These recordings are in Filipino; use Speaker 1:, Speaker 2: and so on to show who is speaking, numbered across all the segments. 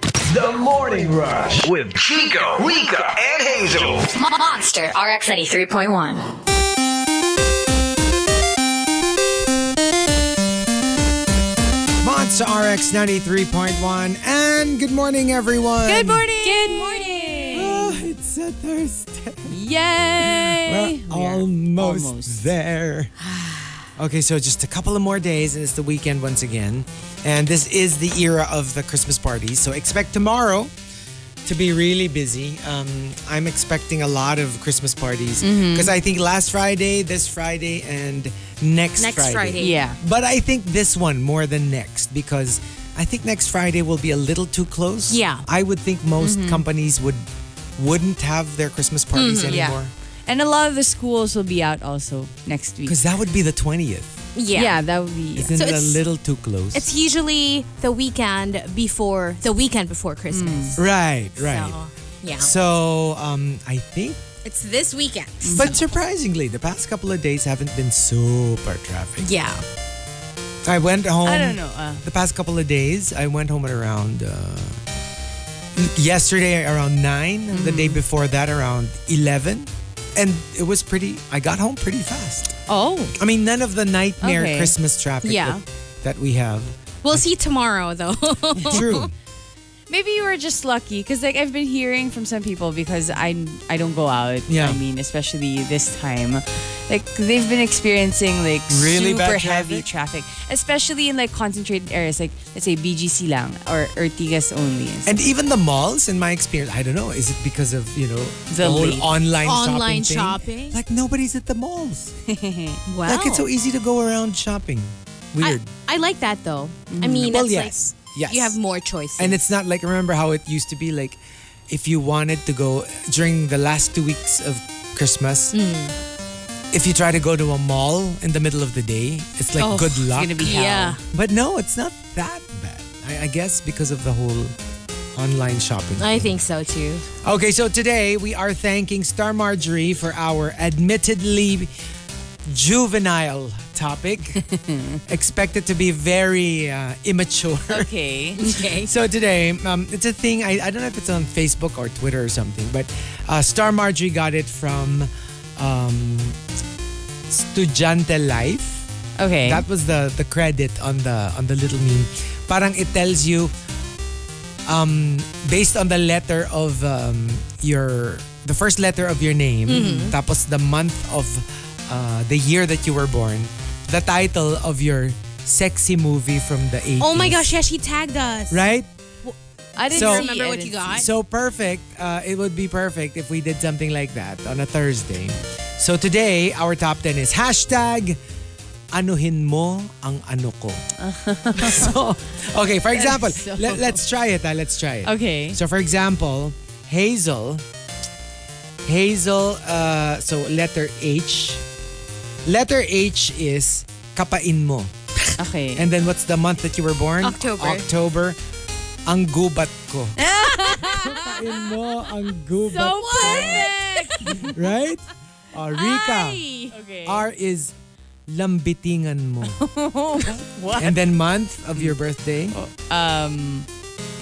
Speaker 1: The Morning Rush with Chico, Rika, and Hazel.
Speaker 2: Monster RX 83.1.
Speaker 3: Monster RX 93.1. And good morning, everyone.
Speaker 4: Good morning. Good
Speaker 3: Oh,
Speaker 4: morning.
Speaker 3: it's a Thursday.
Speaker 4: Yay.
Speaker 3: We're
Speaker 4: We are
Speaker 3: almost,
Speaker 4: almost.
Speaker 3: there. Okay, so just a couple of more days, and it's the weekend once again. And this is the era of the Christmas party. So expect tomorrow to be really busy. Um, I'm expecting a lot of Christmas parties
Speaker 4: Mm-hmm.
Speaker 3: because I think last Friday, this Friday, and next,
Speaker 5: Next Friday.
Speaker 4: Yeah.
Speaker 3: But I think this one more than next because I think next Friday will be a little too close.
Speaker 5: Yeah. Mm-hmm.
Speaker 3: I would think most companies would wouldn't have their Christmas parties
Speaker 5: Mm-hmm.
Speaker 4: yeah.
Speaker 3: anymore
Speaker 4: And a lot of the schools will be out also next week.
Speaker 3: because that would be the 20th.
Speaker 5: Yeah.
Speaker 4: Yeah, that would be.
Speaker 3: Isn't
Speaker 5: So
Speaker 3: it a
Speaker 5: it's-
Speaker 3: little too close?
Speaker 5: It's usually the weekend before the weekend before Christmas.
Speaker 3: right, Mm. right.
Speaker 5: So, yeah.
Speaker 3: So, um I think
Speaker 5: It's this weekend.
Speaker 3: but surprisingly, the past couple of days haven't been super traffic.
Speaker 5: Yeah.
Speaker 3: I went home
Speaker 4: I don't know. Uh,
Speaker 3: the past couple of days. I went home at around uh, yesterday around 9 The
Speaker 5: Mm-hmm.
Speaker 3: day before that around eleven, and it was pretty. I got home pretty fast.
Speaker 4: oh.
Speaker 3: I mean, none of the nightmare
Speaker 4: Okay.
Speaker 3: Christmas traffic
Speaker 5: Yeah.
Speaker 3: that, that we have.
Speaker 5: We'll see tomorrow though.
Speaker 3: True.
Speaker 4: Maybe you were just lucky because like I've been hearing from some people because I I don't go out.
Speaker 3: Yeah.
Speaker 4: I mean, especially this time, like they've been experiencing like
Speaker 3: Really
Speaker 4: super
Speaker 3: bad
Speaker 4: heavy traffic, especially in like concentrated areas like let's say BGC lang or Ortigas only. and stuff.
Speaker 3: And even the malls, in my experience, I don't know, is it because of, you know, the,
Speaker 4: The
Speaker 3: whole
Speaker 4: late-
Speaker 3: online,
Speaker 5: Online
Speaker 3: shopping? thing?
Speaker 5: shopping?
Speaker 3: Like, nobody's at the malls.
Speaker 5: wow.
Speaker 3: Like, it's so easy to go around shopping.
Speaker 5: I,
Speaker 3: Weird. Mm.
Speaker 5: I like that though. I mean,
Speaker 3: Well,
Speaker 5: it's
Speaker 3: yes.
Speaker 5: like
Speaker 3: Yes.
Speaker 5: you have more choices.
Speaker 3: And it's not like remember how it used to be like if you wanted to go during the last two weeks of Christmas.
Speaker 4: Mm.
Speaker 3: If you try to go to a mall in the middle of the day, it's like
Speaker 5: Oh,
Speaker 3: good
Speaker 4: it's
Speaker 3: luck.
Speaker 4: gonna be hell.
Speaker 5: yeah.
Speaker 3: but no, it's not that bad. I, I guess because of the whole online shopping.
Speaker 5: I think so too.
Speaker 3: Okay, so today we are thanking Star Marjorie for our admittedly juvenile topic, expected to be very uh, immature.
Speaker 4: Okay.
Speaker 5: Okay.
Speaker 3: So today, um, it's a thing. I, I don't know if it's on Facebook or Twitter or something, but uh, Star Marjorie got it from um, Studente Life.
Speaker 5: Eh?
Speaker 4: Okay.
Speaker 3: That was the the credit on the on the little meme. Parang it tells you, um, based on the letter of um, your the first letter of your name,
Speaker 5: Mm-hmm.
Speaker 3: tapos the month of uh, the year that you were born, the title of your sexy movie from the 80s.
Speaker 5: Oh my gosh, yeah, she tagged us.
Speaker 3: Right?
Speaker 4: I didn't
Speaker 3: So-
Speaker 4: see,
Speaker 5: Remember
Speaker 4: I
Speaker 5: what
Speaker 4: didn't
Speaker 5: you got?
Speaker 3: So perfect. Uh, it would be perfect if we did something like that on a Thursday. So today, our top 10 is hashtag anuhin mo ang ano ko. so, okay, for example,
Speaker 4: so-
Speaker 3: let, us try it. ah, let's try it.
Speaker 4: Okay.
Speaker 3: So for example, Hazel. Hazel, uh, so letter H. Letter H is kapain mo.
Speaker 4: see. Okay.
Speaker 3: And then what's the month that you were born?
Speaker 5: October.
Speaker 3: October. Ang gubat ko. Kapain mo ang gubat.
Speaker 4: so Oh, perfect.
Speaker 3: right? Oh, Rika.
Speaker 5: Hi.
Speaker 4: okay.
Speaker 3: R is lambitingan mo.
Speaker 4: what?
Speaker 3: and then month of your birthday,
Speaker 4: Um,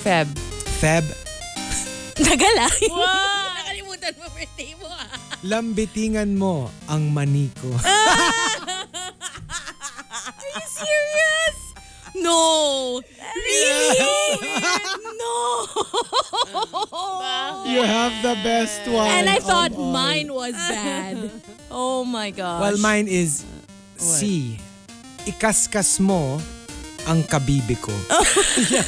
Speaker 4: Feb.
Speaker 3: Feb,
Speaker 5: Tagal ah.
Speaker 4: Wow.
Speaker 5: Nakalimutan mo birthday mo ah.
Speaker 3: lambitingan mo ang maniko.
Speaker 5: Serious? No. Really? no.
Speaker 3: you have the best one.
Speaker 5: And I
Speaker 3: of
Speaker 5: thought
Speaker 3: all.
Speaker 5: mine was bad. Oh my gosh.
Speaker 3: Well, mine is C. Ikaskas mo ang kabibi ko. Yeah.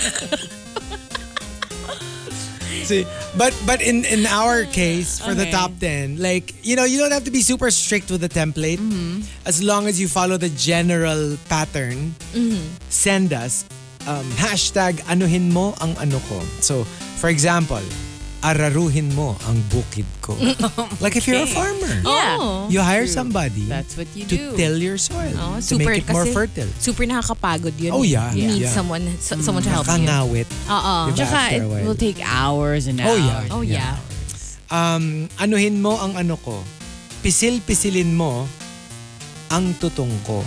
Speaker 3: See, but but in in our case for the
Speaker 4: Okay.
Speaker 3: top 10, like you know, you don't have to be super strict with the template as long as you follow the general pattern. Send us um, hashtag anuhin mo ang ano ko. So, for example, araruhin mo ang bukid ko. Like if you're a farmer.
Speaker 4: Yeah.
Speaker 5: Oh.
Speaker 3: You hire somebody
Speaker 4: That's what you
Speaker 3: to
Speaker 4: do.
Speaker 3: till your soil
Speaker 5: Oh,
Speaker 3: to
Speaker 5: super
Speaker 3: make it more
Speaker 5: kasi
Speaker 3: fertile.
Speaker 5: Super nakakapagod yun.
Speaker 3: Oh,
Speaker 5: eh.
Speaker 3: yeah,
Speaker 5: You need
Speaker 3: yeah. Mm.
Speaker 5: someone so, someone to help you.
Speaker 3: Kangawit.
Speaker 5: Oo.
Speaker 3: Diba,
Speaker 4: Oh, Tsaka
Speaker 3: after
Speaker 4: it
Speaker 3: a while.
Speaker 4: will take hours and
Speaker 3: Oh,
Speaker 4: hours.
Speaker 3: yeah.
Speaker 5: Oh yeah.
Speaker 3: Um, anuhin mo ang ano ko. Pisil-pisilin mo ang tutong ko.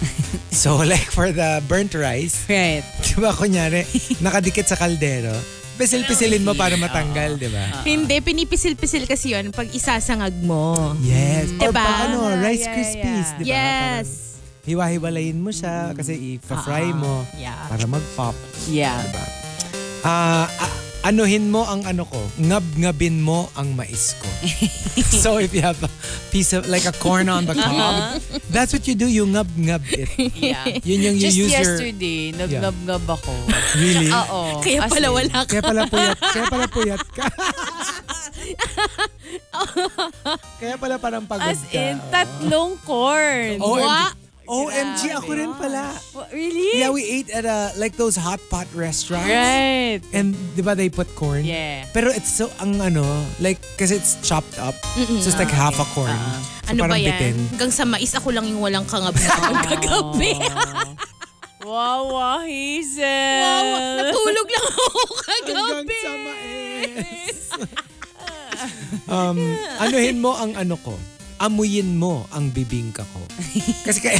Speaker 3: so like for the burnt rice,
Speaker 4: Right.
Speaker 3: di ba kunyari, nakadikit sa kaldero, pisil-pisilin mo para matanggal, di ba?
Speaker 5: Hindi, pinipisil-pisil kasi yun pag isasangag mo.
Speaker 3: Yes. Or
Speaker 5: Diba?
Speaker 3: baka ano, Rice
Speaker 4: yeah,
Speaker 3: Krispies,
Speaker 4: yeah.
Speaker 3: di ba?
Speaker 5: Yes.
Speaker 3: Parang Hiwa-hiwalayin mo siya kasi ipa-fry mo
Speaker 5: yeah.
Speaker 3: para mag-pop.
Speaker 4: Mm. Ah, Yeah.
Speaker 3: Diba? Ah, a- anuhin mo ang ano ko, ngab-ngabin mo ang mais ko. so if you have a piece of, like a corn on the cob,
Speaker 4: Uh-huh.
Speaker 3: that's what you do, you ngab-ngab it.
Speaker 4: Yeah.
Speaker 3: Yun yung you
Speaker 4: Just
Speaker 3: use your...
Speaker 4: yesterday, nag-ngab-ngab ako.
Speaker 3: Really?
Speaker 4: Oo.
Speaker 5: Kaya
Speaker 4: As
Speaker 5: pala
Speaker 4: in,
Speaker 5: wala ka.
Speaker 3: Kaya pala puyat, kaya pala puyat ka. kaya pala parang pagod
Speaker 4: As
Speaker 3: ka.
Speaker 4: in, tatlong corn.
Speaker 3: OMG,
Speaker 5: Wa-
Speaker 3: OMG ako rin pala.
Speaker 4: What, really?
Speaker 3: Yeah, we ate at a, like those hot pot restaurants.
Speaker 4: Right.
Speaker 3: And di ba they put corn?
Speaker 4: Yeah.
Speaker 3: Pero it's so, ang ano, like, kasi it's chopped up. So it's like half a corn.
Speaker 4: Uh-uh.
Speaker 3: So
Speaker 5: Ano ba
Speaker 3: parang
Speaker 5: yan?
Speaker 3: bitin.
Speaker 5: Hanggang sa mais ako lang yung walang kangab na kagabi.
Speaker 4: Wawa, Hazel.
Speaker 5: Wow, natulog lang ako kagabi.
Speaker 3: Hanggang sa mais. um, anuhin mo ang ano ko. Amuyin mo ang bibingka ko. Kasi kaya...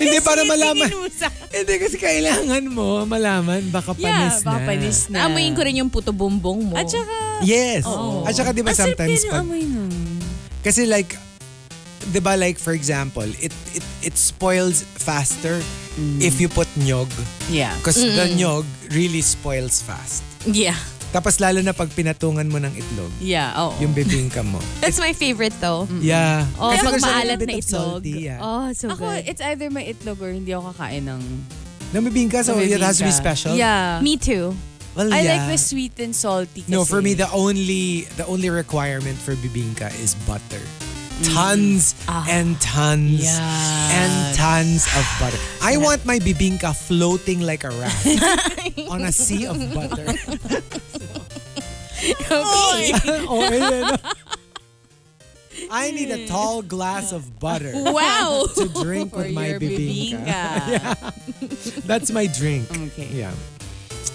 Speaker 3: Hindi, para malaman. Hindi, kasi kailangan mo malaman. Baka
Speaker 4: Yeah,
Speaker 3: panis
Speaker 4: baka
Speaker 3: na.
Speaker 4: panis na. Oh.
Speaker 5: Amoyin ko rin yung puto bumbong mo.
Speaker 4: At saka,
Speaker 3: Yes. At saka di ba
Speaker 4: ang sarap
Speaker 3: sometimes
Speaker 4: din ang
Speaker 3: pag...
Speaker 4: amoy nun.
Speaker 3: Kasi like, di ba like for example, it it it spoils faster
Speaker 5: Mm.
Speaker 3: if you put nyog.
Speaker 4: Yeah.
Speaker 3: Because the nyog really spoils fast.
Speaker 5: Yeah.
Speaker 3: Tapos lalo na pag pinatungan mo ng itlog,
Speaker 4: Yeah, oo.
Speaker 3: yung bibingka mo.
Speaker 5: That's my favorite though.
Speaker 3: Yeah.
Speaker 5: Oh,
Speaker 3: Kasi
Speaker 5: pag
Speaker 3: there's a little
Speaker 5: maalat
Speaker 3: bit
Speaker 5: na
Speaker 3: of
Speaker 5: itlog.
Speaker 3: salty, yeah.
Speaker 5: Oh, so
Speaker 4: Ako, eh-
Speaker 5: good.
Speaker 4: it's either may itlog or hindi ako kakain ng
Speaker 3: Ng bibingka, so it has to be
Speaker 4: bibingka.
Speaker 3: special.
Speaker 4: Yeah.
Speaker 5: Me too.
Speaker 3: Well,
Speaker 4: I
Speaker 3: yeah.
Speaker 4: like the sweet and salty kasi.
Speaker 3: No, for me the only the only requirement for bibingka is butter.
Speaker 4: Mm.
Speaker 3: Tons
Speaker 4: Ah.
Speaker 3: and tons and tons of butter. I want my bibingka floating like a raft on a sea of butter.
Speaker 5: Okay.
Speaker 3: oh, ayun, ano? I need a tall glass of butter
Speaker 5: Wow.
Speaker 3: to drink
Speaker 4: For
Speaker 3: with my
Speaker 4: your
Speaker 3: bibingka.
Speaker 4: bibingka.
Speaker 3: That's my drink.
Speaker 4: Okay.
Speaker 3: Yeah.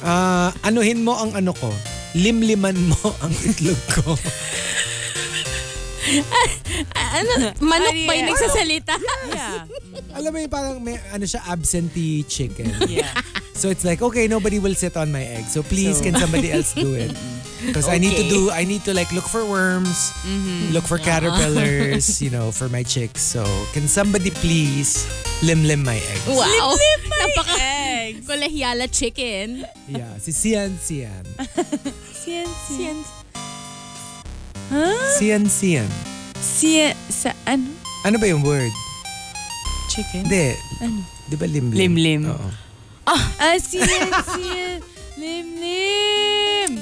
Speaker 3: Ah, anuhin mo ang ano ko. Limliman mo ang itlog ko.
Speaker 5: ano, manok
Speaker 4: Ano
Speaker 5: pa yung
Speaker 4: yan?
Speaker 5: nagsasalita.
Speaker 4: Yeah.
Speaker 3: Alam mo yung parang may ano siya absentee chicken.
Speaker 4: Yeah.
Speaker 3: So it's like, okay, nobody will sit on my egg. So please,
Speaker 4: So-
Speaker 3: can somebody else do it? Because I need to do, I need to like look for worms,
Speaker 4: Mm-hmm.
Speaker 3: look for
Speaker 4: Uh-huh.
Speaker 3: caterpillars, you know, for my chicks. So can somebody please limlim my eggs?
Speaker 5: Wow. Napaka
Speaker 4: Eggs.
Speaker 5: kolehiala chicken.
Speaker 3: Yeah, si Sian Sian.
Speaker 4: Sien, sien.
Speaker 5: Yan.
Speaker 3: Sian Sian.
Speaker 4: Sien, sa ano?
Speaker 3: Ano ba yung word?
Speaker 4: Chicken?
Speaker 3: Hindi. Di ba limlim?
Speaker 4: Ano? Limlim.
Speaker 3: Oo.
Speaker 4: Ah, sien, sien. Lim, lim.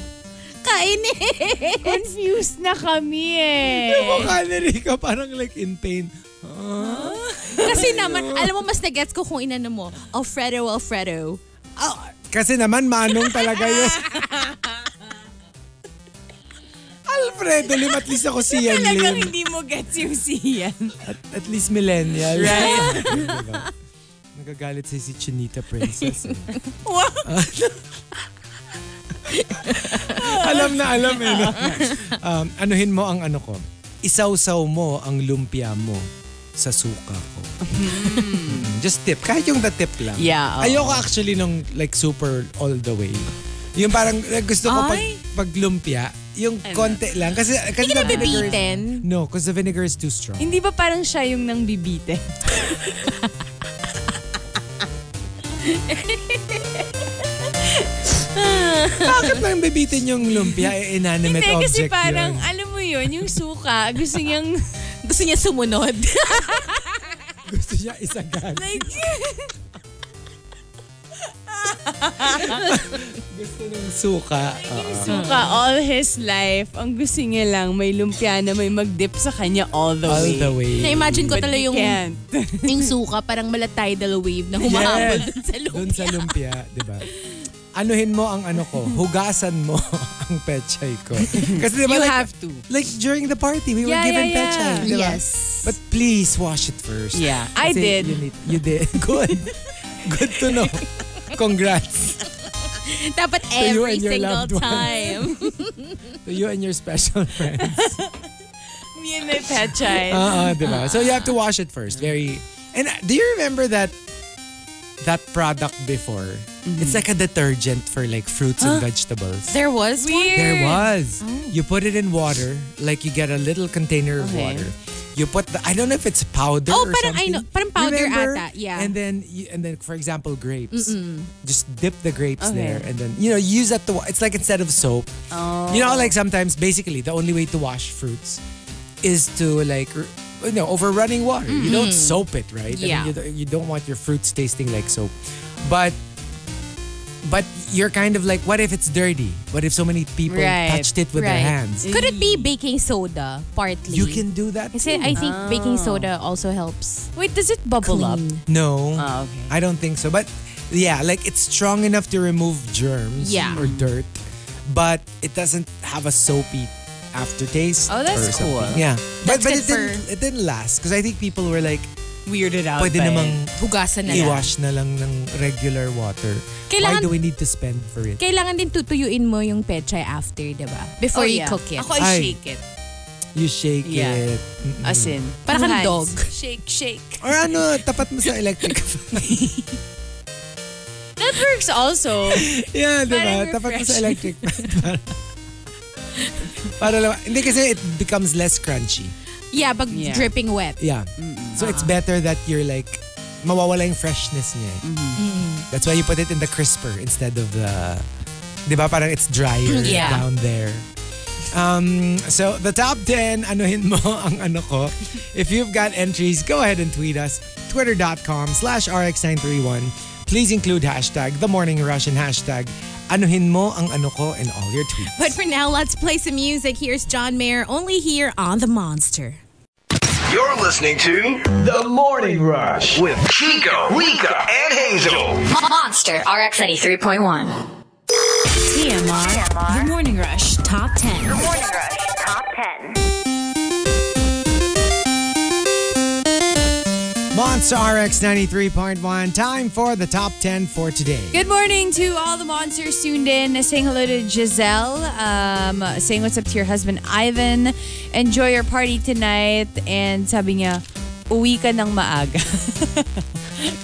Speaker 5: Kainin.
Speaker 4: Confused na kami eh.
Speaker 3: Mukha ni Rica parang like in pain. Ah.
Speaker 5: Kasi naman, alam mo, mas nagets ko kung inano mo, Alfredo, Alfredo.
Speaker 3: Ah, kasi naman, manong talaga yun. Alfredo Lim, at least ako si Yan
Speaker 4: Talagang
Speaker 3: Lim.
Speaker 4: hindi mo gets yung siyan.
Speaker 3: At, at least millennial.
Speaker 4: Right.
Speaker 3: diba? Nagagalit sa si Chinita Princess. eh.
Speaker 4: Wow.
Speaker 3: alam na alam eh. no? Um, anuhin mo ang ano ko. Isawsaw mo ang lumpia mo sa suka ko. Just tip. Kahit yung the tip lang.
Speaker 4: Hmm. Yeah, oo.
Speaker 3: Ayoko actually nung like super all the way. Yung parang eh, gusto ko pag,
Speaker 4: Ay.
Speaker 3: pag lumpia, yung konti lang. Kasi, kasi
Speaker 5: Hindi ka
Speaker 3: the vinegar is-
Speaker 5: nabibitin?
Speaker 3: No, because the vinegar is too strong.
Speaker 4: Hindi ba parang siya yung nang bibite?
Speaker 3: Bakit lang bibitin yung lumpia? Eh, inanimate
Speaker 4: Hindi,
Speaker 3: object
Speaker 4: kasi parang,
Speaker 3: yun.
Speaker 4: alam mo yun, yung suka, gusto niyang,
Speaker 5: Gusto niya sumunod.
Speaker 3: Gusto niya isagad.
Speaker 4: like,
Speaker 3: Gusto ng suka. Oo.
Speaker 4: suka
Speaker 3: Hmm.
Speaker 4: all his life. Ang gusto niya lang, may lumpia na may mag-dip sa kanya all the
Speaker 3: All
Speaker 4: way.
Speaker 3: the way.
Speaker 5: Na-imagine ko
Speaker 4: But
Speaker 5: talaga
Speaker 4: he
Speaker 5: yung,
Speaker 4: can't.
Speaker 5: yung suka, parang mala tidal wave na humahabol dun sa loob.
Speaker 3: Doon sa lumpia, di ba? Anuhin mo ang ano ko, hugasan mo ang pechay ko. Kasi di ba
Speaker 4: You
Speaker 3: like,
Speaker 4: have to.
Speaker 3: like during the party, we were
Speaker 4: Yeah,
Speaker 3: given
Speaker 4: yeah, yeah.
Speaker 3: pechay, di ba?
Speaker 5: Yes.
Speaker 3: But please wash it first.
Speaker 4: Yeah, I
Speaker 3: Kasi
Speaker 4: did.
Speaker 3: You, need- you did. Good. Good to know. Congrats
Speaker 5: Dapat
Speaker 3: you and
Speaker 5: every
Speaker 3: your
Speaker 5: single
Speaker 3: loved ones.
Speaker 5: time.
Speaker 3: to you and your special friends.
Speaker 4: Me and my pet child.
Speaker 3: Uh, uh, diba? So you have to wash it first. Very. And uh, do you remember that that product before. It's like a detergent for like fruits and vegetables.
Speaker 5: There was one.
Speaker 3: There was.
Speaker 5: Oh.
Speaker 3: You put it in water, like you get a little container of
Speaker 4: Okay.
Speaker 3: water. You put the, I don't know if it's powder
Speaker 5: Oh,
Speaker 3: or
Speaker 5: parang I
Speaker 3: something.
Speaker 5: know- parang powder
Speaker 3: Remember?
Speaker 5: ata, yeah.
Speaker 3: And then you, and then for example grapes. Just dip the grapes
Speaker 4: Okay.
Speaker 3: there and then you know, use that to wa- it's like instead of soap. Oh. You know like sometimes basically the only way to wash fruits is to like r- you know, over running water. You don't soap it, right?
Speaker 5: Mm-hmm.
Speaker 3: I
Speaker 5: Yeah.
Speaker 3: mean, you, don't- you don't want your fruits tasting like soap. But but you're kind of like, what if it's dirty? What if so many people
Speaker 4: Right,
Speaker 3: touched it with their hands?
Speaker 5: Could it be baking soda partly?
Speaker 3: You can do that.
Speaker 5: Kasi
Speaker 3: too.
Speaker 5: I think baking soda also helps.
Speaker 4: Wait, does it bubble up?
Speaker 5: Clean.
Speaker 3: no,
Speaker 4: Ah, okay.
Speaker 3: I don't think so. But yeah, like it's strong enough to remove germs
Speaker 5: Yeah.
Speaker 3: or dirt, but it doesn't have a soapy aftertaste.
Speaker 4: Oh, that's
Speaker 3: or something.
Speaker 4: cool.
Speaker 3: Yeah, but
Speaker 5: That's
Speaker 3: but
Speaker 5: good
Speaker 3: it didn't it didn't last because I think people were like,
Speaker 4: Weirded out. eh?
Speaker 3: pwede
Speaker 4: by it.
Speaker 3: namang
Speaker 5: Hugasan na lang.
Speaker 3: iwash na lang ng regular water. Why
Speaker 5: Kailangan-
Speaker 3: do we need to spend for it?
Speaker 5: Kailangan din tutuyuin mo yung pechay after, di ba? Before you cook it.
Speaker 4: Oh, Ako, I
Speaker 3: Ay.
Speaker 4: shake it.
Speaker 3: You shake
Speaker 4: Yeah.
Speaker 3: it. Mm-mm.
Speaker 4: As in.
Speaker 5: Para kang
Speaker 4: hands.
Speaker 5: dog.
Speaker 4: Shake, shake.
Speaker 3: Or ano, tapat mo sa electric
Speaker 4: That works also.
Speaker 3: Yeah, di ba?
Speaker 4: Parang
Speaker 3: Tapat mo sa electric fan. Para lang. Hindi kasi it becomes less crunchy.
Speaker 5: Yeah, pag
Speaker 4: Yeah.
Speaker 5: dripping wet.
Speaker 3: Yeah. So it's better that you're like, mawawala yung freshness niya. eh.
Speaker 5: Mm-hmm.
Speaker 3: That's why you put it in the crisper instead of the, di ba? Parang it's drier
Speaker 5: Yeah.
Speaker 3: down there. Um, so the top 10, anuhin mo ang ano ko. If you've got entries, go ahead and tweet us. Twitter.com slash RX931. Please include hashtag The Morning Rush and hashtag anuhin mo ang ano ko in all your tweets.
Speaker 5: But for now, let's play some music. Here's John Mayer, only here on The Monster.
Speaker 1: You're listening to The Morning Rush with Chico, Rika, and Hazel.
Speaker 2: Monster RX 83.1.
Speaker 6: TMR. The Morning Rush Top 10.
Speaker 7: Morning Rush Top 10.
Speaker 3: Monster RX 93.1, time for the top 10 for today.
Speaker 4: Good morning to all the monsters tuned in. Saying hello to Giselle. Um, saying what's up to your husband, Ivan. Enjoy your party tonight. And sabi niya, uwi ka ng maaga.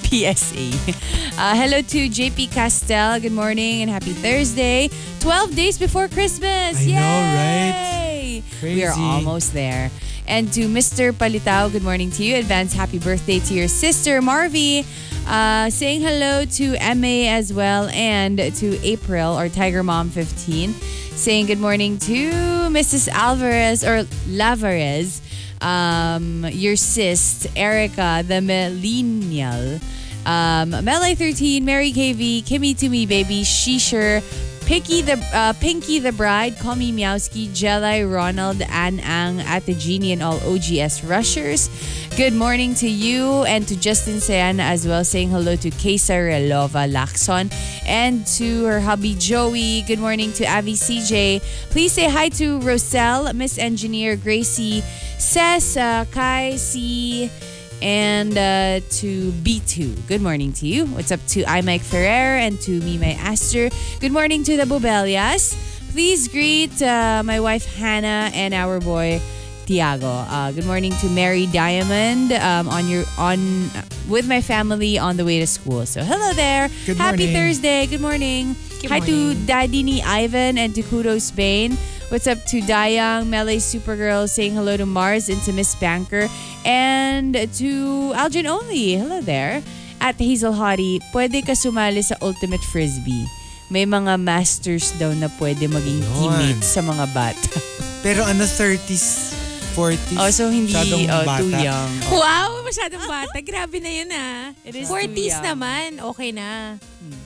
Speaker 4: PSA. Uh, hello to JP Castel. Good morning and happy Thursday. 12 days before Christmas.
Speaker 3: I know,
Speaker 4: Yay!
Speaker 3: right?
Speaker 4: We are
Speaker 3: Crazy.
Speaker 4: almost there. And to Mr. Palitao, good morning to you. Advance happy birthday to your sister, Marvy. Uh, saying hello to MA as well and to April or Tiger Mom 15. Saying good morning to Mrs. Alvarez or Lavarez, um, your sis, Erica, the millennial. Um, Melee 13, Mary KV, Kimmy to me, baby, Shisher, Pinky the uh, Pinky the Bride, Call Me Meowski, Jelly, Ronald, Ann Ang, Ate Jeannie, and all OGS rushers. Good morning to you and to Justin Sayana as well, saying hello to Kesa Relova Lacson and to her hubby Joey. Good morning to Avi CJ. Please say hi to Roselle, Miss Engineer Gracie, Sess, uh, Kai C and uh, to B2. Good morning to you. What's up to I Mike Ferrer and to me my Aster. Good morning to the Bobelias. Please greet uh, my wife Hannah and our boy Tiago. Uh, good morning to Mary Diamond um, on your on with my family on the way to school. So hello there.
Speaker 3: Good
Speaker 4: Happy
Speaker 3: morning.
Speaker 4: Thursday. Good morning. Hi to Daddy ni Ivan and to Kudos Bain. What's up to Dayang, Melee Supergirl, saying hello to Mars and to Miss Banker. And to Algin Only. Hello there. At Hazel Hottie, pwede ka sumali sa Ultimate Frisbee. May mga masters daw na pwede maging
Speaker 3: Ayun.
Speaker 4: teammates sa mga bata.
Speaker 3: Pero ano, 30s, 40s?
Speaker 4: Oh, so hindi
Speaker 3: Masyadong
Speaker 4: oh, too
Speaker 3: bata.
Speaker 4: young.
Speaker 5: Wow, masyadong bata. Grabe na yun ah.
Speaker 4: It is
Speaker 5: 40s
Speaker 4: too young.
Speaker 5: naman, okay na.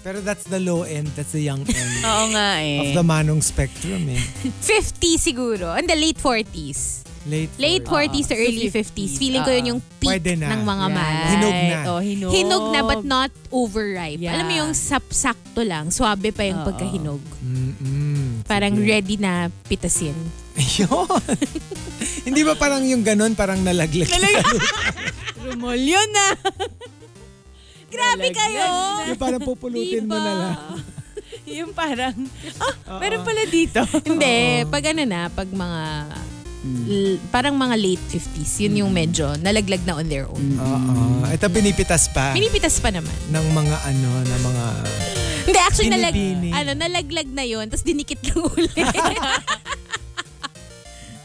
Speaker 3: Pero that's the low end, that's the young end
Speaker 4: Oo nga
Speaker 3: of
Speaker 4: eh.
Speaker 3: the manong spectrum eh.
Speaker 5: 50 siguro. And the late 40s.
Speaker 3: Late,
Speaker 5: Late 40s to early 50s.
Speaker 4: 50s,
Speaker 5: Feeling ko yun yung peak
Speaker 3: Pwede na.
Speaker 5: ng mga
Speaker 4: Right.
Speaker 5: manong.
Speaker 3: Hinog na.
Speaker 4: Oh, hinog.
Speaker 5: Hinog na but not overripe.
Speaker 4: Yeah.
Speaker 5: Alam mo yung sap- sakto lang, swabe pa yung
Speaker 4: Oo.
Speaker 5: pagkahinog.
Speaker 3: Mm-mm.
Speaker 5: Parang ready na pitasin.
Speaker 3: Yun. hindi ba parang yung ganun, parang nalaglag?
Speaker 4: Remolyo na. Grabe kayo.
Speaker 3: yung parang pupulutin mo
Speaker 4: Diba?
Speaker 3: na lang.
Speaker 4: yung parang, ah, meron pala dito.
Speaker 5: Hindi, pag ano na, pag mga L- parang mga late 50s. Yun yung medyo nalaglag na on their
Speaker 3: Mm.
Speaker 5: own.
Speaker 3: Oo. Ito pinipitas pa
Speaker 5: Pinipitas pa naman.
Speaker 3: ng mga ano, ng mga...
Speaker 5: Hindi, actually, nalag,
Speaker 3: Binibini.
Speaker 5: ano, nalaglag na yun. Tapos dinikit lang uli.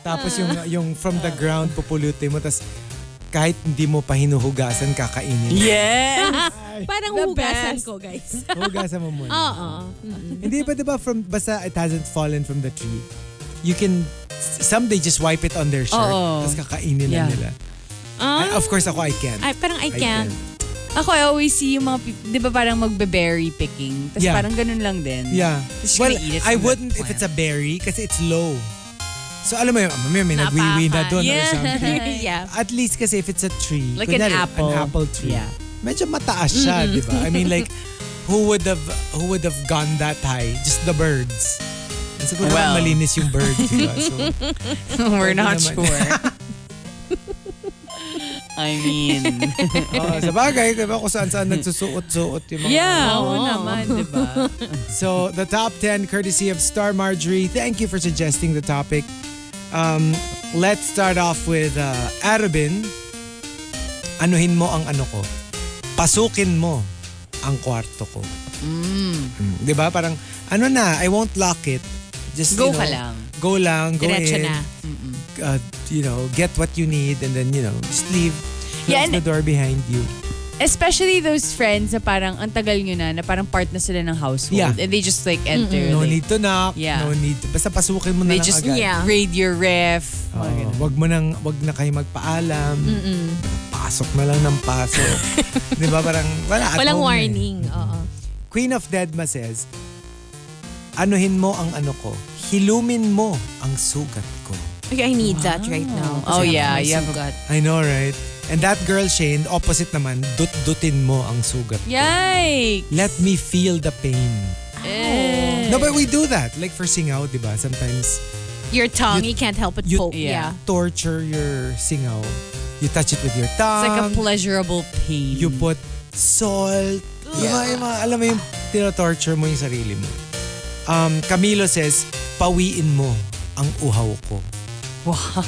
Speaker 3: Tapos yung,
Speaker 4: Ah.
Speaker 3: yung from the ground, pupulutin mo. Tapos kahit hindi mo pa hinuhugasan, kakainin.
Speaker 4: Yes!
Speaker 5: parang
Speaker 4: The
Speaker 5: hugasan
Speaker 4: best.
Speaker 5: ko, guys.
Speaker 3: Hugasan mo muna.
Speaker 5: Oo.
Speaker 3: Hindi ba diba from basta it hasn't fallen from the tree. You can some they just wipe it on their shirt
Speaker 4: Oo.
Speaker 3: tapos kakainin na
Speaker 4: Yeah.
Speaker 3: nila.
Speaker 5: Ah,
Speaker 3: I- of course ako I can.
Speaker 5: ay, parang I
Speaker 3: I
Speaker 5: can't.
Speaker 4: Ako, I always see yung mga, peop- di ba parang magbe-berry picking? Tapos
Speaker 3: Yeah.
Speaker 4: parang ganun lang din.
Speaker 3: Yeah.
Speaker 4: Just
Speaker 3: Well,
Speaker 4: gonna eat it
Speaker 3: I
Speaker 4: from the
Speaker 3: wouldn't if
Speaker 4: plant.
Speaker 3: it's a berry kasi it's low. So alam mo yun, may, may nagwiwi na doon or something.
Speaker 5: yeah.
Speaker 3: At least kasi if it's a tree.
Speaker 4: Like an
Speaker 3: kunyari,
Speaker 4: apple.
Speaker 3: An apple tree.
Speaker 4: Yeah.
Speaker 3: Medyo mataas siya, di ba? I mean like, who would have who would have gone that high? Just the birds. And siguro
Speaker 4: Well.
Speaker 3: malinis yung birds, di ba? So,
Speaker 4: We're not
Speaker 3: Hindi
Speaker 4: sure.
Speaker 3: naman.
Speaker 4: I mean...
Speaker 3: Oo, sa bagay, diba kung saan saan nagsusuot-suot yung mga...
Speaker 5: Ah,
Speaker 4: yeah, oo
Speaker 3: Oh.
Speaker 4: naman, di ba?
Speaker 3: So, the top 10 courtesy of Star Marjorie. Thank you for suggesting the topic. Um, let's start off with uh, Arabin. Anuhin mo ang ano ko. Pasukin mo ang kwarto ko. Mm. Di ba? Parang, ano na, I won't lock it. Just,
Speaker 4: Go
Speaker 3: you know,
Speaker 4: ka lang.
Speaker 3: Go lang, go
Speaker 5: Diretso
Speaker 3: in.
Speaker 5: na.
Speaker 3: Uh, you know, get what you need and then, you know, just leave. Close
Speaker 4: Yeah, and-
Speaker 3: the door behind you.
Speaker 4: Especially those friends na parang ang tagal nyo na, na parang part na sila ng household.
Speaker 3: Yeah.
Speaker 4: And they just like enter.
Speaker 3: No
Speaker 4: like,
Speaker 3: need to knock.
Speaker 4: Yeah.
Speaker 3: No need to, basta pasukin mo na
Speaker 4: They
Speaker 3: lang
Speaker 4: just
Speaker 3: agad.
Speaker 5: Yeah.
Speaker 4: raid your ref.
Speaker 3: Oo, wag mo nang, wag na kayo magpaalam. Pasok na lang ng pasok. Di ba? Parang wala. at
Speaker 5: Walang
Speaker 3: home na eh.
Speaker 5: warning. Oo.
Speaker 3: Queen of Deadma says, Anuhin mo ang ano ko. Hilumin mo ang sugat ko.
Speaker 5: Okay, I need that right now.
Speaker 4: Oh,
Speaker 5: Kasi
Speaker 4: yeah,
Speaker 5: may
Speaker 4: you have a-
Speaker 5: sugat.
Speaker 3: I know, right? And that girl, Shane, opposite naman, dut-dutin mo ang sugat.
Speaker 4: Yikes!
Speaker 3: Let me feel the pain.
Speaker 4: Eh.
Speaker 3: No, but we do that. Like for singaw, di ba? Sometimes
Speaker 5: Your tongue, you, can't help but
Speaker 3: you-
Speaker 5: poke.
Speaker 4: yeah.
Speaker 5: Yeah.
Speaker 3: torture your singaw. You touch it with your tongue.
Speaker 4: It's like a pleasurable
Speaker 3: Um,
Speaker 4: pain.
Speaker 3: you put salt. Yung mga- yung mga- alam mo yung tinotorture mo yung sarili mo. Um, Camilo says, pawiin mo ang uhaw ko.
Speaker 4: Wow.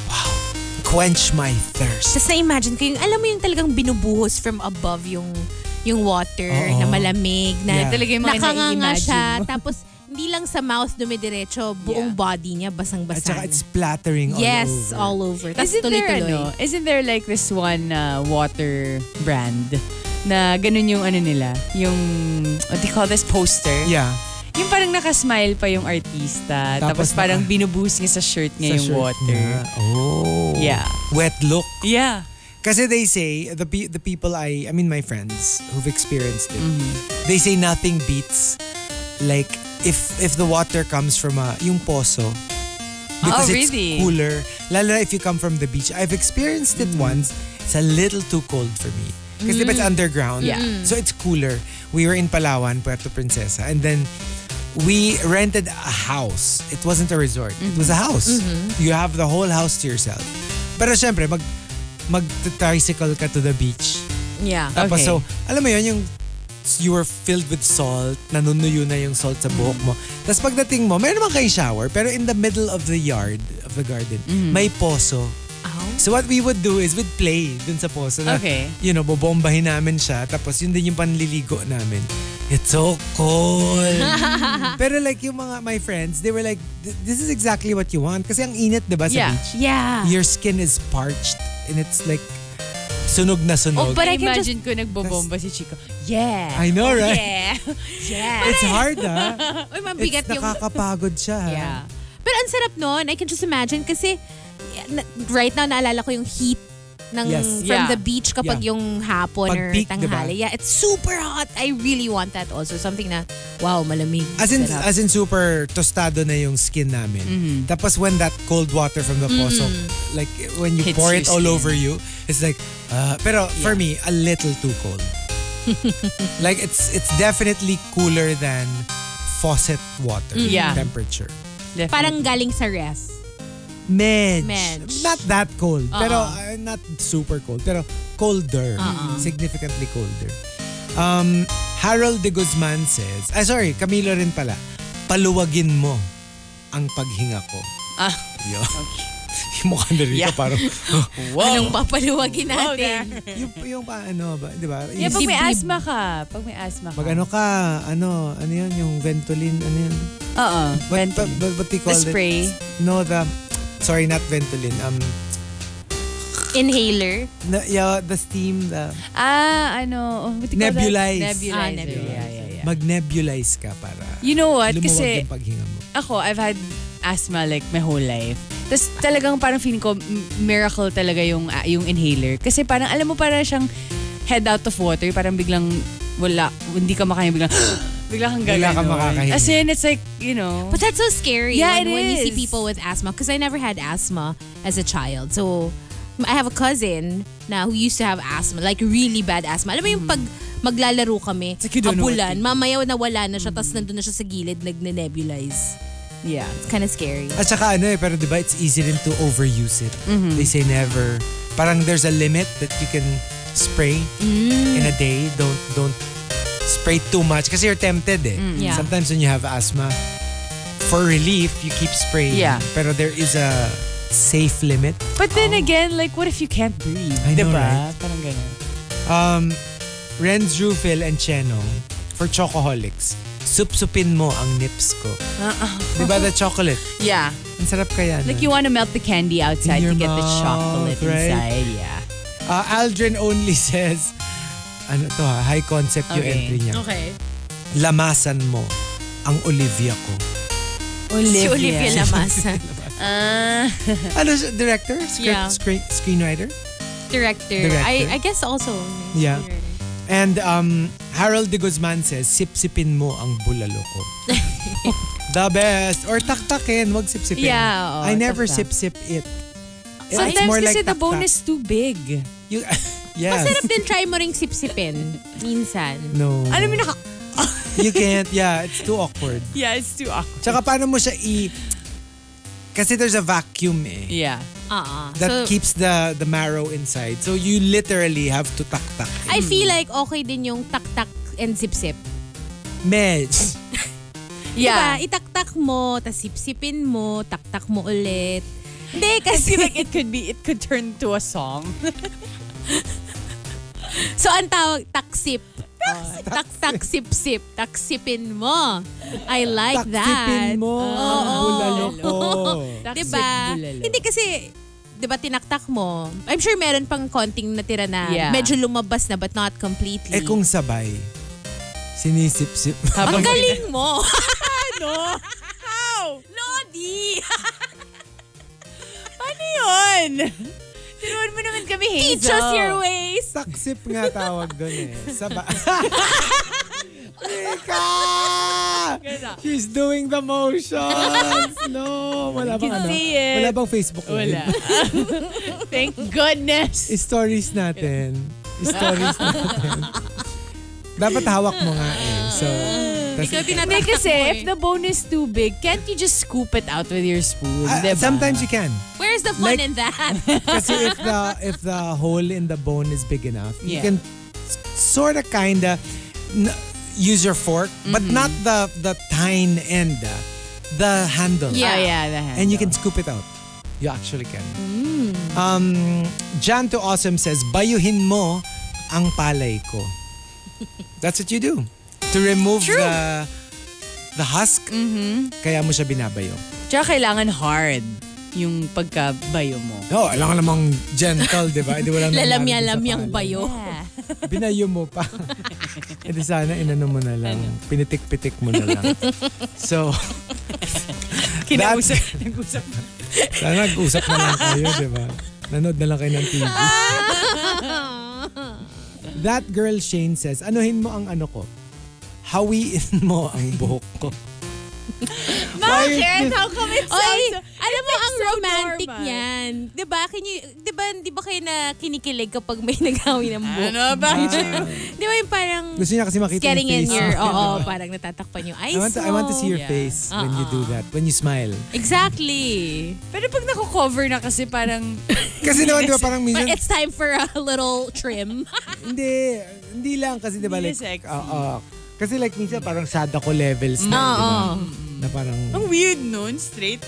Speaker 3: Quench my thirst.
Speaker 5: Tapos na-imagine ko yung, alam mo yung talagang binubuhos from above yung yung water
Speaker 3: Oo.
Speaker 5: na malamig na
Speaker 3: Yeah.
Speaker 4: Talaga yung mga
Speaker 5: nakanganga
Speaker 4: nai-imagine
Speaker 5: siya.
Speaker 4: mo.
Speaker 5: Tapos hindi lang sa mouth dumidiretso, buong
Speaker 4: Yeah.
Speaker 5: body niya
Speaker 3: At
Speaker 5: basang-basa.
Speaker 3: saka
Speaker 5: na.
Speaker 3: it's splattering all
Speaker 5: yes,
Speaker 3: over.
Speaker 5: all over. Tapos
Speaker 4: Isn't there,
Speaker 5: tuloy-tuloy.
Speaker 4: ano, isn't there like this one uh, water brand na ganun yung ano nila, yung, what do you call this, poster?
Speaker 3: Yeah.
Speaker 4: Yung parang nakasmile pa yung artista,
Speaker 3: Tapos
Speaker 4: tapos, parang
Speaker 3: naka-
Speaker 4: binubuhos niya sa shirt
Speaker 3: Sa
Speaker 4: niya yung
Speaker 3: shirt
Speaker 4: water.
Speaker 3: niya. Oh.
Speaker 4: Yeah.
Speaker 3: Wet look.
Speaker 4: Yeah.
Speaker 3: Kasi they say, the, pe- the people I, I mean my friends who've experienced it,
Speaker 4: Mm-hmm.
Speaker 3: they say nothing beats like if if the water comes from a, yung poso, because
Speaker 4: Oh,
Speaker 3: it's
Speaker 4: really?
Speaker 3: cooler. Lalo na if you come from the beach. I've experienced it once. It's a little too cold for me. Because it's underground.
Speaker 4: Yeah. Mm. Mm.
Speaker 3: So it's cooler. We were in Palawan, Puerto Princesa. And then we rented a house. It wasn't a resort. It was a
Speaker 4: Mm-hmm.
Speaker 3: house. You have the whole house to yourself. Pero syempre, mag, mag-tricycle ka to the beach.
Speaker 5: Yeah.
Speaker 3: Tapos
Speaker 4: Okay.
Speaker 3: so, alam mo yun, yung you were filled with salt, nanunuyo na yung salt sa buhok mo. Tapos pagdating mo, meron naman kayong shower, pero in the middle of the yard, of the garden,
Speaker 4: Mm.
Speaker 3: may poso. So what we would do is we'd play dun sa poso na,
Speaker 4: Okay.
Speaker 3: you know, bobombahin namin siya. Tapos yun din yung panliligo namin. It's so cold. Pero like yung mga my friends, they were like, this is exactly what you want. Kasi ang init, di ba, sa
Speaker 4: Yeah.
Speaker 3: beach?
Speaker 5: Yeah.
Speaker 3: Your skin is parched and it's like sunog na sunog.
Speaker 5: Oh, but I can just...
Speaker 4: imagine ko nagbobomba si Chico. Yeah.
Speaker 3: I know, right?
Speaker 5: Yeah. yeah.
Speaker 3: It's hard, ah.
Speaker 5: Uy, mabigat
Speaker 3: It's
Speaker 5: yung...
Speaker 3: nakakapagod siya. ah. ha?
Speaker 4: Yeah.
Speaker 5: Pero ang sarap noon. I can just imagine kasi yeah, na- right now naalala ko yung heat ng
Speaker 3: Yes.
Speaker 4: Yeah.
Speaker 5: from the beach kapag
Speaker 3: Yeah.
Speaker 5: yung hapon
Speaker 3: Pag
Speaker 5: or
Speaker 3: peak,
Speaker 5: tanghali.
Speaker 3: diba?
Speaker 5: Yeah, it's super hot. I really want that also. Something na, wow, malamig.
Speaker 3: As in,
Speaker 5: Sarap.
Speaker 3: as in super tostado na yung skin namin.
Speaker 4: Mm-hmm.
Speaker 3: Tapos when that cold water from the poso, like when you
Speaker 4: Hits
Speaker 3: pour
Speaker 4: your
Speaker 3: it all
Speaker 4: skin.
Speaker 3: over you, it's like, uh, pero for me, a little too cold. like it's it's definitely cooler than faucet water
Speaker 4: Mm. Yeah.
Speaker 3: temperature.
Speaker 4: Definitely.
Speaker 5: Parang galing sa ref.
Speaker 3: Medj.
Speaker 5: Medj.
Speaker 3: Not that cold.
Speaker 4: Uh-uh.
Speaker 3: Pero uh, not super cold. Pero colder.
Speaker 4: Uh-uh.
Speaker 3: Significantly colder. Um, Harold de Guzman says, ah sorry, Camilo rin pala, paluwagin mo ang paghinga ko.
Speaker 4: Ah.
Speaker 3: Yun. mukha na rito.
Speaker 8: Yeah.
Speaker 3: Parang, oh,
Speaker 5: Anong papaluwagin natin?
Speaker 3: yung, yung pa, ano ba, di ba?
Speaker 4: Yeah,
Speaker 3: Yung-
Speaker 4: pag may
Speaker 5: Dibdib.
Speaker 4: asthma ka. Pag may asthma ka.
Speaker 3: Mag ano ka, ano, ano yun, yung Ventolin, ano yun?
Speaker 4: Oo.
Speaker 3: What,
Speaker 4: Ventolin.
Speaker 3: what, what they
Speaker 4: The
Speaker 3: call it?
Speaker 4: spray.
Speaker 3: No, the, sorry, not Ventolin. Um,
Speaker 5: Inhaler.
Speaker 3: no, yeah, the steam, the,
Speaker 4: Ah, ano. oh, what do you call that?
Speaker 3: Nebulize.
Speaker 4: Nebulizer.
Speaker 5: Ah, nebulizer.
Speaker 4: Yeah, yeah, yeah.
Speaker 3: mag-nebulize ka para
Speaker 4: You know what?
Speaker 3: lumuwag
Speaker 4: Kasi
Speaker 3: yung paghinga mo.
Speaker 4: ako, I've had asthma like my whole life. Tapos talagang parang feeling ko m- miracle talaga yung, ah, yung inhaler. Kasi parang alam mo parang siyang head out of water. Parang biglang wala. Hindi ka makahinga. Biglang bigla kang
Speaker 3: Bigla
Speaker 4: gaganon.
Speaker 3: ka makakahinga.
Speaker 4: As in, it's like, you know.
Speaker 5: But that's so scary
Speaker 4: Yeah,
Speaker 5: when,
Speaker 4: it
Speaker 5: when you see
Speaker 4: is.
Speaker 5: people with asthma. Because I never had asthma as a child. So, I have a cousin na who used to have asthma. Like, really bad asthma. Alam mo yung pag maglalaro kami,
Speaker 3: Hmm. like you don't know what
Speaker 5: abulan, mamaya nawala na siya, tas nandun na siya sa gilid, nagne-nebulize.
Speaker 4: yeah.
Speaker 5: It's kind of scary.
Speaker 3: At saka ano eh, pero di ba it's easy rin to overuse it.
Speaker 4: Mm-hmm.
Speaker 3: They say never. Parang there's a limit that you can spray
Speaker 4: Mm.
Speaker 3: in a day. Don't don't spray too much kasi you're tempted eh.
Speaker 4: Mm,
Speaker 5: Yeah.
Speaker 3: Sometimes when you have asthma, for relief, you keep spraying.
Speaker 4: Yeah.
Speaker 3: Pero there is a safe limit.
Speaker 4: But then
Speaker 5: Oh.
Speaker 4: again, like, what if you can't breathe?
Speaker 3: I know,
Speaker 4: diba?
Speaker 3: right?
Speaker 4: Parang ganun.
Speaker 3: Um, Renz Rufil and Cheno for Chocoholics. Sup-supin mo ang nips ko.
Speaker 4: Uh-uh.
Speaker 3: Di ba the chocolate?
Speaker 4: Yeah.
Speaker 3: Ang sarap kaya nun.
Speaker 4: Like you want to melt the candy
Speaker 3: In
Speaker 4: outside
Speaker 3: your
Speaker 4: to get the
Speaker 3: mouth,
Speaker 4: chocolate
Speaker 3: right?
Speaker 4: inside. Yeah.
Speaker 3: Uh, Aldrin only says, ano to ha, high concept yung
Speaker 4: Okay.
Speaker 3: entry niya.
Speaker 5: Okay.
Speaker 3: Lamasan mo ang Olivia ko.
Speaker 5: Si Olivia Lamasa.
Speaker 3: Ano siya, director? Script,
Speaker 5: Yeah.
Speaker 3: scre- screenwriter?
Speaker 5: Director.
Speaker 3: Director.
Speaker 5: I, I guess also.
Speaker 3: Yeah. And um, Harold de Guzman says, sip-sipin mo ang bulalo ko. The best. Or taktakin, wag sip-sipin.
Speaker 4: Yeah, oo,
Speaker 3: I never
Speaker 4: taktak.
Speaker 3: sip-sip it. It's
Speaker 4: Sometimes
Speaker 3: more
Speaker 4: kasi
Speaker 3: like
Speaker 4: the
Speaker 3: taktak.
Speaker 4: bone is too big.
Speaker 3: You, yes. Mm.
Speaker 5: Masarap din try mo ring sipsipin. Minsan.
Speaker 3: No.
Speaker 4: Alam mo naka...
Speaker 3: You can't. Yeah, it's too awkward.
Speaker 4: yeah, it's too awkward.
Speaker 3: Tsaka paano mo siya i... Kasi there's a vacuum eh.
Speaker 4: Yeah.
Speaker 5: Ah, ah.
Speaker 3: that
Speaker 5: So,
Speaker 3: keeps the the marrow inside. So you literally have to taktak.
Speaker 5: I feel
Speaker 3: Mm.
Speaker 5: like okay din yung tak-tak and sip-sip.
Speaker 3: Meds.
Speaker 4: Yeah.
Speaker 5: Diba? Itaktak mo, tas sipsipin mo, taktak mo ulit.
Speaker 4: Hindi, kasi like it could be, it could turn to a song.
Speaker 5: So, ang tawag, taksip. Oh, Tak-tak, sip-sip. Taksipin mo. I like that. Oh,
Speaker 3: Taksipin mo. ang Bulalo ko.
Speaker 5: Diba?
Speaker 4: bulalo.
Speaker 5: Hindi kasi, diba tinaktak mo. I'm sure meron pang konting natira na
Speaker 4: Yeah.
Speaker 5: medyo lumabas na but not completely.
Speaker 3: eh kung sabay, sinisip-sip.
Speaker 5: Ang galing mo! no! How? Lodi!
Speaker 4: Ano yun? Tinuan mo naman kami, Hazel.
Speaker 5: Teach us your ways!
Speaker 3: Taksip nga tawag doon eh. Sabay. Mika! She's doing the motions. No, wala bang
Speaker 4: can
Speaker 3: ano?
Speaker 4: see it.
Speaker 3: Wala bang Facebook? yun?
Speaker 4: Wala. Thank goodness.
Speaker 3: stories natin. Stories natin. Dapat hawak mo nga eh. So, tas-
Speaker 5: Ikaw
Speaker 4: Hindi
Speaker 5: tinataktak
Speaker 4: kasi,
Speaker 5: mo eh.
Speaker 4: if the bone is too big, can't you just scoop it out with your spoon?
Speaker 3: Ah,
Speaker 4: diba?
Speaker 3: sometimes you can.
Speaker 5: Where's the fun
Speaker 3: Like-
Speaker 5: in that?
Speaker 3: Kasi if the if the hole in the bone is big enough, you
Speaker 4: Yeah.
Speaker 3: can sort of kind of n- use your fork, but
Speaker 4: Mm-hmm.
Speaker 3: not the the tine end, ah, the handle.
Speaker 4: Yeah, yeah, the handle.
Speaker 3: And you can scoop it out. You actually can. Um, Jan to Awesome says, bayuhin mo ang palay ko. That's what you do. To remove the the husk, kaya mo siya binabayo.
Speaker 4: Tsaka kailangan hard yung pagkabayo mo.
Speaker 3: No, Oh, alam ka namang gentle, di ba? Hindi walang nanalo
Speaker 5: Lalamya-lamyang
Speaker 3: sa
Speaker 5: bayo.
Speaker 3: palay. Binayo mo pa. E di sana inano mo na lang. Pinitik-pitik mo na lang. So,
Speaker 4: Kinausap, nag-usap.
Speaker 3: sana nag-usap na lang kayo, di ba? Nanood na lang kayo ng TV. That girl Shane says, anuhin mo ang ano ko. Hawiin mo ang buhok ko. Bakit?
Speaker 4: How come it's
Speaker 5: Oy, alam mo, ang romantic
Speaker 4: normal.
Speaker 5: niyan. Di ba? Can you, di ba, di ba kayo na kinikilig kapag may nagawi ng buhok?
Speaker 4: Ano ba?
Speaker 5: Di ba yung parang
Speaker 3: Gusto niya kasi makita
Speaker 5: getting in
Speaker 3: yung face.
Speaker 5: your,
Speaker 3: mo.
Speaker 5: oo, parang natatakpan yung eyes
Speaker 3: I want, to, I want to
Speaker 5: mo.
Speaker 3: see your
Speaker 4: Yeah.
Speaker 3: face when you do that. When you smile.
Speaker 5: Exactly.
Speaker 4: Pero pag nako-cover na kasi parang...
Speaker 3: Kasi naman, di ba, parang minsan...
Speaker 5: But it's time for a little trim.
Speaker 3: Hindi, hindi lang kasi 'di ba
Speaker 4: Hindi
Speaker 3: like
Speaker 4: sexy.
Speaker 3: oo. kasi like minsan parang sada ko levels na,
Speaker 5: Oo.
Speaker 3: di ba? Na parang
Speaker 4: weird nun, straight.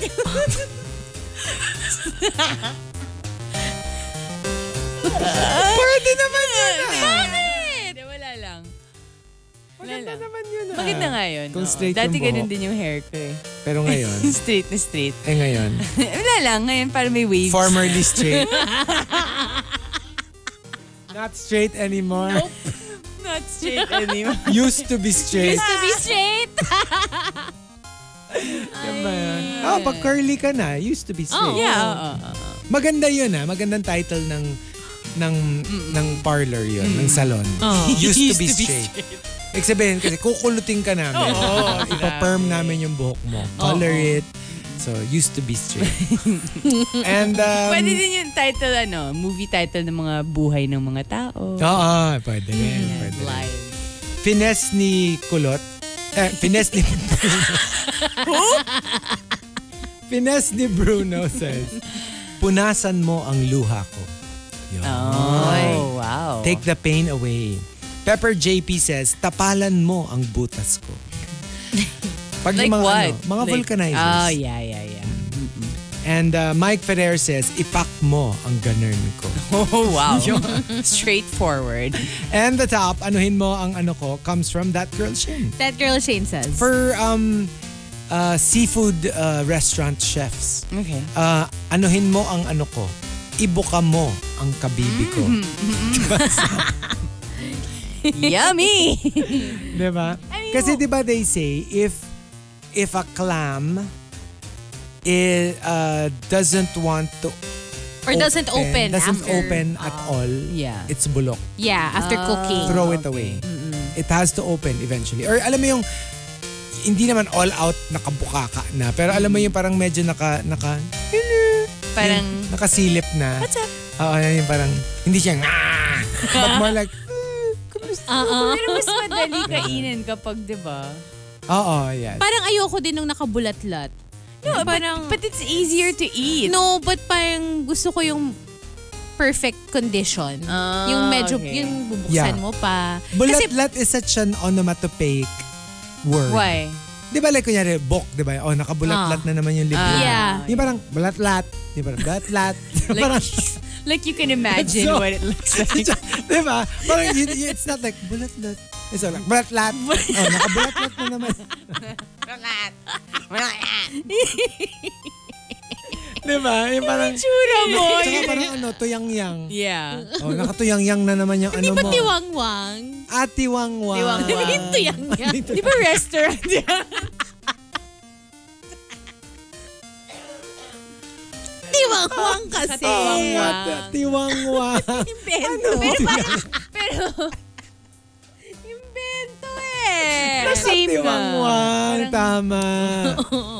Speaker 3: Pwede naman yun ah.
Speaker 4: Bakit? Wala lang. Wala
Speaker 3: Maganda
Speaker 4: lang.
Speaker 3: naman yun ah.
Speaker 4: Maganda nga yun.
Speaker 3: Kung
Speaker 4: oo.
Speaker 3: straight yung
Speaker 4: Dati ganun
Speaker 3: buhok.
Speaker 4: din yung hair ko eh.
Speaker 3: Pero ngayon,
Speaker 4: straight na straight.
Speaker 3: eh ngayon,
Speaker 4: Wala lang. Ngayon parang may waves.
Speaker 3: formerly straight. Not straight anymore.
Speaker 4: Not straight anymore.
Speaker 3: Used to be straight.
Speaker 5: To be straight.
Speaker 3: Diba yun? Oh, pag curly ka na, used to be straight.
Speaker 4: yeah, oo.
Speaker 3: Maganda yun ah. Magandang title ng ng ng parlor yun, ng salon. Used, to be straight. Ibig sabihin kasi kukulutin ka namin. Ipa-perm namin yung buhok mo. Color it. So, used to be straight. And, um,
Speaker 4: Pwede din yung title, ano, movie title ng mga buhay ng mga tao.
Speaker 3: Oo, pwede rin.
Speaker 4: Mm.
Speaker 3: Pwede rin. Finesse ni Kulot. Eh, finesse ni Bruno. finesse ni Bruno says, Punasan mo ang luha ko. Yun.
Speaker 4: Oh,
Speaker 3: Ah.
Speaker 4: wow.
Speaker 3: Take the pain away. Pepper JP says, tapalan mo ang butas ko. Pag
Speaker 4: like
Speaker 3: yung mga,
Speaker 4: what?
Speaker 3: ano, mga
Speaker 4: Like-
Speaker 3: vulcanizers.
Speaker 4: Oh, yeah, yeah, yeah.
Speaker 3: And uh, Mike Ferrer says, ipak mo ang ganern ko.
Speaker 4: Oh, wow. Straightforward.
Speaker 3: And the top, anuhin mo ang ano ko, comes from that girl Shin.
Speaker 5: That girl Shane says.
Speaker 3: For um, uh, seafood uh, restaurant chefs,
Speaker 4: Okay.
Speaker 3: uh, anuhin mo ang ano ko, ibuka mo ang kabibi ko.
Speaker 5: Mm.
Speaker 4: Yummy!
Speaker 3: Diba? Kasi diba they say, if if a clam it uh, doesn't want to
Speaker 5: or doesn't open.
Speaker 3: doesn't
Speaker 5: after, Ah,
Speaker 3: open at all
Speaker 4: yeah.
Speaker 3: it's bulok
Speaker 5: Yeah, after cooking.
Speaker 3: throw it away. It has to open eventually. Or alam mo yung hindi naman all out nakabuka ka na pero alam mo yung parang medyo naka naka
Speaker 4: Parang,
Speaker 3: yung nakasilip na. What's up? Oo, yun yung parang hindi siya "Ah!" but more like "Ah, kamusta?"
Speaker 4: pero mas madali kainin kapag, di ba?
Speaker 3: Oo, yes.
Speaker 5: Parang ayoko din nung nakabulatlat.
Speaker 4: No,
Speaker 5: Parang-
Speaker 4: but, but it's easier to eat.
Speaker 5: No, but parang gusto ko yung perfect condition.
Speaker 4: Ah,
Speaker 5: yung medyo,
Speaker 4: okay.
Speaker 5: yung bubuksan
Speaker 3: Yeah.
Speaker 5: mo pa. Kasi,
Speaker 3: Bulatlat is such an onomatopoeic word.
Speaker 4: Why?
Speaker 3: Di ba like kunyari book, di ba? Oh, nakabulatlat
Speaker 5: Ah.
Speaker 3: na naman yung libro.
Speaker 5: yeah.
Speaker 3: Yung parang bulatlat, di ba? Bulatlat. parang
Speaker 4: Like you can imagine
Speaker 3: So-
Speaker 4: what it looks like.
Speaker 3: Di ba? Parang yun- yun- it's not like bulatlat. It's not like bulatlat. oh, nakabulatlat na naman. Di ba? Diba? Yung parang...
Speaker 4: Tura mo.
Speaker 3: Tsaka parang ano, tuyang-yang.
Speaker 4: Yeah.
Speaker 3: Oh, nakatuyang-yang na naman yung ano
Speaker 5: di ba
Speaker 3: mo. Ah,
Speaker 5: tiwangwang?
Speaker 3: Ati wang-wang.
Speaker 4: Tiwang-wang.
Speaker 5: Ito yan nga.
Speaker 4: Di ba restaurant yan?
Speaker 5: Tiwangwang kasi.
Speaker 4: Tiwangwang.
Speaker 3: Tiwang-wang.
Speaker 4: Invento.
Speaker 3: Ano?
Speaker 4: Pero, pero, invento eh. Same
Speaker 3: Tiwang-wang. Tama.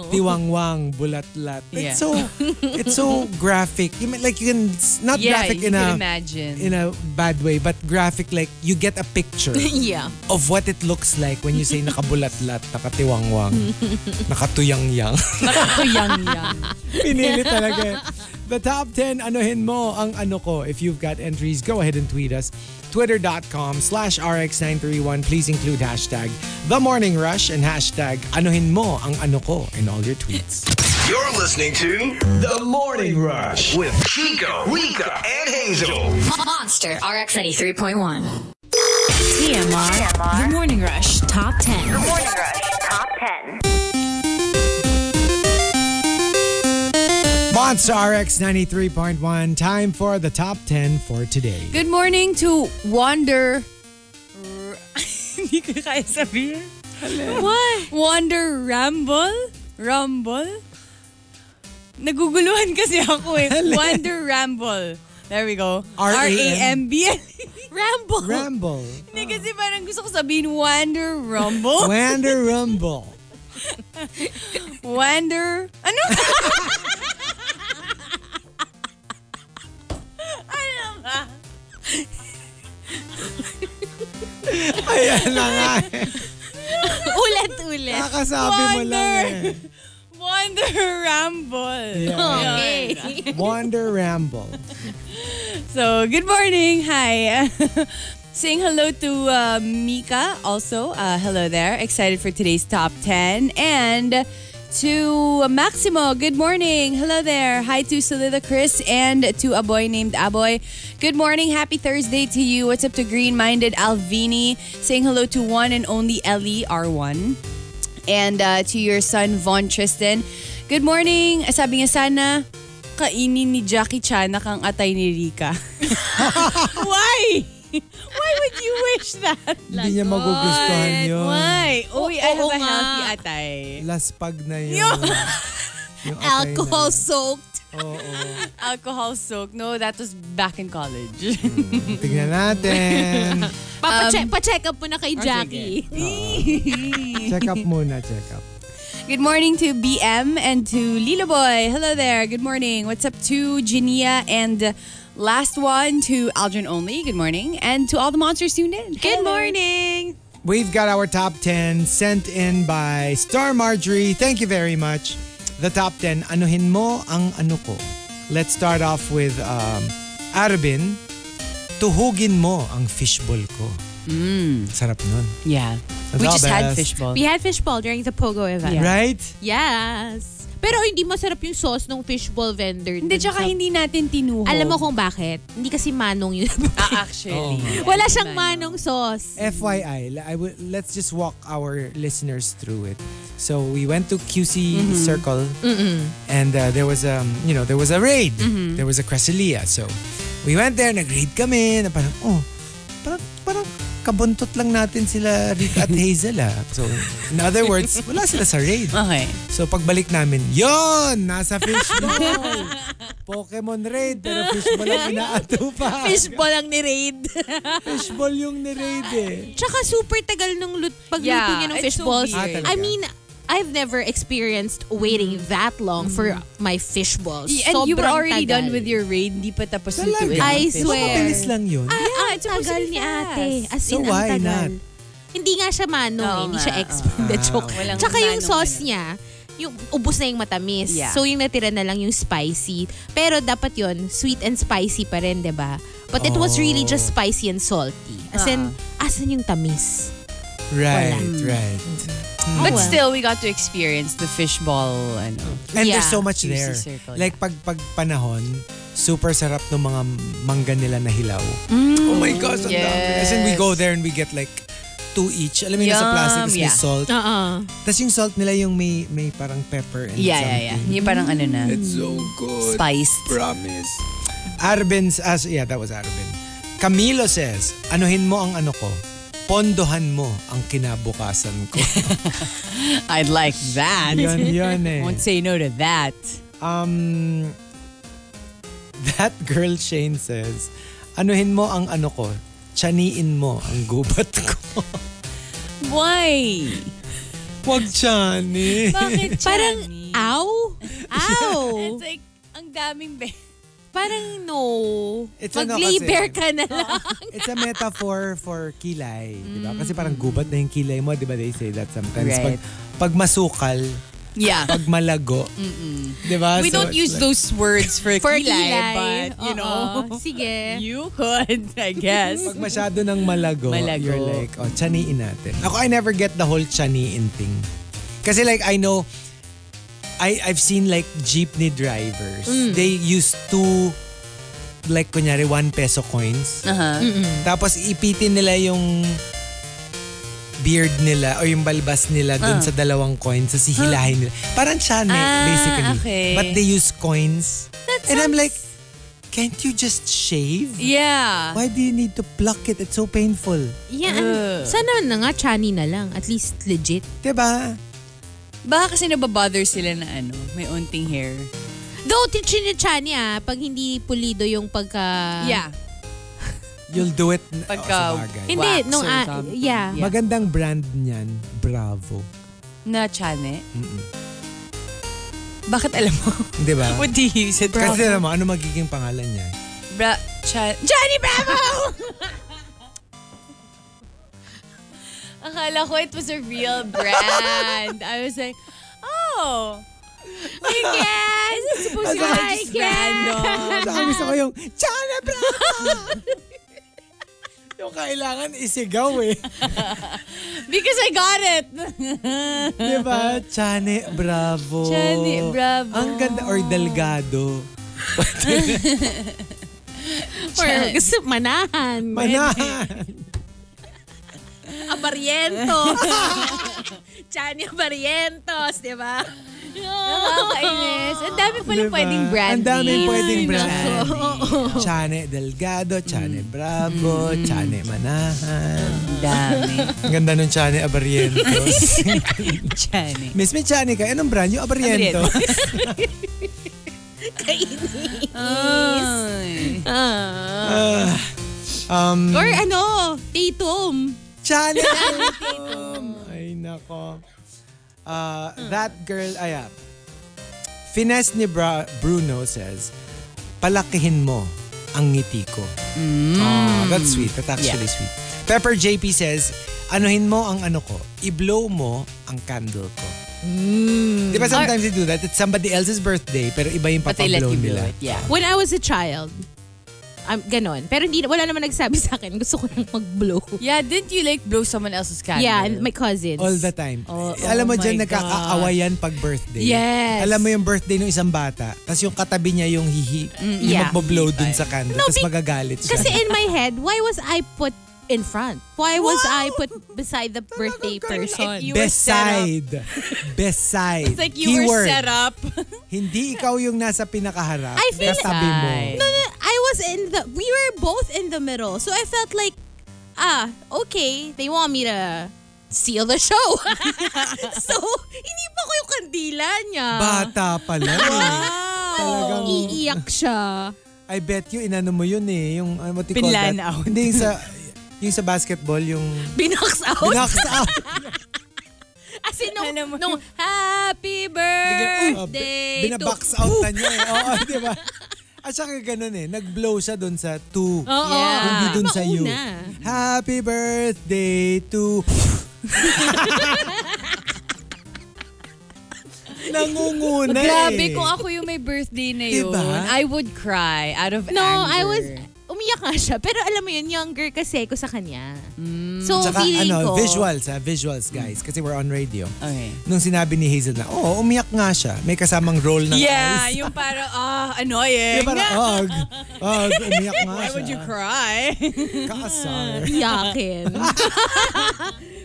Speaker 3: Tiwang-wang. Bulatlat.
Speaker 4: Yeah.
Speaker 3: It's so, it's so graphic. You mean, like you can, it's not
Speaker 4: Yeah,
Speaker 3: graphic
Speaker 4: you
Speaker 3: in
Speaker 4: can
Speaker 3: a,
Speaker 4: imagine.
Speaker 3: in a bad way, but graphic like you get a picture
Speaker 5: Yeah.
Speaker 3: of what it looks like when you say nakabulatlat, nakatiwangwang, nakatuyang-yang.
Speaker 4: Nakakuyang-yang.
Speaker 3: Pinili talaga. The top 10, anuhin mo ang ano ko. If you've got entries, go ahead and tweet us. Twitter.com slash RX931. Please include hashtag The Morning Rush and hashtag anuhin mo ang ano ko in all your tweets.
Speaker 1: You're listening to The Morning Rush with Chico, Rika, and Hazel.
Speaker 2: Monster RX 83.1.
Speaker 6: TMR. The Morning Rush Top 10.
Speaker 7: Morning Rush Top 10.
Speaker 3: Monster RX 93.1. Time for the top 10 for today.
Speaker 4: Good morning to Wander... Hindi ko kaya sabihin. What? Wander Ramble? Rumble? Naguguluhan kasi ako eh. Wander Ramble. There we go.
Speaker 3: R-A-M.
Speaker 4: R-A-M-B-L. Ramble.
Speaker 3: Ramble.
Speaker 4: E. Hindi kasi parang gusto ko sabihin Wander Rumble.
Speaker 3: Wander Rumble.
Speaker 4: Wander... Ano? ano ba?
Speaker 3: Ayan na nga. eh.
Speaker 5: Ulit-ulit.
Speaker 4: Um,
Speaker 3: Kakasabi mo lang eh.
Speaker 4: Wander Ramble.
Speaker 3: Yeah.
Speaker 5: Okay.
Speaker 3: Wander Ramble.
Speaker 4: So, good morning. Hi. Saying hello to uh, Mika also. Uh, hello there. Excited for today's top 10. And to Maximo. Good morning. Hello there. Hi to Solida Chris and to a boy named Aboy. Good morning. Happy Thursday to you. What's up to Green Minded Alvini? Saying hello to one and only Ellie R1. And uh, to your son, Von Tristan. Good morning. Sabi niya sana, kainin ni Jackie Chanak ang atay ni Rika. Why? Why would you wish that?
Speaker 3: Hindi niya magugustuhan yun.
Speaker 4: Why? Uy, I have
Speaker 5: Oo
Speaker 4: a
Speaker 5: nga.
Speaker 4: healthy atay.
Speaker 3: Laspag na yun.
Speaker 4: Yo!
Speaker 3: Yung atay na
Speaker 5: Alcohol
Speaker 3: yun.
Speaker 5: soaked.
Speaker 3: Oo. oo.
Speaker 4: Alcohol soak. No, that was back in college.
Speaker 3: Tingnan natin.
Speaker 5: Papache- pa-check up mo na kay
Speaker 4: Ah,
Speaker 5: Jackie.
Speaker 3: Check up muna, check up.
Speaker 4: Good morning to BM and to Lilo Boy. Hello there. Good morning. What's up to Jania and last one to Aldrin Only. Good morning. And to all the monsters tuned in.
Speaker 5: Good morning.
Speaker 3: We've got our top 10 sent in by Star Marjorie. Thank you very much. The top 10, anuhin mo ang ano ko. Let's start off with um, Arvin. Tuhugin mo ang fishbowl ko. Mm. Sarap nun.
Speaker 4: Yeah.
Speaker 3: The
Speaker 4: we just had
Speaker 3: best.
Speaker 4: fishbowl.
Speaker 5: We had fishball during the Pogo event.
Speaker 3: Right?
Speaker 5: Yes. Pero hindi masarap yung sauce ng fishball vendor.
Speaker 4: Hindi,
Speaker 5: dun
Speaker 4: tsaka
Speaker 5: sa-
Speaker 4: hindi natin tinuhog.
Speaker 5: Alam mo kung bakit? Hindi kasi manong yun.
Speaker 4: Ah, actually.
Speaker 5: Wala siyang manong sauce.
Speaker 3: FYI, l- I will, let's just walk our listeners through it. So we went to QC Circle, and uh, there was um, you know, there was a raid. There was a Cresselia. So we went there, nag-raid kami, na parang, oh, parang, parang kabuntot lang natin sila Rick at Hazel ah. So in other words, wala sila sa raid.
Speaker 4: Okay.
Speaker 3: So pagbalik namin, yon Nasa fishbowl! Pokemon raid, pero fishbowl ang inaatupa.
Speaker 5: Fishball ang ni-raid.
Speaker 3: Fishball yung ni-raid eh.
Speaker 5: Tsaka super tagal nung lut- pagluto
Speaker 4: Yeah,
Speaker 5: niya ng
Speaker 4: it's
Speaker 5: fishball.
Speaker 4: so
Speaker 3: weird. Ah,
Speaker 5: I mean, I've never experienced waiting that long for my fishballs.
Speaker 4: Mm-hmm. And you were
Speaker 5: Sobrang
Speaker 4: already
Speaker 5: tagal.
Speaker 4: done with your raid. Hindi pa tapos
Speaker 3: Talaga?
Speaker 4: lutuin. ang
Speaker 5: I
Speaker 4: fishbowl.
Speaker 5: swear.
Speaker 3: Mabilis lang yun.
Speaker 5: Ah,
Speaker 4: Yeah,
Speaker 5: ang
Speaker 4: it's supposed to
Speaker 5: tagal
Speaker 4: be
Speaker 5: ni
Speaker 4: fast.
Speaker 5: ate. As
Speaker 3: So
Speaker 5: in, ang
Speaker 3: why
Speaker 5: tagal.
Speaker 3: not?
Speaker 5: Hindi nga siya manong, eh.
Speaker 4: Oo
Speaker 5: hindi
Speaker 4: nga,
Speaker 5: siya expert.
Speaker 3: oo.
Speaker 5: The joke.
Speaker 3: Ah,
Speaker 4: walang
Speaker 5: Tsaka yung
Speaker 4: manong
Speaker 5: sauce
Speaker 4: ano.
Speaker 5: niya, yung ubos na yung matamis.
Speaker 4: Yeah.
Speaker 5: So yung natira na lang yung spicy. Pero dapat yon sweet and spicy pa rin, 'di ba? But it was really
Speaker 4: Oh.
Speaker 5: just spicy and salty. As
Speaker 4: Ah.
Speaker 5: in, asan yung tamis?
Speaker 3: Right,
Speaker 5: Wala.
Speaker 3: right.
Speaker 4: Mm-hmm. But
Speaker 5: well.
Speaker 4: still, we got to experience the fishball. Ano.
Speaker 3: And
Speaker 5: Yeah,
Speaker 3: there's so much
Speaker 4: juicy
Speaker 3: there.
Speaker 4: circle,
Speaker 3: like pag pag panahon, super sarap ng mga mangga nila na hilaw. Oh my gosh, ang dami. As in we
Speaker 4: Mm. Yes.
Speaker 3: go there and we get like two each. Alam mo yun, nasa
Speaker 4: Yum,
Speaker 3: plastic, tas may
Speaker 4: yeah.
Speaker 3: salt.
Speaker 5: Uh-uh.
Speaker 3: Tapos yung salt nila yung may may parang pepper and
Speaker 4: Yeah, yeah, yeah.
Speaker 3: something.
Speaker 4: Yung parang ano na.
Speaker 3: It's so good.
Speaker 4: Spiced.
Speaker 3: Promise. Arben's, as, yeah, that was Arben. Camilo says, anuhin mo ang ano ko, pondohan mo ang kinabukasan ko.
Speaker 4: I'd like that.
Speaker 3: yun, yun eh.
Speaker 4: Won't say no to that.
Speaker 3: Um, that girl Shane says, anuhin mo ang ano ko, chaniin mo ang gubat ko.
Speaker 4: Why?
Speaker 3: Wag chani.
Speaker 4: Bakit
Speaker 5: Parang,
Speaker 4: Parang,
Speaker 5: ow? Ow?
Speaker 4: it's like, ang daming be.
Speaker 5: Parang no.
Speaker 3: It's ano
Speaker 5: Mag-lay
Speaker 3: kasi.
Speaker 5: bear ka na lang.
Speaker 3: It's a metaphor for kilay, di ba? Kasi parang gubat na yung kilay mo, di ba? They say that sometimes. Pag,
Speaker 4: Right.
Speaker 3: pag masukal,
Speaker 4: Yeah.
Speaker 3: pag malago, di ba?
Speaker 4: We
Speaker 3: So
Speaker 4: don't
Speaker 3: it's
Speaker 4: use
Speaker 3: like-
Speaker 4: those words for,
Speaker 5: For
Speaker 4: kilay, Uh-uh.
Speaker 5: kilay.
Speaker 4: but you
Speaker 5: Oo.
Speaker 4: know,
Speaker 5: Sige.
Speaker 4: you could, I guess.
Speaker 3: Pag masyado ng malago,
Speaker 4: Malago.
Speaker 3: you're like, oh, chaniin natin. Ako, I never get the whole chaniin thing. Kasi like, I know, I, I've seen like jeepney drivers.
Speaker 4: Mm.
Speaker 3: They use two, like kunyari, one peso coins.
Speaker 4: Uh-huh. Mm.
Speaker 3: Tapos ipitin nila yung beard nila o yung balbas nila dun sa dalawang coins sa sihilahin nila. Parang chane,
Speaker 4: Ah,
Speaker 3: basically.
Speaker 4: okay.
Speaker 3: But they use coins. And I'm like, can't you just shave?
Speaker 4: Yeah.
Speaker 3: Why do you need to pluck it? It's so painful.
Speaker 5: Yeah, an- sana na nga, chani na lang. At least legit.
Speaker 3: Diba?
Speaker 4: Baka kasi nababother sila na ano, may unting hair.
Speaker 5: Though, ti- chini-chani ah, pag hindi pulido yung pagka...
Speaker 4: Ah.
Speaker 3: You'll do it.
Speaker 4: Pagka-
Speaker 3: Oh, sa bagay.
Speaker 5: Hindi,
Speaker 4: Wax
Speaker 5: nung...
Speaker 4: or
Speaker 5: ah,
Speaker 4: something.
Speaker 5: yeah.
Speaker 4: Yeah.
Speaker 3: Magandang brand niyan, Bravo.
Speaker 4: Na chane? Bakit alam mo?
Speaker 3: Di ba?
Speaker 4: What do you use it for?
Speaker 3: Diba? Kasi alam mo, ano magiging pangalan niya?
Speaker 4: Bra... Cha- Johnny Bravo! Akala ko it was a real brand. I was like, oh, I guess. It's supposed to be like just random.
Speaker 3: Sa akin gusto ko yung, Chana Bravo! Yung kailangan isigaw eh.
Speaker 4: Because I got it.
Speaker 3: Di ba? Diba? Chane, bravo.
Speaker 4: Chane, bravo.
Speaker 3: Oh. Ang ganda. Or Delgado.
Speaker 5: Or gusto manahan.
Speaker 3: Manahan.
Speaker 5: Abarientos. Chani Abarientos, di ba?
Speaker 4: Nakakainis. Ang dami pala
Speaker 3: Diba?
Speaker 4: pwedeng brand
Speaker 3: Ang daming
Speaker 4: names.
Speaker 3: pwedeng
Speaker 4: Ay,
Speaker 3: brand
Speaker 4: nako.
Speaker 3: name. Chane Delgado, Chane
Speaker 4: Mm.
Speaker 3: Bravo, Chane Manahan.
Speaker 4: Ang dami.
Speaker 3: Ang ganda nung Chane Abarientos.
Speaker 4: Chani.
Speaker 3: Miss me Chane ka, anong brand yung Abarientos?
Speaker 4: Ay.
Speaker 3: Ah, um,
Speaker 5: Or ano, Tatum.
Speaker 3: Chane Tatum. Ay, nako. Ah,
Speaker 4: Hmm.
Speaker 3: that girl, ay, ah. Finesse ni Bra- Bruno says, palakihin mo ang ngiti ko.
Speaker 4: Mm.
Speaker 3: Ah, that's sweet. That's actually sweet. Pepper JP says, anuhin mo ang ano ko, i-blow mo ang candle ko. Di ba sometimes you do that? It's somebody else's birthday, pero iba yung
Speaker 4: Mm. But they let
Speaker 3: papablow
Speaker 4: you do
Speaker 3: nila.
Speaker 4: it. Yeah.
Speaker 5: When I was a child, um, ganon. Pero hindi, wala naman nagsabi sa akin. Gusto ko lang mag-blow.
Speaker 4: Yeah, didn't you like blow someone else's candle?
Speaker 5: Yeah, my cousins.
Speaker 3: All the time. Eh,
Speaker 4: Oh,
Speaker 3: Alam mo
Speaker 4: oh
Speaker 3: dyan,
Speaker 4: my
Speaker 3: nagkakaawayan pag birthday.
Speaker 4: Yes.
Speaker 3: Alam mo yung birthday ng isang bata, tapos yung katabi niya yung hihi,
Speaker 4: Mm,
Speaker 3: yung
Speaker 5: yeah.
Speaker 3: magbo-blow dun sa candle,
Speaker 5: No,
Speaker 3: tapos
Speaker 5: be-
Speaker 3: magagalit siya.
Speaker 5: Kasi in my head, why was I put in front? Why was I put beside the birthday person?
Speaker 4: you were set up.
Speaker 3: Beside. Beside.
Speaker 4: It's like you were set up.
Speaker 3: Hindi ikaw yung nasa pinakaharap.
Speaker 5: I feel-
Speaker 3: Katabi mo.
Speaker 4: Beside.
Speaker 5: No, no, I was in the, we were both in the middle. So I felt like, ah, okay, they want me to seal the show. so, hindi pa ko yung kandila niya.
Speaker 3: Bata pala.
Speaker 5: Wow.
Speaker 3: Talagang-
Speaker 5: Iiyak siya.
Speaker 3: I bet you, inano mo yun eh. Yung, uh, what you call
Speaker 4: Pinlan
Speaker 3: that?
Speaker 4: out.
Speaker 3: Hindi, yung sa, yung sa basketball, yung...
Speaker 5: Binox out.
Speaker 3: Binox out.
Speaker 5: As in, nung,
Speaker 4: Alam Ano mo
Speaker 5: nung happy
Speaker 3: Oh, bi-
Speaker 5: birthday to...
Speaker 3: Binabox out na niya eh. Oo, di ba? At saka ganun eh. Nag-blow siya dun sa two.
Speaker 5: Oo.
Speaker 4: Yeah.
Speaker 3: Hindi dun sa you.
Speaker 5: Mauna.
Speaker 3: Happy birthday to... Nangunguna
Speaker 4: Grabe,
Speaker 3: eh.
Speaker 4: kung ako yung may birthday na yun,
Speaker 3: Diba?
Speaker 4: I would cry out of
Speaker 5: No,
Speaker 4: anger.
Speaker 5: I was... Umiyak nga siya. Pero alam mo yun, younger kasi ako sa kanya. So,
Speaker 3: Tsaka
Speaker 5: feeling
Speaker 3: ano,
Speaker 5: ko...
Speaker 3: visuals ha, visuals guys. Kasi we're on radio.
Speaker 4: Okay.
Speaker 3: Nung sinabi ni Hazel na, oh, umiyak nga siya. May kasamang roll ng eyes.
Speaker 4: Yeah, yung parang, ah, annoying.
Speaker 3: Yung parang, og, og, umiyak nga
Speaker 4: Why
Speaker 3: siya.
Speaker 4: would you cry?
Speaker 3: Kaasar.
Speaker 5: Iyakin.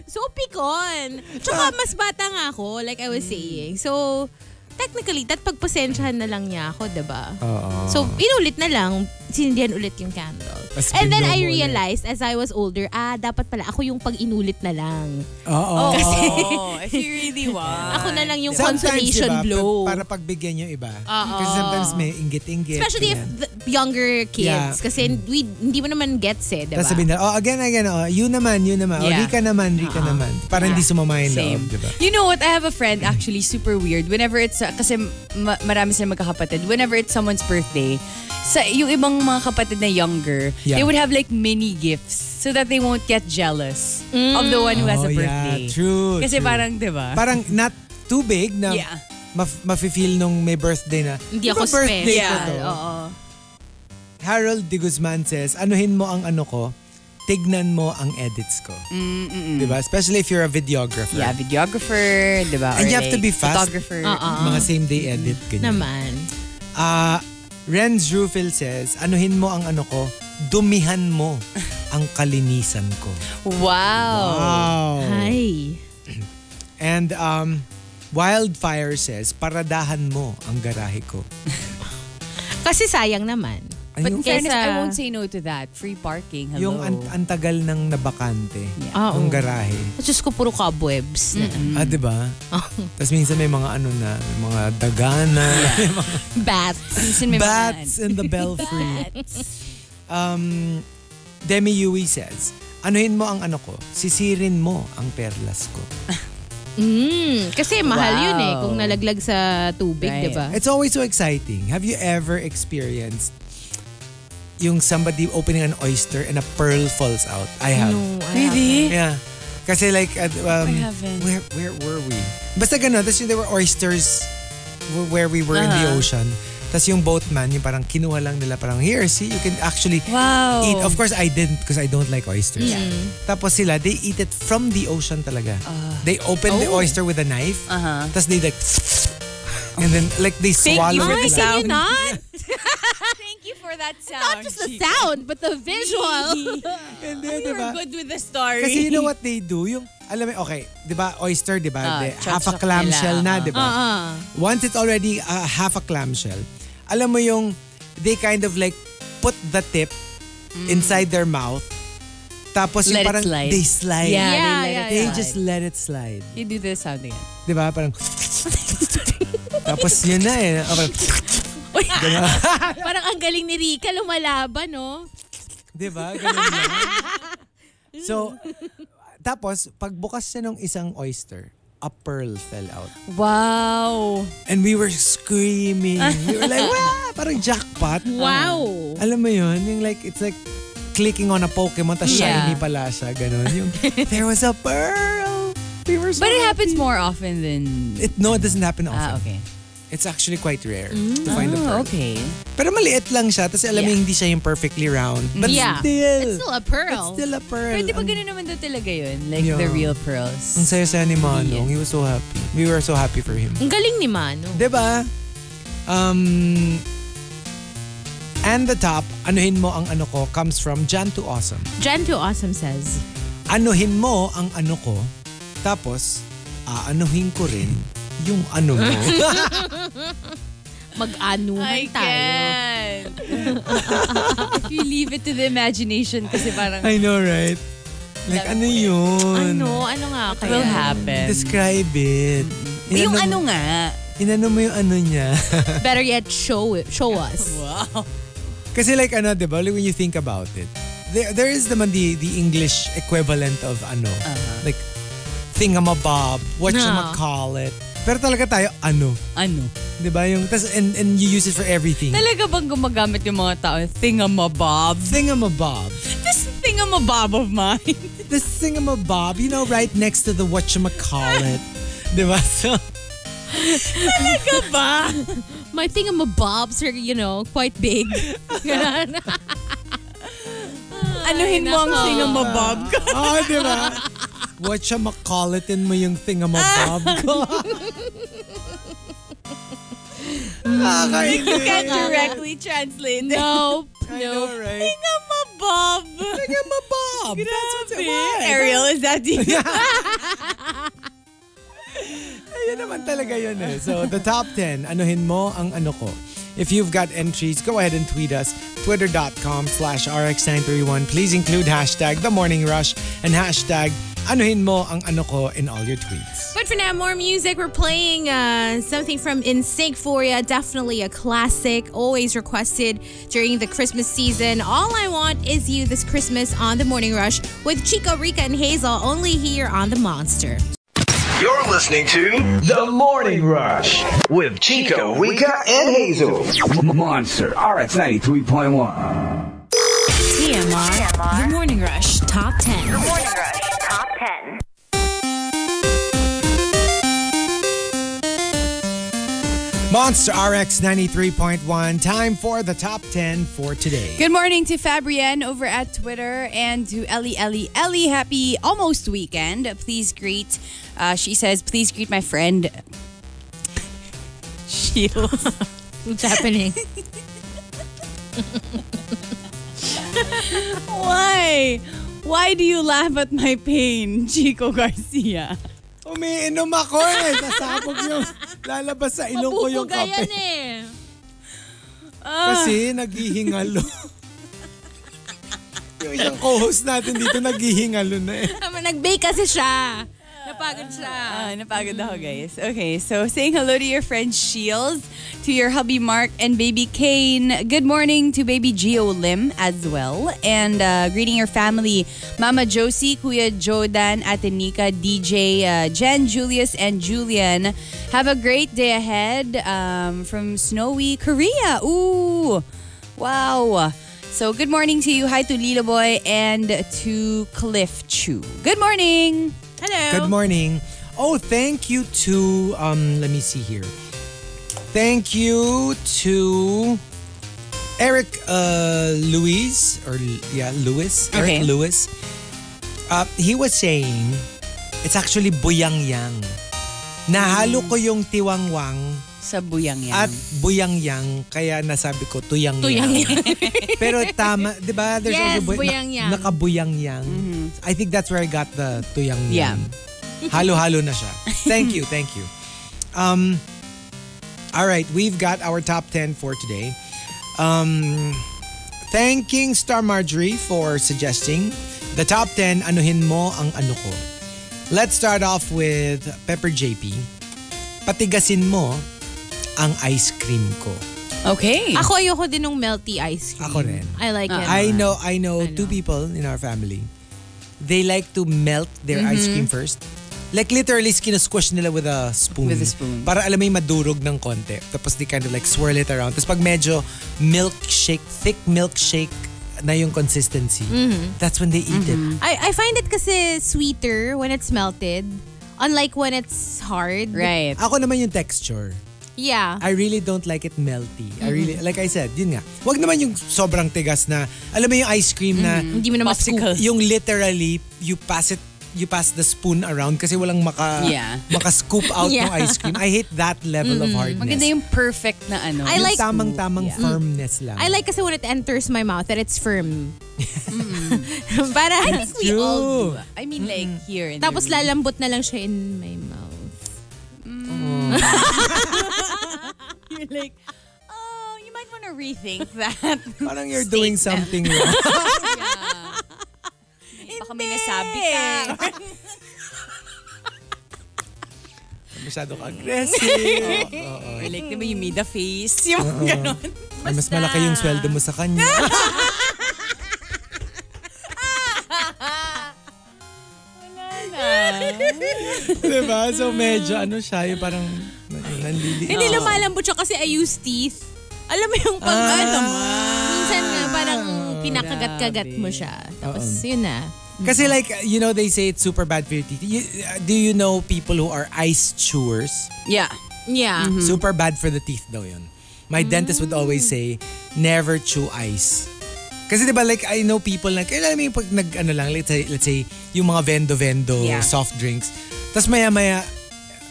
Speaker 5: so, pikon. Tsaka, mas bata nga ako, like I was saying. So, technically, tat pagpasensyahan na lang niya ako, diba?
Speaker 3: Oo.
Speaker 5: So, inulit na lang, sinindihan ulit yung candle.
Speaker 3: Tapos
Speaker 5: And then
Speaker 3: binlow
Speaker 5: I
Speaker 3: mo ulit.
Speaker 5: realized as I was older, ah, dapat pala ako yung pag-inulit na lang.
Speaker 3: Oo.
Speaker 4: Oh, if you really want.
Speaker 5: Ako na lang yung
Speaker 3: Sometimes,
Speaker 5: consolation
Speaker 3: diba,
Speaker 5: blow.
Speaker 3: pa- Para pagbigyan yung iba. Kasi sometimes may inggit-inggit.
Speaker 5: Especially if the younger kids.
Speaker 3: Yeah.
Speaker 5: Kasi we, hindi mo naman gets eh, diba?
Speaker 3: Tapos sabihin na, oh, again, again, oh, you naman, you naman. Oh,
Speaker 4: Yeah.
Speaker 3: Rika naman, Rika naman. Para hindi sumama yung loob, diba?
Speaker 4: Same.
Speaker 3: di ba?
Speaker 4: You know what? I have a friend actually super weird. Whenever it's uh, kasi ma- marami silang magkakapatid. Whenever it's someone's birthday, sa yung ibang mga kapatid na younger,
Speaker 3: Yeah.
Speaker 4: they would have like mini gifts so that they won't get jealous of the one who has
Speaker 3: Oh,
Speaker 4: a
Speaker 3: yeah.
Speaker 4: birthday.
Speaker 3: True,
Speaker 4: Kasi
Speaker 3: true.
Speaker 4: parang, 'di ba?
Speaker 3: Parang not too big na
Speaker 4: Yeah.
Speaker 3: maf- mafe-feel nung may birthday na.
Speaker 5: Hindi
Speaker 3: "Di
Speaker 5: ako
Speaker 3: ba birthday
Speaker 5: special. oh.
Speaker 3: ko to?" Harold de Guzman says, anuhin mo ang ano ko, tignan mo ang edits ko. Di ba? Especially if you're a videographer.
Speaker 4: yeah, videographer, 'di ba?
Speaker 3: And
Speaker 4: Or
Speaker 3: you have to
Speaker 4: like,
Speaker 3: be fast.
Speaker 4: Photographer.
Speaker 3: Mga same day edit. Ganyan.
Speaker 5: Naman.
Speaker 3: Ah, Renz Rufil says, anuhin mo ang ano ko, dumihan mo ang kalinisan ko.
Speaker 4: Wow.
Speaker 3: Wow.
Speaker 5: Ay.
Speaker 3: And um, Wildfire says, paradahan mo ang garahe ko.
Speaker 5: Kasi sayang naman.
Speaker 3: Ay,
Speaker 4: But in
Speaker 3: yung-
Speaker 4: fairness,
Speaker 5: Kesa-
Speaker 4: I won't say no to that. Free parking. Hello.
Speaker 3: Yung an- ang tagal ng nabakante
Speaker 5: Ah,
Speaker 3: ng
Speaker 5: oo.
Speaker 3: garahe.
Speaker 5: Diyos ko, puro cobwebs. na.
Speaker 4: Mm.
Speaker 3: Ah, di ba?
Speaker 4: Oh.
Speaker 3: Tapos minsan may mga ano na, may mga dagana,
Speaker 5: Bats.
Speaker 4: Minsan may mga-
Speaker 3: bats in the belfry. um, Demi Yui says, anuhin mo ang ano ko, sisirin mo ang perlas ko.
Speaker 5: Mm, kasi mahal
Speaker 4: Wow.
Speaker 5: yun eh kung nalaglag sa tubig, diba?
Speaker 4: Right.
Speaker 5: di ba?
Speaker 3: It's always so exciting. Have you ever experienced yung somebody opening an oyster and a pearl falls out? I have.
Speaker 4: Really?
Speaker 3: Yeah. Kasi like, at, um,
Speaker 4: I haven't.
Speaker 3: where,
Speaker 5: Uh-huh.
Speaker 3: where were we? Basta ganun. Tapos yun, there were oysters wh- where we were in the ocean. Tapos yung boatman, yung parang kinuha lang nila parang, here, see, you can actually
Speaker 4: Wow.
Speaker 3: eat. Of course, I didn't because I don't like oysters. Tapos sila, they eat it from the ocean talaga.
Speaker 5: Uh.
Speaker 3: they open
Speaker 5: Oh.
Speaker 3: the oyster with a knife. uh
Speaker 5: Uh-huh.
Speaker 3: Tapos they like, and then like they
Speaker 8: Thank you
Speaker 3: swallow
Speaker 8: for the
Speaker 3: it. nila.
Speaker 5: Can you
Speaker 8: Sound.
Speaker 5: not?
Speaker 4: Thank you for that
Speaker 5: Not
Speaker 4: sound.
Speaker 5: just the sound, but the visual.
Speaker 3: Hindi, diba?
Speaker 8: good with the story.
Speaker 3: Kasi you know what they do? Yung, alam mo, okay, di ba, oyster, di ba?
Speaker 4: Ah,
Speaker 3: Di- half a
Speaker 4: chop-chop
Speaker 3: clamshell
Speaker 4: nila, Ah,
Speaker 3: na, di ba? Once it's already uh, half a clamshell, alam mo yung, they kind of like put the tip inside their mouth. Tapos yung
Speaker 4: Mm. Let it
Speaker 3: parang,
Speaker 4: slide.
Speaker 3: they slide.
Speaker 4: Yeah,
Speaker 5: Yeah,
Speaker 4: they, let
Speaker 5: yeah,
Speaker 4: it
Speaker 3: They
Speaker 4: slide.
Speaker 3: just let it slide.
Speaker 4: You do this sound again.
Speaker 3: Di ba? Parang, tapos yun na eh. Okay.
Speaker 5: Parang ang galing ni Rika, lumalaban, no?
Speaker 3: Di ba? Ganun lang. so, tapos, pagbukas niya ng isang oyster, a pearl fell out.
Speaker 4: Wow.
Speaker 3: And we were screaming. We were like, wow! Parang jackpot.
Speaker 4: Oh.
Speaker 5: Wow.
Speaker 3: Alam mo yun? Yung like, it's like clicking on a Pokemon, tas
Speaker 4: Yeah.
Speaker 3: shiny pala siya. Ganun. Yung, there was a pearl! We were so
Speaker 4: But it
Speaker 3: happy.
Speaker 4: happens more often than...
Speaker 3: It, no, it doesn't happen
Speaker 4: ah,
Speaker 3: often.
Speaker 4: okay.
Speaker 3: It's actually quite rare to find a pearl.
Speaker 4: Oh, okay.
Speaker 3: Pero maliit lang siya, tas alam mo
Speaker 4: Yeah.
Speaker 3: hindi siya yung perfectly round. But
Speaker 5: Yeah.
Speaker 3: still,
Speaker 5: It's still a pearl.
Speaker 3: still a pearl.
Speaker 4: Pero di ba
Speaker 3: Ang-
Speaker 4: ganun naman daw talaga yun? Like
Speaker 3: Yeah.
Speaker 4: the real
Speaker 3: Ang
Speaker 4: pearls.
Speaker 3: saya-saya ni Manong. He was so happy. We were so happy for him.
Speaker 5: Ang galing ni Mano.
Speaker 3: Diba? Um, and the top, anuhin mo ang ano ko, comes from Jan to Awesome.
Speaker 5: Jan to Awesome says,
Speaker 3: Anuhin mo ang ano ko, tapos aanuhin ko rin yung ano mo.
Speaker 5: mag-anuhan tayo.
Speaker 4: If you leave it to the imagination kasi parang
Speaker 3: I know, right? Like, ano yun?
Speaker 5: Ano? Ano nga
Speaker 4: it
Speaker 5: kaya?
Speaker 4: will happen.
Speaker 3: Describe it.
Speaker 4: yung
Speaker 3: Inano-
Speaker 4: ano nga.
Speaker 3: Inano mo yung ano niya.
Speaker 5: Better yet, show it, show us.
Speaker 4: Wow.
Speaker 3: Kasi like ano, di ba, like, when you think about it, there, there is naman the, the English equivalent of ano,
Speaker 4: Uh-huh.
Speaker 3: like thingamabob, whatchamacallit. Pero talaga tayo, ano,
Speaker 4: Ano?
Speaker 3: di ba? Yung, tas, and, and you use it for everything.
Speaker 4: Talaga bang gumagamit yung mga tao? Thingamabob?
Speaker 3: Thingamabob.
Speaker 4: This thingamabob of mine.
Speaker 3: The thingamabob, you know, right next to the whatchamacallit. di ba? So,
Speaker 4: Talaga ba?
Speaker 5: My thing of bobs are, you know, quite big. Ganun.
Speaker 4: Anuhin mo ang
Speaker 5: nako.
Speaker 4: thingamabob ko.
Speaker 3: oh, di ba? Whatchamacallitin mo yung thingamabob ko. Nakakainis.
Speaker 4: Can't directly translate it.
Speaker 5: nope.
Speaker 3: I
Speaker 5: Nope.
Speaker 3: know, right?
Speaker 4: Thingamabob.
Speaker 3: Thingamabob. That's what's it was.
Speaker 4: Ariel, is that you?
Speaker 3: Ayun naman talaga yun eh. So, the top 10, anuhin mo ang ano ko. If you've got entries, go ahead and tweet us. Twitter.com slash RX931. Please include hashtag The Morning Rush and hashtag anuhin mo ang ano ko in all your tweets.
Speaker 5: But for now, more music. We're playing uh, something from InSync for you. Definitely a classic, always requested during the Christmas season. All I want is you this Christmas on the Morning Rush with Chico, Rika, and Hazel. Only here on the Monster.
Speaker 1: You're listening to The Morning Rush with Chico, Rika, and Hazel.
Speaker 9: Monster RX 93.1.
Speaker 6: TMR. The Morning Rush Top 10.
Speaker 7: Morning Rush Top 10.
Speaker 3: Monster RX 93.1. Time for the top 10 for today.
Speaker 4: Good morning to Fabrienne over at Twitter and to Ellie, Ellie, Ellie. Happy almost weekend. Please greet, uh, she says, please greet my friend. Shields.
Speaker 5: What's happening?
Speaker 4: Why? Why do you laugh at my pain, Chico Garcia?
Speaker 3: Umiinom ako eh. Sasabog yung lalabas sa ilong ko yung
Speaker 5: Pupuga yan
Speaker 3: kape.
Speaker 5: eh.
Speaker 3: Kasi naghihingalo. yung isang co-host natin dito naghihingalo na eh.
Speaker 5: Tama, Nag-bake kasi siya. Napagod siya.
Speaker 4: Ah, napagod ako, guys. Okay, so saying hello to your friend Shields, to your hubby Mark and baby Kane. Good morning to baby Gio Lim as well. And uh, greeting your family, Mama Josie, Kuya Jodan, Ate Nika, DJ uh, Jen, Julius, and Julian. Have a great day ahead um, from snowy Korea. Ooh, wow. So good morning to you. Hi to Lilo Boy and to Cliff Chu. Good morning.
Speaker 5: Hello.
Speaker 3: Good morning. Oh, thank you to um let me see here. Thank you to Eric uh, Luis or yeah Lewis. Eric
Speaker 4: Okay.
Speaker 3: Lewis. Uh, he was saying it's actually buyangyang. Nahalo ko yung tiwangwang
Speaker 4: Sa buyang yan.
Speaker 3: at buyangyang kaya nasabi ko tuyangyang. Pero tama, 'di ba? There's
Speaker 5: Yes,
Speaker 3: also bu-
Speaker 5: buyangyang.
Speaker 3: Na, nakabuyangyang. I think that's where I got the tuyangyang.
Speaker 4: Yeah.
Speaker 3: Halo-halo na siya. Thank you, thank you. Um All right, we've got our top 10 for today. Um thanking Star Marjorie for suggesting the top 10 anuhin mo ang ano ko. Let's start off with Pepper JP. Patigasin mo ang ice cream ko.
Speaker 4: okay.
Speaker 5: Ako ayoko din ng melty ice cream.
Speaker 3: Ako rin. Ah.
Speaker 5: I like it.
Speaker 3: I know, I know,
Speaker 5: I know.
Speaker 3: two people in our family. They like to melt their ice
Speaker 4: Mm-hmm.
Speaker 3: cream first. Like literally, kinusquash nila with a spoon.
Speaker 4: With a spoon.
Speaker 3: Para alam mo yung madurog ng konti. Tapos they kind of like swirl it around. Tapos pag medyo milkshake, thick milkshake na yung consistency,
Speaker 4: Mm-hmm.
Speaker 3: that's when they eat it.
Speaker 5: I, I find it kasi sweeter when it's melted. Unlike when it's hard.
Speaker 4: right.
Speaker 3: Ako naman yung texture.
Speaker 5: Yeah.
Speaker 3: I really don't like it melty. I really,
Speaker 4: Mm-hmm.
Speaker 3: like I said, yun nga. Wag naman yung sobrang tigas na, alam mo yung ice cream
Speaker 4: Mm-hmm.
Speaker 3: na
Speaker 5: Hindi mo na
Speaker 4: Popsicle.
Speaker 5: ma-scoop.
Speaker 3: yung literally you pass it you pass the spoon around kasi walang maka
Speaker 4: Yeah.
Speaker 3: maka-scoop out
Speaker 5: Yeah.
Speaker 3: ng ice cream. I hate that level of hardness.
Speaker 4: Maganda yung perfect na ano.
Speaker 5: I
Speaker 3: Yung
Speaker 5: like-
Speaker 3: tamang-tamang
Speaker 4: Yeah.
Speaker 3: firmness lang.
Speaker 5: I like kasi when it enters my mouth that it's firm.
Speaker 3: Mm.
Speaker 5: Para,
Speaker 4: we
Speaker 3: True.
Speaker 4: all do. I mean like here in
Speaker 5: tapos
Speaker 4: the room.
Speaker 5: lalambot na lang siya in my mouth.
Speaker 4: You're like, oh, you might want to rethink that.
Speaker 3: Parang you're doing something wrong.
Speaker 4: Baka may nasabi ka.
Speaker 3: Masyado ka aggressive.
Speaker 4: Or like, di ba you made a face? Yung ganon.
Speaker 3: Ay, mas malaki yung sweldo mo sa kanya. diba? So medyo ano siya, yung parang ano, nanlili.
Speaker 5: Hindi lumalambot siya kasi I use teeth. Alam mo yung pag
Speaker 3: Ah.
Speaker 5: ano, minsan nga parang pinakagat-kagat mo siya. Tapos yun na.
Speaker 3: Kasi like, you know, they say it's super bad for your teeth. You- uh, do you know people who are ice chewers?
Speaker 4: Yeah.
Speaker 5: Yeah.
Speaker 3: Super bad for the teeth daw yun. My dentist would
Speaker 5: Hmm.
Speaker 3: always say, never chew ice. Kasi 'di ba like I know people na kaya alam mo yung pag nag ano lang let's say let's say yung mga vendo vendo
Speaker 4: Yeah.
Speaker 3: soft drinks. Tapos maya maya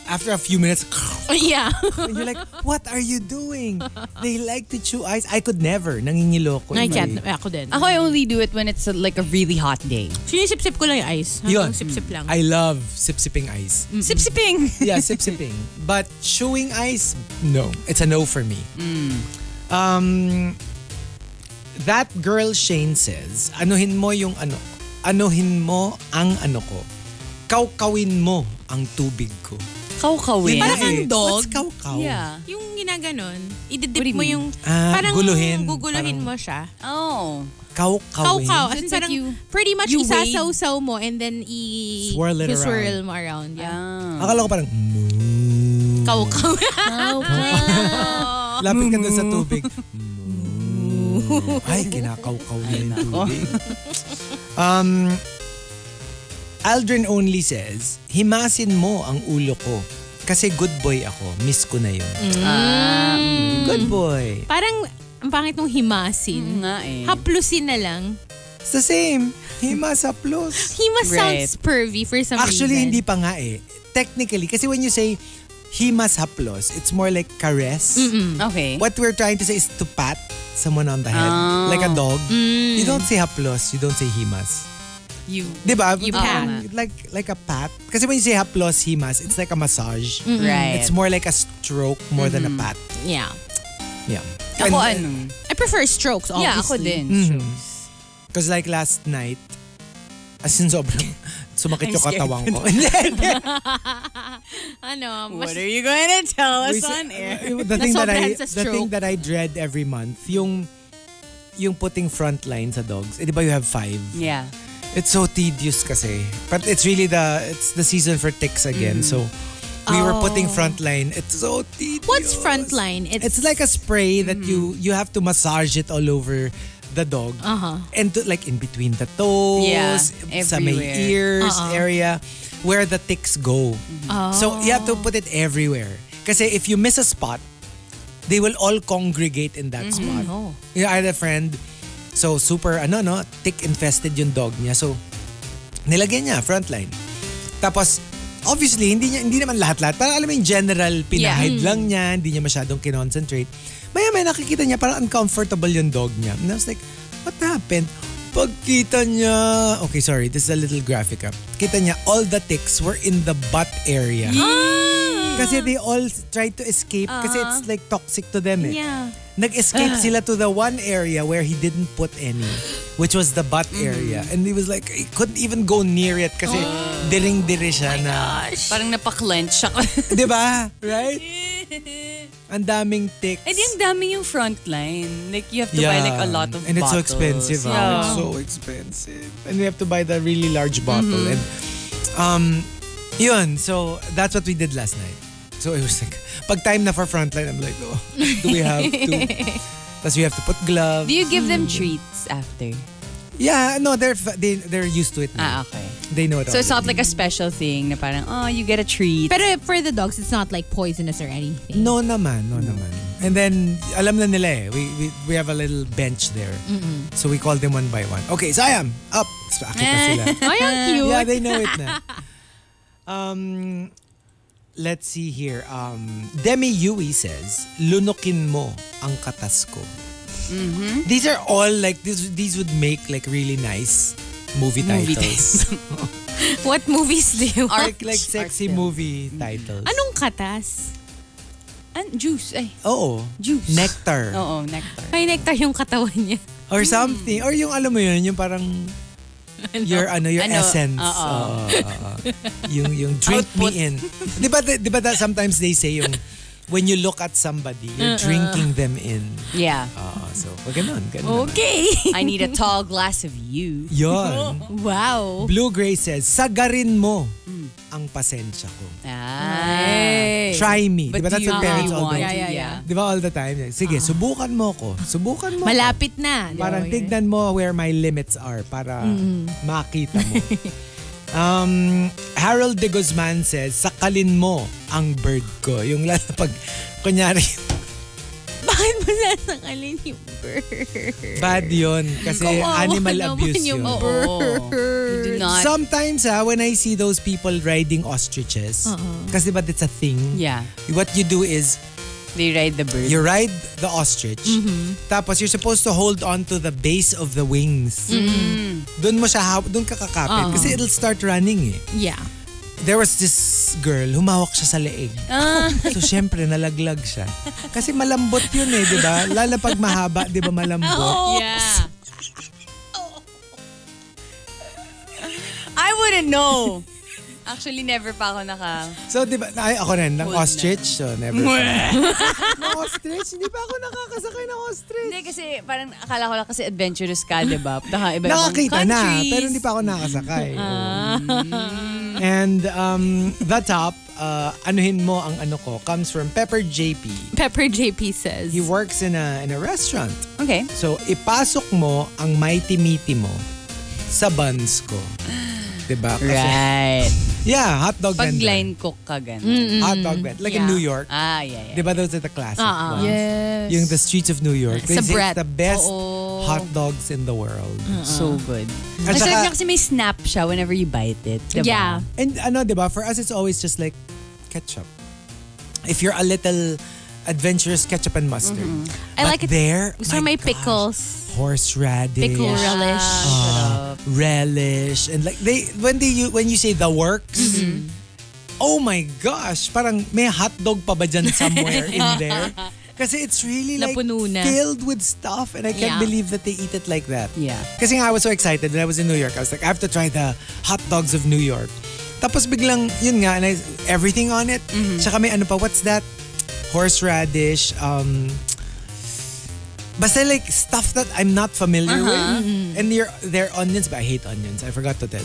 Speaker 3: after a few minutes
Speaker 5: Yeah.
Speaker 3: and you're like what are you doing? They like to chew ice. I could never nangingiloko.
Speaker 5: I
Speaker 3: if
Speaker 5: can't. Ako din.
Speaker 4: Ako, I only do it when it's uh, like a really hot day.
Speaker 5: Sinisip-sip ko lang yung ice.
Speaker 3: Yun.
Speaker 5: Hanggang Sip-sip lang.
Speaker 3: I love sip-sipping ice.
Speaker 4: Sip-sipping.
Speaker 3: Yeah, sip-sipping. But chewing ice, no. It's a no for me. Um, that girl Shane says, anuhin mo yung ano, anuhin mo ang ano ko. Kaukawin mo ang tubig ko. Yun
Speaker 4: Kaw-kawin.
Speaker 3: na
Speaker 5: Parang
Speaker 3: eh.
Speaker 5: ang dog.
Speaker 3: What's kaukaw?
Speaker 4: Yeah.
Speaker 5: Yung ginaganon,
Speaker 4: What do
Speaker 5: ididip
Speaker 4: you
Speaker 5: mo
Speaker 4: mean?
Speaker 5: yung,
Speaker 3: Ah,
Speaker 5: parang
Speaker 3: guluhin.
Speaker 5: guguluhin
Speaker 3: Parang-
Speaker 5: mo siya.
Speaker 4: Oh.
Speaker 3: Kaukawin.
Speaker 5: Kaw-kaw.
Speaker 4: So
Speaker 5: As in
Speaker 4: it's like
Speaker 5: parang
Speaker 4: you-
Speaker 5: pretty much
Speaker 4: you wave.
Speaker 5: isasaw-saw mo and then i-
Speaker 3: Swirl it
Speaker 5: swirl mo around. Yeah.
Speaker 4: Ah.
Speaker 3: Akala ko parang, "Moo."
Speaker 5: Kaw-kaw.
Speaker 3: lapit ka doon sa tubig. Moo. Ay, kinakaw-kaw na yung tubig. um, Aldrin only says, himasin mo ang ulo ko. Kasi good boy ako. Miss ko na yun. Good boy.
Speaker 5: parang, ang pangit nung himasin.
Speaker 4: Nga eh.
Speaker 5: Haplusin na lang.
Speaker 3: It's the same. Hima sa plus.
Speaker 5: Hima
Speaker 4: Right.
Speaker 5: sounds pervy for some
Speaker 3: Actually,
Speaker 5: reason.
Speaker 3: hindi pa nga eh. Technically, kasi when you say himas haplos, it's more like caress.
Speaker 4: Okay.
Speaker 3: What we're trying to say is to pat someone on the head. Like a dog. You don't say haplos, you don't say himas.
Speaker 4: You,
Speaker 3: Di ba?
Speaker 5: You
Speaker 3: Parang Like, like a pat. Kasi when you say haplos, himas, it's like a massage.
Speaker 4: right.
Speaker 3: It's more like a stroke more than a pat.
Speaker 5: Yeah.
Speaker 3: Yeah.
Speaker 4: Ako ano?
Speaker 5: I prefer strokes, obviously.
Speaker 4: Yeah, ako din.
Speaker 3: Mm-hmm. Because like last night, as in sobrang sumakit
Speaker 4: I'm
Speaker 3: yung
Speaker 4: scared.
Speaker 3: katawang ko. Hindi, hindi.
Speaker 5: Ano, mas
Speaker 4: What are you going to tell us
Speaker 3: We say-
Speaker 4: on air?
Speaker 3: the thing that I
Speaker 5: Nasobrahan sa
Speaker 3: the thing
Speaker 5: stroke.
Speaker 3: that I dread every month, yung yung putting front line sa dogs. Eh, di ba you have five?
Speaker 4: Yeah.
Speaker 3: It's so tedious kasi. But it's really the it's the season for ticks
Speaker 5: Mm.
Speaker 3: again. So we were putting front line. It's so tedious.
Speaker 5: Oh. What's front line? It's,
Speaker 3: It's like a spray that you
Speaker 4: Mm-hmm.
Speaker 3: you have to massage it all over the dog.
Speaker 5: Uh-huh.
Speaker 3: And to, like in between the toes,
Speaker 4: Yeah,
Speaker 3: sa may
Speaker 4: everywhere. Uh-uh.
Speaker 3: ears area where
Speaker 4: Oh.
Speaker 3: the ticks go. So you have to put it everywhere. Kasi if you miss a spot, they will all congregate in that spot.
Speaker 4: Oh.
Speaker 3: Yeah, I had a friend, so super, ano no, tick infested yung dog niya. So, nilagyan niya, frontline. Tapos, obviously, hindi, niya, hindi naman lahat-lahat. Parang alam mo yung general, pinahid lang niya, hindi niya masyadong kinoncentrate. Maya may nakikita niya, parang uncomfortable yung dog niya. And I was like, what happened? Pagkita niya, okay sorry, this is a little graphic up. Kita niya, all the ticks were in the butt area.
Speaker 4: Ah!
Speaker 3: Kasi they all tried to escape kasi it's like toxic to them eh.
Speaker 5: Yeah.
Speaker 3: Nag-escape sila to the one area where he didn't put any, which was the butt area. And he was like, he couldn't even go near it kasi diring-diri siya na.
Speaker 8: Parang napaklench siya.
Speaker 3: Di ba? Right? Ang daming ticks.
Speaker 8: Eh di ang dami yung front line. Like you have to buy like a lot of
Speaker 3: And it's so
Speaker 8: bottles.
Speaker 3: expensive. ah.
Speaker 8: Yeah.
Speaker 3: It's so expensive. And you have to buy the really large bottle. And
Speaker 8: Mm-hmm.
Speaker 3: um, yun, so that's what we did last night. So it was like, pag time na for frontline, I'm like, oh, do we have to? Tapos we have to put gloves.
Speaker 8: Do you give them treats after?
Speaker 3: Yeah, no, they're fa- they, they're used to it now.
Speaker 8: Ah, okay.
Speaker 3: They know it
Speaker 8: So it's
Speaker 3: already.
Speaker 8: not like a special thing na parang, oh, you get a treat.
Speaker 5: Pero for the dogs, it's not like poisonous or anything.
Speaker 3: No naman, no naman. And then, alam na nila eh. We, we, we have a little bench there. So we call them one by one. Okay, Sayam, up! So, akit
Speaker 8: Eh.
Speaker 3: na sila.
Speaker 5: Ay, ang cute.
Speaker 3: Yeah, they know it na. Um, let's see here. Um, Demi Yui says, lunukin mo ang katas ko.
Speaker 8: Mm-hmm.
Speaker 3: These are all like, this, these would make like really nice movie
Speaker 8: Movie
Speaker 3: titles.
Speaker 5: What movies do you
Speaker 3: like, like sexy movie
Speaker 8: Mm-hmm.
Speaker 3: titles.
Speaker 8: Ano?
Speaker 5: Anong katas?
Speaker 8: An- juice. Ay,
Speaker 3: Oo.
Speaker 8: juice. Oh.
Speaker 3: Nectar.
Speaker 8: Oo, nectar.
Speaker 5: May nectar yung katawan niya.
Speaker 3: Or something. Or yung alam mo yun, yung parang your ano your
Speaker 8: Ano,
Speaker 3: essence
Speaker 8: oo.
Speaker 3: Oo, oo, oo. yung yung drink
Speaker 8: Output.
Speaker 3: me in 'di ba 'di ba that sometimes they say yung when you look at somebody you're drinking them in
Speaker 8: Yeah.
Speaker 3: Oo, so wag ganun ganun
Speaker 5: Okay.
Speaker 8: I need a tall glass of you.
Speaker 3: yun
Speaker 5: Wow.
Speaker 3: blue gray says sagarin mo ang pasensya ko
Speaker 8: Ah.
Speaker 5: Eh,
Speaker 3: try me 'di
Speaker 8: But
Speaker 3: ba
Speaker 8: do
Speaker 3: that's
Speaker 8: you
Speaker 3: what parents
Speaker 8: really
Speaker 3: all
Speaker 8: want?
Speaker 3: do
Speaker 5: Yeah, yeah, yeah.
Speaker 3: 'di ba all the time sige subukan mo ko subukan mo ko.
Speaker 5: Malapit na.
Speaker 3: Parang tignan mo where my limits are para
Speaker 5: Mm-hmm.
Speaker 3: makita mo. um, Harold de Guzman says, sakalin mo ang bird ko. Yung lalo pag, kunyari,
Speaker 5: Bakit mo sasangalin yung bird?
Speaker 3: bad yun. Kasi
Speaker 5: Kawawa
Speaker 3: Eh, animal
Speaker 5: naman
Speaker 3: abuse yun.
Speaker 5: yung
Speaker 8: bird. You do not.
Speaker 3: Sometimes ha, when I see those people riding ostriches,
Speaker 5: Uh-huh.
Speaker 3: kasi ba it's a thing,
Speaker 8: yeah.
Speaker 3: what you do is,
Speaker 8: They ride the bird.
Speaker 3: you ride the ostrich,
Speaker 5: Mm-hmm.
Speaker 3: tapos you're supposed to hold on to the base of the wings.
Speaker 5: Mm-hmm.
Speaker 3: Doon mo siya, haw- doon ka kakapit.
Speaker 5: Uh-huh.
Speaker 3: Kasi it'll start running eh.
Speaker 5: Yeah.
Speaker 3: there was this girl, humawak siya sa leeg. So, syempre, nalaglag siya. Kasi malambot yun eh, di ba? Lalo pag mahaba, di ba malambot?
Speaker 8: Yeah. I wouldn't know. Actually, never pa ako naka...
Speaker 3: So, di ba, ay, ako rin, ng
Speaker 8: Cool na.
Speaker 3: ostrich, so never. ng ostrich? Hindi pa ako nakakasakay ng ostrich.
Speaker 8: Hindi kasi parang akala ko lang kasi adventurous ka, di ba? Naka iba
Speaker 3: Nakakita na, pero hindi pa ako nakasakay. And um, the top, uh, anuhin mo ang ano ko, comes from Pepper JP.
Speaker 5: Pepper JP says.
Speaker 3: He works in a, in a restaurant.
Speaker 8: Okay.
Speaker 3: So, ipasok mo ang mighty meaty mo sa buns ko. Diba? Kasi,
Speaker 8: Right.
Speaker 3: Yeah, hot dog
Speaker 8: Pag
Speaker 3: vendor.
Speaker 8: line cook ka ganun.
Speaker 3: Hot dog vendor. Like in
Speaker 5: Mm. yeah. Ah,
Speaker 3: New York.
Speaker 8: Ah, yeah, yeah.
Speaker 3: Diba those are the classic ones?
Speaker 8: Yes.
Speaker 3: Yung the streets of New York. They
Speaker 5: Sa
Speaker 3: say
Speaker 5: Brett.
Speaker 3: it's the best
Speaker 5: Oo. Mm.
Speaker 3: hot dogs in the world.
Speaker 8: So good. Ang sarap
Speaker 3: At saka-
Speaker 8: niya kasi may snap siya whenever you bite it. Diba?
Speaker 5: Yeah.
Speaker 3: And ano, diba? For us, it's always just like ketchup. If you're a little adventurous, ketchup and mustard.
Speaker 5: Mm-hmm. I
Speaker 3: But
Speaker 5: like it.
Speaker 3: there,
Speaker 5: Gusto
Speaker 3: my
Speaker 5: may
Speaker 3: gosh,
Speaker 5: pickles.
Speaker 3: Horseradish.
Speaker 5: Pickle relish.
Speaker 3: uh, relish and like they when they you when you say the works
Speaker 5: Mm-hmm.
Speaker 3: oh my gosh parang may hot dog pa ba dyan somewhere in there kasi it's really like
Speaker 5: Napuno na.
Speaker 3: filled with stuff and I can't
Speaker 5: Yeah.
Speaker 3: believe that they eat it like that
Speaker 8: Yeah.
Speaker 3: kasi nga I was so excited when I was in New York I was like I have to try the hot dogs of New York tapos biglang yun nga and I, everything on it
Speaker 5: Mm-hmm.
Speaker 3: tsaka may ano pa what's that horseradish um Basta like stuff that I'm not familiar
Speaker 8: Uh-huh.
Speaker 3: with.
Speaker 8: Mm-hmm.
Speaker 3: And your their onions, but I hate onions. I forgot to tell.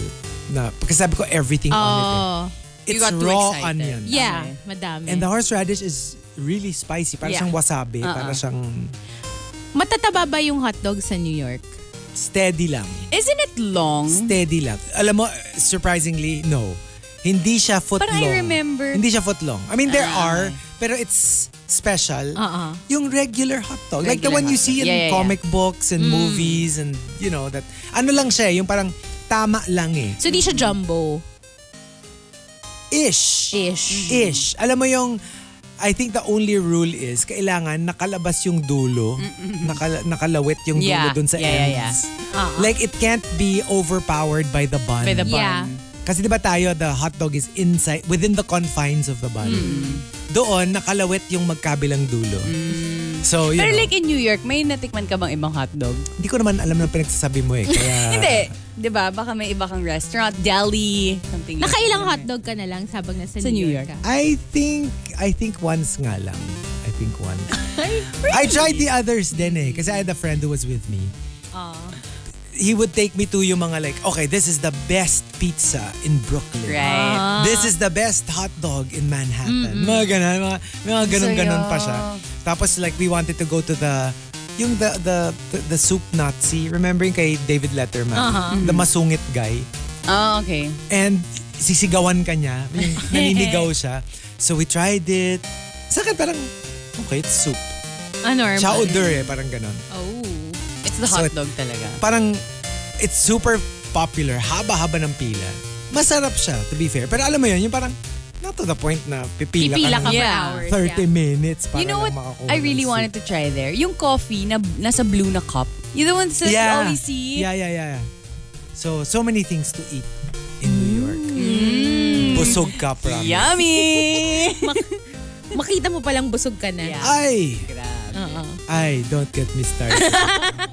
Speaker 3: Na, kasi sabi ko everything on it.
Speaker 5: Oh.
Speaker 3: eh.
Speaker 8: You
Speaker 3: It's
Speaker 8: got too
Speaker 3: raw
Speaker 8: excited.
Speaker 3: onion.
Speaker 5: Yeah. Madami.
Speaker 3: And the horseradish is really spicy. Para
Speaker 8: Yeah. Uh-uh.
Speaker 3: siyang wasabi. Para siyang
Speaker 5: Matataba ba yung hotdog sa New York?
Speaker 3: steady lang.
Speaker 8: Isn't it long?
Speaker 3: Steady lang. Alam mo, surprisingly, no. Hindi siya footlong.
Speaker 8: Parang I remember. Ah.
Speaker 3: Hindi siya footlong. I mean, there are, pero it's special,
Speaker 5: Uh-uh.
Speaker 3: yung regular hot dog. like
Speaker 8: Regular
Speaker 3: the one you
Speaker 8: hot
Speaker 3: see
Speaker 8: dog.
Speaker 3: in
Speaker 8: Yeah, Mm. yeah, yeah.
Speaker 3: comic books and movies and you know that ano lang siya, yung parang tama lang eh.
Speaker 5: So, di siya jumbo.
Speaker 3: Ish.
Speaker 5: Ish.
Speaker 3: Ish. Alam mo yung I think the only rule is kailangan nakalabas yung dulo, nakala- nakalawit yung dulo
Speaker 8: Yeah.
Speaker 3: dun sa
Speaker 8: Yeah, yeah, yeah. Uh-huh.
Speaker 3: ends. Like it can't be overpowered by the bun.
Speaker 8: By the bun.
Speaker 5: Yeah.
Speaker 3: Kasi di ba tayo, the hot dog is inside, within the confines of the bun.
Speaker 8: Hmm.
Speaker 3: Doon, nakalawit yung magkabilang dulo. So,
Speaker 8: Hmm.
Speaker 3: you
Speaker 8: Pero
Speaker 3: know,
Speaker 8: like in New York, may natikman ka bang ibang hotdog?
Speaker 3: hindi ko naman alam na pinagsasabi mo eh. Kaya,
Speaker 8: Hindi. Di ba? Baka may iba kang restaurant, deli, something like
Speaker 5: Nakailang hotdog ka na lang sabag nasa
Speaker 8: Sa
Speaker 5: New,
Speaker 8: New
Speaker 5: York.
Speaker 8: York.
Speaker 5: ka.
Speaker 3: I think, I think once nga lang. I think once. I tried the others din eh. Kasi I had a friend who was with me. He would take me to yung mga like, okay, this is the best pizza in Brooklyn.
Speaker 8: Right.
Speaker 3: This is the best hot dog in Manhattan. Mga ganun, mga, mga ganun-ganun pa siya. Tapos like we wanted to go to the yung the the the, the soup Nazi, remember yung kay David Letterman, the masungit guy.
Speaker 8: Oh, okay.
Speaker 3: And sisigawan ka niya, yung naninigaw siya. So we tried it. Sa akin parang okay, it's soup.
Speaker 5: Ah, normal.
Speaker 3: Siya odor eh, parang ganun.
Speaker 5: Oh.
Speaker 8: It's the
Speaker 3: So
Speaker 8: hot
Speaker 3: it-
Speaker 8: dog talaga.
Speaker 3: Parang it's super popular, haba-haba ng pila. Masarap siya, to be fair. Pero alam mo yun, yung parang not to the point na pipila,
Speaker 5: Pipila
Speaker 3: ng-
Speaker 5: ka for
Speaker 8: Yeah.
Speaker 5: hours.
Speaker 3: 30
Speaker 5: yeah.
Speaker 3: minutes para
Speaker 8: You know
Speaker 3: lang
Speaker 8: what
Speaker 3: makakuha
Speaker 8: I really
Speaker 3: ng soup.
Speaker 8: wanted to try there? Yung coffee na nasa blue na cup. You the one that E
Speaker 3: yeah.
Speaker 8: yeah. always see?
Speaker 3: Yeah, yeah, yeah. yeah. So, so many things to eat in New York.
Speaker 8: Mm.
Speaker 3: Busog ka, promise.
Speaker 8: Yummy!
Speaker 5: Makita mo palang busog ka na.
Speaker 8: Yeah.
Speaker 3: Ay!
Speaker 5: Oo.
Speaker 3: Ay, don't get me started.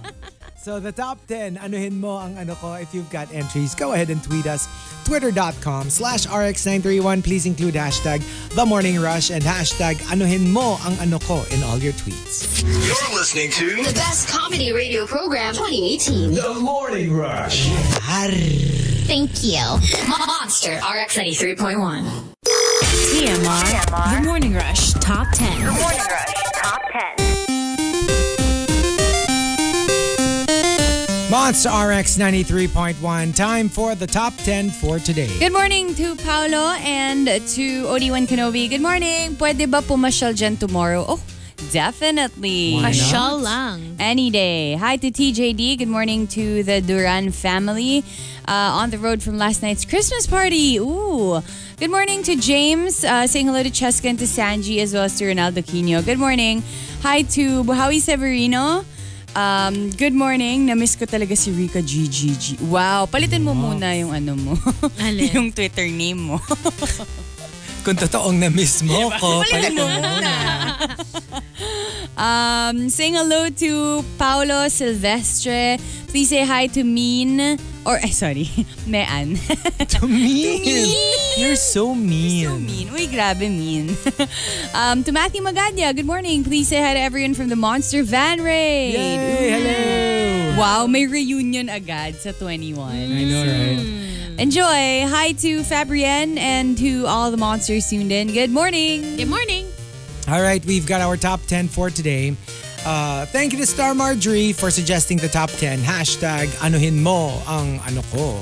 Speaker 3: so the top 10, anuhin mo ang ano ko. If you've got entries, go ahead and tweet us. Twitter.com slash RX931. Please include hashtag The Morning Rush and hashtag anuhin mo ang ano ko in all your tweets.
Speaker 1: You're listening to
Speaker 2: The best comedy radio program 2018.
Speaker 1: The Morning Rush.
Speaker 2: Thank you. Monster RX 93.1.
Speaker 6: TMR, The Morning Rush Top 10.
Speaker 7: Morning Rush Top 10.
Speaker 3: Monster RX 93.1. Time for the top 10 for today.
Speaker 4: Good morning to Paolo and to Odiwan Kenobi. Good morning. Pwede ba pumasyal dyan tomorrow? Oh, definitely.
Speaker 3: Why not?
Speaker 5: Pasyal lang.
Speaker 4: Mm-hmm. Any day. Hi to TJD. Good morning to the Duran family. Uh, on the road from last night's Christmas party. Ooh. Good morning to James. Uh, saying hello to Cheska and to Sanji as well as to Ronaldo Quino. Good morning. Hi to Buhawi Severino. Um, good morning. Namiss ko talaga si Rika GGG. Wow. Palitan mo muna yung ano mo.
Speaker 5: Alin?
Speaker 4: yung Twitter name mo.
Speaker 3: Kung totoong na mismo ko,
Speaker 4: Palitan mo Um, saying hello to Paolo Silvestre. Please say hi to Mean. Or, eh, sorry, Mean.
Speaker 3: To mean. You're so mean.
Speaker 4: so mean. Uy, grabe mean. um, to Matthew Magadia, good morning. Please say hi to everyone from the Monster Van Raid.
Speaker 3: Yay, hello.
Speaker 4: Wow, may reunion agad sa 21.
Speaker 3: I know, right?
Speaker 4: Enjoy. Hi to Fabrienne and to all the monsters tuned in. Good morning.
Speaker 5: Good morning.
Speaker 3: All right, we've got our top 10 for today. Uh, thank you to Star Marjorie for suggesting the top 10. Hashtag anuhin mo ang ano ko.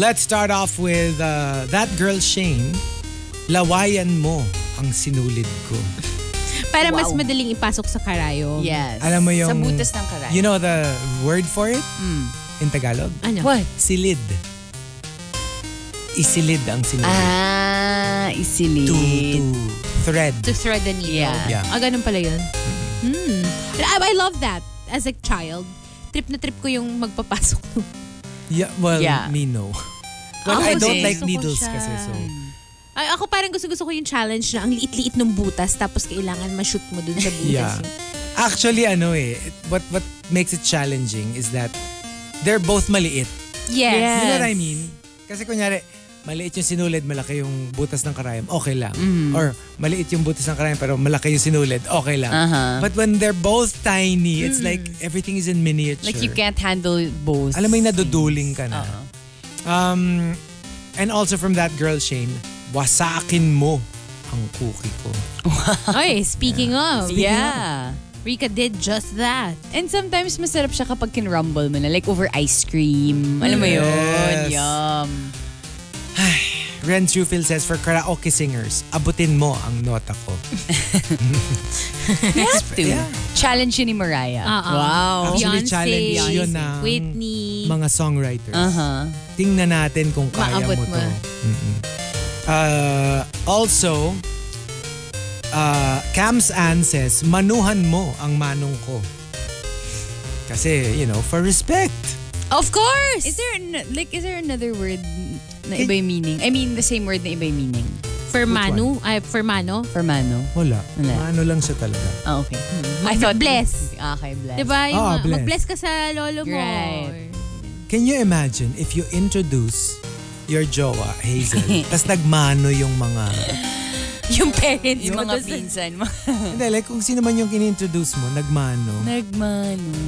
Speaker 3: Let's start off with uh, that girl Shane. Lawayan mo ang sinulid ko.
Speaker 5: Para mas madaling ipasok sa karayom.
Speaker 8: Yes.
Speaker 3: Alam mo yung...
Speaker 8: Sa butas ng karay. Hmm.
Speaker 3: You know the word for it? In Tagalog?
Speaker 5: Ano?
Speaker 8: What?
Speaker 3: Silid. Isilid ang sinulid.
Speaker 8: Ah,
Speaker 3: to, to
Speaker 8: isilid.
Speaker 3: thread.
Speaker 5: To thread the needle.
Speaker 8: Yeah.
Speaker 3: Yeah.
Speaker 5: Ah, ganun pala yun. Hmm. But I, I love that as a child. Trip na trip ko yung magpapasok.
Speaker 3: Yeah, well,
Speaker 8: Yeah. Ah,
Speaker 3: me no. Well,
Speaker 5: Ako
Speaker 3: I don't
Speaker 5: din.
Speaker 3: like
Speaker 5: Ah, Gusto ko
Speaker 3: needles
Speaker 5: siya.
Speaker 3: kasi so...
Speaker 5: Ay, ako parang gusto-gusto ko yung challenge na ang liit-liit ng butas tapos kailangan ma-shoot mo dun sa
Speaker 3: Yeah.
Speaker 5: butas.
Speaker 3: Actually, ano eh, what what makes it challenging is that they're both maliit.
Speaker 5: Yes.
Speaker 3: You know what I mean? Kasi kunyari, maliit yung sinulid, malaki yung butas ng karayom, okay lang. Or maliit yung butas ng karayom pero malaki yung sinulid, okay lang. But when they're both tiny, it's like everything is in miniature.
Speaker 8: Like you can't handle both.
Speaker 3: Alam mo yung naduduling ka na.
Speaker 8: Oo.
Speaker 3: Um, and also from that girl, Shane, wasakin mo ang cookie ko.
Speaker 5: Oy, speaking of,
Speaker 8: Yeah.
Speaker 5: Rika did just that.
Speaker 8: And sometimes masarap siya kapag kinrumble mo na. Like over ice cream. Alam mo yun?
Speaker 3: Yes.
Speaker 8: Yum.
Speaker 3: Ren Trufil says, for karaoke singers, abutin mo ang nota ko.
Speaker 8: You have to.
Speaker 3: Yeah.
Speaker 8: Challenge yun ni Mariah.
Speaker 5: Oo.
Speaker 8: Wow.
Speaker 3: Actually,
Speaker 5: Oh. Beyonce,
Speaker 3: challenge yun ah. ng
Speaker 5: Whitney.
Speaker 3: mga songwriters.
Speaker 8: Uh-huh.
Speaker 3: Tingnan natin kung kaya
Speaker 5: Maabot
Speaker 3: mo
Speaker 5: mo.
Speaker 3: to. Mm-mm. Uh, also, uh, Cams Ann says, manuhan mo ang manong ko. Kasi, you know, for respect.
Speaker 5: of course!
Speaker 8: Is there an- like is there another word na iba yung meaning? I mean the same word na iba yung meaning
Speaker 5: for Manu. Ay, for Mano.
Speaker 8: for mano.
Speaker 3: Wala.
Speaker 8: Wala.
Speaker 3: Mano lang siya talaga.
Speaker 8: Ah, okay. I
Speaker 5: Mag-
Speaker 8: thought
Speaker 5: bless.
Speaker 8: Okay, bless.
Speaker 5: Diba?
Speaker 3: Ah,
Speaker 5: Yung, mga-
Speaker 3: bless.
Speaker 5: Mag-bless ka sa lolo mo.
Speaker 8: Right.
Speaker 3: Can you imagine if you introduce your jowa, Hazel, tas nagmano yung mga...
Speaker 5: Yung parents
Speaker 8: Yung
Speaker 5: mo.
Speaker 8: mga
Speaker 5: tas-
Speaker 8: pinsan mo.
Speaker 3: Hindi, like kung sino man yung in-introduce mo, nagmano.
Speaker 8: Nagmano.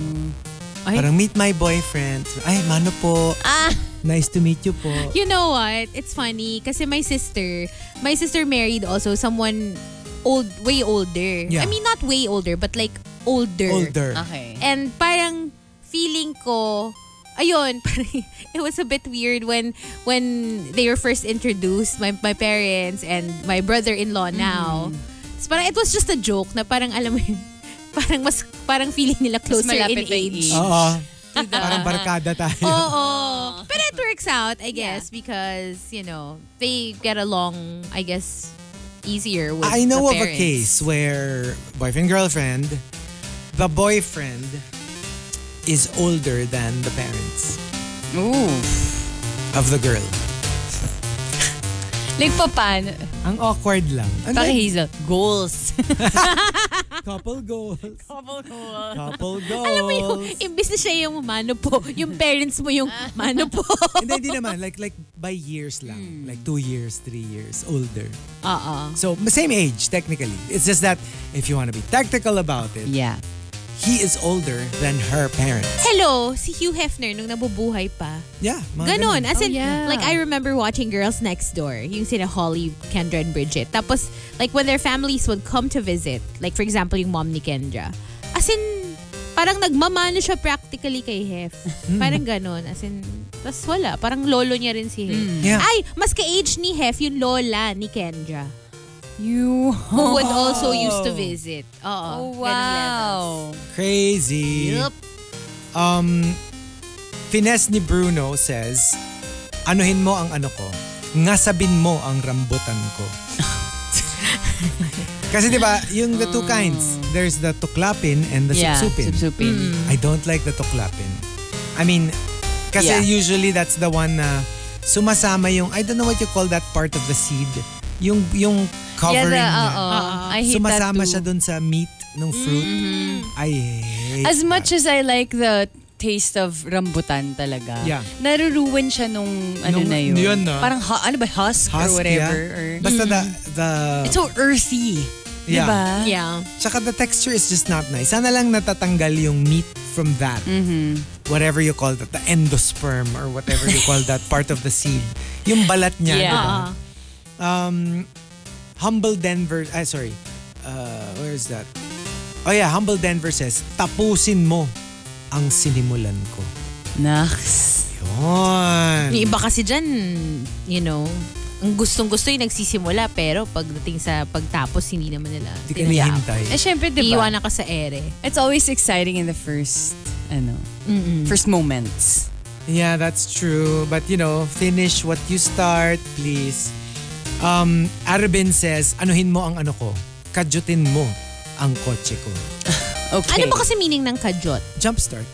Speaker 3: Parang meet my boyfriend. Ay, mano po.
Speaker 5: Ah.
Speaker 3: Nice to meet you po.
Speaker 5: You know what? It's funny kasi my sister, my sister married also someone old, way older.
Speaker 3: Yeah.
Speaker 5: I mean, not way older, but like older.
Speaker 3: Older.
Speaker 8: Okay.
Speaker 5: And parang feeling ko, ayun, parang it was a bit weird when when they were first introduced, my, my parents and my brother-in-law now. So parang it was just a joke na parang alam mo yun, parang mas parang feeling nila closer in
Speaker 8: malapit na yung
Speaker 5: age.
Speaker 8: age.
Speaker 3: Oo. Parang barkada tayo.
Speaker 5: Oh. Oo. But it works out, I guess, because, you know, they get along, I guess, easier with
Speaker 3: I know
Speaker 5: the
Speaker 3: of a
Speaker 5: parents.
Speaker 3: case where boyfriend girlfriend, the boyfriend is older than the parents
Speaker 8: Ooh.
Speaker 3: of the girl.
Speaker 8: Like pa paano?
Speaker 3: Ang awkward lang. And
Speaker 8: Paki
Speaker 3: like,
Speaker 8: Hazel. Goals.
Speaker 3: couple goals.
Speaker 8: Couple goals.
Speaker 3: Couple goals.
Speaker 5: Alam mo yung, imbis na siya yung mano po, yung parents mo yung mano po.
Speaker 3: Hindi, hindi naman. Like, like by years
Speaker 5: Hmm.
Speaker 3: lang. Like two years, three years older.
Speaker 5: Oo.
Speaker 3: So, same age, technically. It's just that if you want to be tactical about it,
Speaker 8: Yeah.
Speaker 3: he is older than her parents.
Speaker 5: Hello, si Hugh Hefner nung nabubuhay pa.
Speaker 3: Yeah. mga
Speaker 5: Ganon. As
Speaker 8: Oh,
Speaker 3: ganun.
Speaker 5: in,
Speaker 8: yeah.
Speaker 5: like, I remember watching Girls Next Door, yung sina Holly, Kendra, and Bridget. Tapos, like, when their families would come to visit, like, for example, yung mom ni Kendra. As in, parang nagmamano siya practically kay Hef. Parang ganon. As in, tas wala. Parang lolo niya rin si Hef.
Speaker 3: Yeah.
Speaker 5: Ay, mas ka-age ni Hef yung lola ni Kendra.
Speaker 8: You.
Speaker 5: Who would also used to visit. Oo.
Speaker 8: Oh,
Speaker 5: ganong levels.
Speaker 8: wow.
Speaker 3: Crazy.
Speaker 5: Yup.
Speaker 3: Um, finesse ni Bruno says, anuhin mo ang ano ko, ngasabin mo ang rambutan ko. Kasi di ba yung the two kinds, there's the tuklapin and the
Speaker 8: Mm. Yeah.
Speaker 3: supsupin.
Speaker 8: Supsupin.
Speaker 3: I don't like the tuklapin. I mean, kasi
Speaker 8: Yeah.
Speaker 3: usually that's the one na sumasama yung, I don't know what you call that part of the seed, yung yung
Speaker 8: Yeah,
Speaker 3: covering
Speaker 8: the,
Speaker 3: niya. Ah,
Speaker 8: oo. I hate
Speaker 3: Sumasama
Speaker 8: that too. Mm-hmm.
Speaker 3: siya dun sa meat ng fruit. I hate
Speaker 8: As
Speaker 3: that.
Speaker 8: much as I like the taste of rambutan talaga,
Speaker 3: Yeah.
Speaker 8: naruruin siya nung ano
Speaker 3: Nung-
Speaker 8: na yun.
Speaker 3: yun, no?
Speaker 8: Parang ha- ano ba, husk,
Speaker 3: Husk,
Speaker 8: or whatever.
Speaker 3: yeah.
Speaker 8: Or, Mm.
Speaker 3: Basta the, the
Speaker 8: It's so earthy.
Speaker 3: yeah.
Speaker 8: Diba?
Speaker 5: Yeah.
Speaker 3: Tsaka the texture is just not nice. Sana lang natatanggal yung meat from that.
Speaker 8: Mm-hmm.
Speaker 3: Whatever you call that. The endosperm or whatever you call that part of the seed. Yung balat niya.
Speaker 8: Yeah.
Speaker 3: diba?
Speaker 5: Ah.
Speaker 3: Um, Humble Denver, ah, sorry. Uh, where is that? Oh yeah, Humble Denver says, tapusin mo ang sinimulan ko.
Speaker 8: Naks.
Speaker 3: Yun.
Speaker 5: Yung iba kasi dyan, you know, ang gustong-gusto yung nagsisimula pero pagdating sa pagtapos, hindi naman nila.
Speaker 3: Hindi ka nihintay.
Speaker 8: Eh, syempre, diba?
Speaker 5: Iiwanan ka sa ere.
Speaker 8: It's always exciting in the first, ano, first moments.
Speaker 3: Yeah, that's true. But you know, finish what you start, please. Um, Arabin says, anuhin mo ang ano ko. Kadyutin mo ang kotse ko.
Speaker 8: Okay.
Speaker 5: Ano ba kasi meaning ng kajot?
Speaker 3: Jumpstart.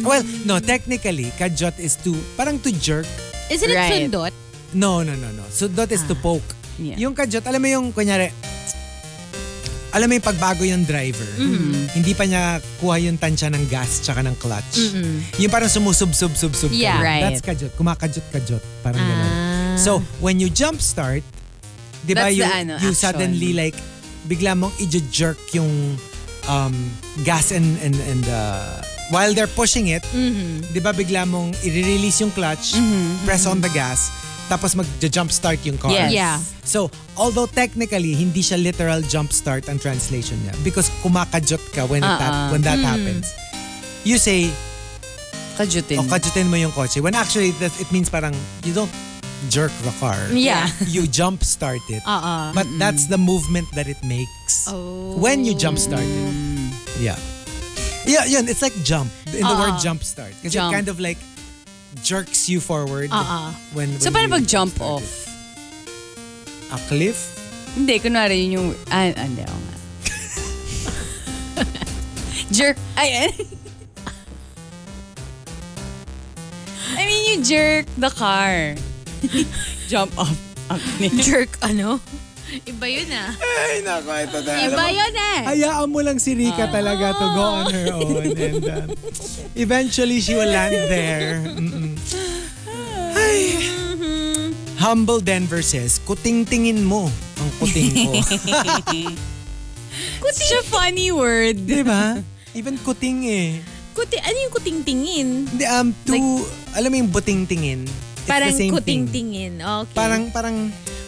Speaker 3: Well, no, technically, kadyot is to, parang to jerk.
Speaker 5: Isn't it
Speaker 8: Right.
Speaker 5: sundot?
Speaker 3: No, no, no, no. Sundot is to poke.
Speaker 8: Ah, Yeah.
Speaker 3: Yung kadyot, alam mo yung, kunyari, alam mo yung pagbago yung driver,
Speaker 8: Mm-hmm.
Speaker 3: hindi pa niya kuha yung tansya ng gas tsaka ng clutch. Yung parang sumusub-sub-sub-sub.
Speaker 5: Yeah.
Speaker 3: ka.
Speaker 8: Mm-hmm. Right. Ah.
Speaker 3: That's kadyot. Kumakadyot-kadyot. Parang ganun. So, when you jumpstart, di ba
Speaker 8: That's
Speaker 3: you,
Speaker 8: the, ano,
Speaker 3: you
Speaker 8: action.
Speaker 3: suddenly like, bigla mong i-jerk yung um, gas and, and, and uh, while they're pushing it, di ba bigla mong i-release yung clutch,
Speaker 8: Mm-hmm,
Speaker 3: press on the gas, tapos mag-jumpstart yung car.
Speaker 8: Yes.
Speaker 5: Yeah.
Speaker 3: So, although technically, hindi siya literal jumpstart ang translation niya because kumakadyot ka when, it hap-
Speaker 8: Uh-uh.
Speaker 3: when that happens. You say,
Speaker 8: Kajutin.
Speaker 3: Oh, o kadyutin mo yung kotse. When actually, it, it means parang, you don't jerk the car.
Speaker 4: Yeah.
Speaker 3: You jump start it.
Speaker 5: Uh-uh.
Speaker 3: But that's the movement that it makes
Speaker 4: Oh.
Speaker 3: when you jump start it. Yeah. Yeah, yun. It's like jump. In the word jump start. Kasi it
Speaker 4: Uh-uh. Jump.
Speaker 3: kind of like jerks you forward.
Speaker 5: Uh-uh.
Speaker 3: When,
Speaker 4: So,
Speaker 3: when
Speaker 4: paano
Speaker 3: you
Speaker 4: pag jump
Speaker 3: start
Speaker 4: off?
Speaker 3: it. A cliff?
Speaker 4: Hindi, kunwari yun yung... Ah, ah, hindi. oo nga. jerk. Ay, eh. ay. I mean, you jerk the car. Jump off.
Speaker 5: Jerk, ano? Iba yun ah.
Speaker 3: Ay, naku. Ito na.
Speaker 5: Iba yun eh.
Speaker 3: Hayaan mo lang si Rika talaga to go on her own. And uh, eventually, she will land there. Mm-mm. Ay. Humble Denver says, kuting-tingin mo ang kuting ko.
Speaker 4: It's such a funny word.
Speaker 3: Di ba? Diba? Even kuting eh.
Speaker 5: Kuti, ano yung kuting-tingin?
Speaker 3: Hindi, um, to, alam mo yung buting-tingin? It's
Speaker 5: Parang
Speaker 3: the same thing.
Speaker 5: kuting-tingin. Okay.
Speaker 3: Parang, parang,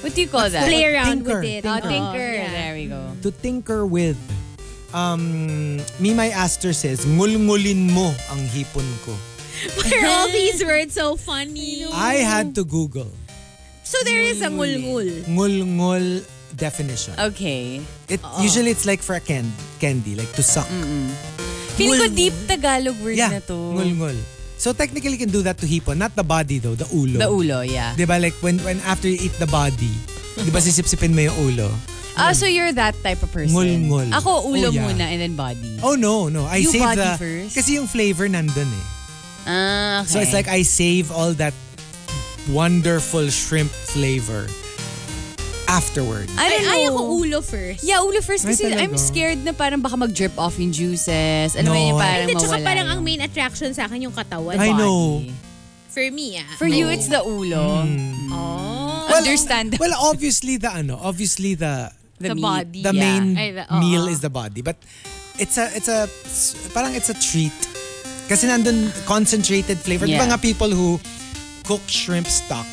Speaker 4: What do you call that?
Speaker 5: Play around
Speaker 3: tinker.
Speaker 5: with it.
Speaker 4: Oh,
Speaker 5: Oo,
Speaker 4: tinker.
Speaker 5: yeah.
Speaker 4: There we go.
Speaker 3: to tinker with. Um, Mimay Aster says, ngulngulin mo ang hipon ko.
Speaker 5: Why are all these words so funny?
Speaker 3: I had to Google.
Speaker 5: So there is a ngul-ngul.
Speaker 3: Ngulngul definition.
Speaker 4: Okay.
Speaker 3: It usually it's like for a can- candy, like to suck.
Speaker 4: Feeling ko deep Tagalog word
Speaker 3: Yeah,
Speaker 4: na to.
Speaker 3: ngulngul. So technically you can do that to hipon, not the body though, the ulo.
Speaker 4: The ulo, yeah.
Speaker 3: 'Di ba like when when after you eat the body, 'di ba sisipsipin mo yung ulo?
Speaker 4: Ah, so you're that type of person.
Speaker 3: Ngul-ngul.
Speaker 4: Ako,
Speaker 3: Oh,
Speaker 4: ulo
Speaker 3: yeah.
Speaker 4: muna and then body.
Speaker 3: Oh no, no. I
Speaker 4: You
Speaker 3: save
Speaker 4: body
Speaker 3: the
Speaker 4: first?
Speaker 3: kasi yung flavor nandun eh.
Speaker 4: Ah, okay.
Speaker 3: So it's like I save all that wonderful shrimp flavor afterward.
Speaker 4: I
Speaker 5: Ay,
Speaker 4: don't know.
Speaker 5: ay, ako ulo first.
Speaker 4: Yeah, ulo first
Speaker 3: Ay,
Speaker 4: kasi
Speaker 3: talaga.
Speaker 4: I'm scared na parang baka mag-drip off yung juices.
Speaker 3: No.
Speaker 4: Ano yun, yung parang
Speaker 5: Hindi, tsaka
Speaker 4: mawala
Speaker 5: parang ang
Speaker 4: yung
Speaker 5: main attraction sa akin yung katawan.
Speaker 3: I know.
Speaker 4: body.
Speaker 5: For me ah.
Speaker 4: For you, it's the ulo. Mm.
Speaker 5: Oh.
Speaker 4: Understand.
Speaker 3: Hmm. Well, obviously the ano, obviously the
Speaker 4: the
Speaker 3: meat-
Speaker 4: body,
Speaker 3: the
Speaker 4: yeah.
Speaker 3: main
Speaker 5: Ay, the- oo.
Speaker 3: meal is the body, but it's a it's a it's- parang it's a treat. Kasi nandun concentrated flavor. Di ba
Speaker 4: Yeah.
Speaker 3: nga people who cook shrimp stock,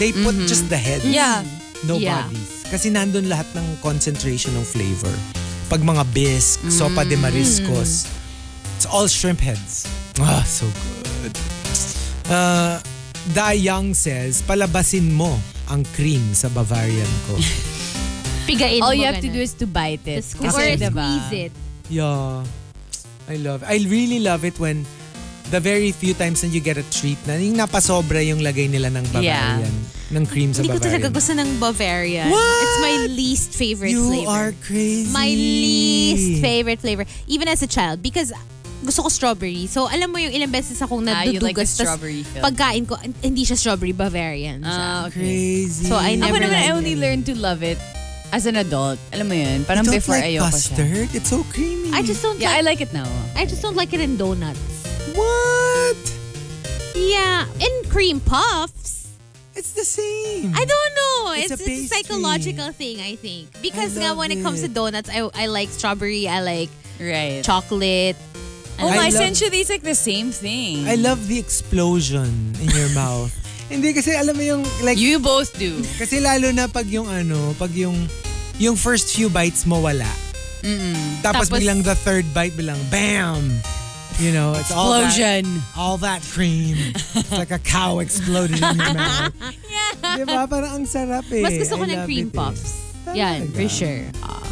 Speaker 3: they put just the head.
Speaker 4: Mm-hmm. Yeah.
Speaker 3: No
Speaker 4: Yeah.
Speaker 3: body. Kasi nandun lahat ng concentration ng flavor. Pag mga bisque, sopa
Speaker 5: Mm.
Speaker 3: de mariscos, it's all shrimp heads. Ah, so good. Uh, Da Young says, palabasin mo ang cream sa Bavarian ko.
Speaker 5: Pigain
Speaker 4: All you have to do is to bite it.
Speaker 5: Or
Speaker 4: Kasi, diba?
Speaker 5: squeeze it.
Speaker 3: Yeah. I love I really love it when the very few times that you get a treat na yung napasobra yung lagay nila ng Bavarian. Ng cream sa
Speaker 5: Hindi ko talaga
Speaker 3: Bavarian.
Speaker 5: gusto ng Bavarian.
Speaker 3: What?
Speaker 5: It's my least favorite
Speaker 3: you
Speaker 5: flavor.
Speaker 3: are crazy.
Speaker 5: my least favorite flavor. Even as a child. Because gusto ko strawberry. So, alam mo yung ilang beses akong
Speaker 4: Ah, you like the
Speaker 5: nadudugas. tas
Speaker 4: strawberry filled.
Speaker 5: pagkain ko, hindi siya strawberry, Bavarian siya.
Speaker 4: Ah, okay.
Speaker 3: Crazy.
Speaker 5: So, I
Speaker 4: Ako
Speaker 5: never
Speaker 4: naman, I
Speaker 5: liked
Speaker 4: only learned to love it as an adult. Alam mo yun?
Speaker 3: You
Speaker 4: Parang
Speaker 3: don't
Speaker 4: before
Speaker 3: like
Speaker 4: ayoko siya.
Speaker 3: custard? It's so creamy.
Speaker 5: I just don't
Speaker 4: Yeah, I
Speaker 5: like,
Speaker 4: like it now.
Speaker 5: I just don't like it in donuts.
Speaker 3: What?
Speaker 5: Yeah. And cream puffs.
Speaker 3: It's the same.
Speaker 5: I don't know.
Speaker 3: It's
Speaker 5: It's,
Speaker 3: a
Speaker 5: it's a,
Speaker 3: pastry.
Speaker 5: psychological thing, I think. Because
Speaker 3: I
Speaker 5: nga,
Speaker 3: love
Speaker 5: when it comes to
Speaker 3: it.
Speaker 5: donuts, I, I like strawberry, I like
Speaker 4: Right.
Speaker 5: chocolate.
Speaker 4: Oh,
Speaker 3: I
Speaker 4: my,
Speaker 3: love-
Speaker 4: essentially, it's like the same thing.
Speaker 3: I love the explosion in your mouth. Hindi kasi alam mo yung like
Speaker 4: You both do.
Speaker 3: Kasi lalo na pag yung ano, pag yung yung first few bites mo wala. Tapos,
Speaker 5: Tapos-
Speaker 3: bilang the third bite bilang bam. You know, it's all that,
Speaker 4: Explosion.
Speaker 3: all that cream. It's like a cow exploded in your mouth. yeah. Di ba? Parang ang sarap eh.
Speaker 5: Mas gusto ko
Speaker 3: I
Speaker 5: ng
Speaker 3: love it
Speaker 5: cream
Speaker 3: eh.
Speaker 5: puffs.
Speaker 3: Talaga.
Speaker 5: Yan, for sure. Ah.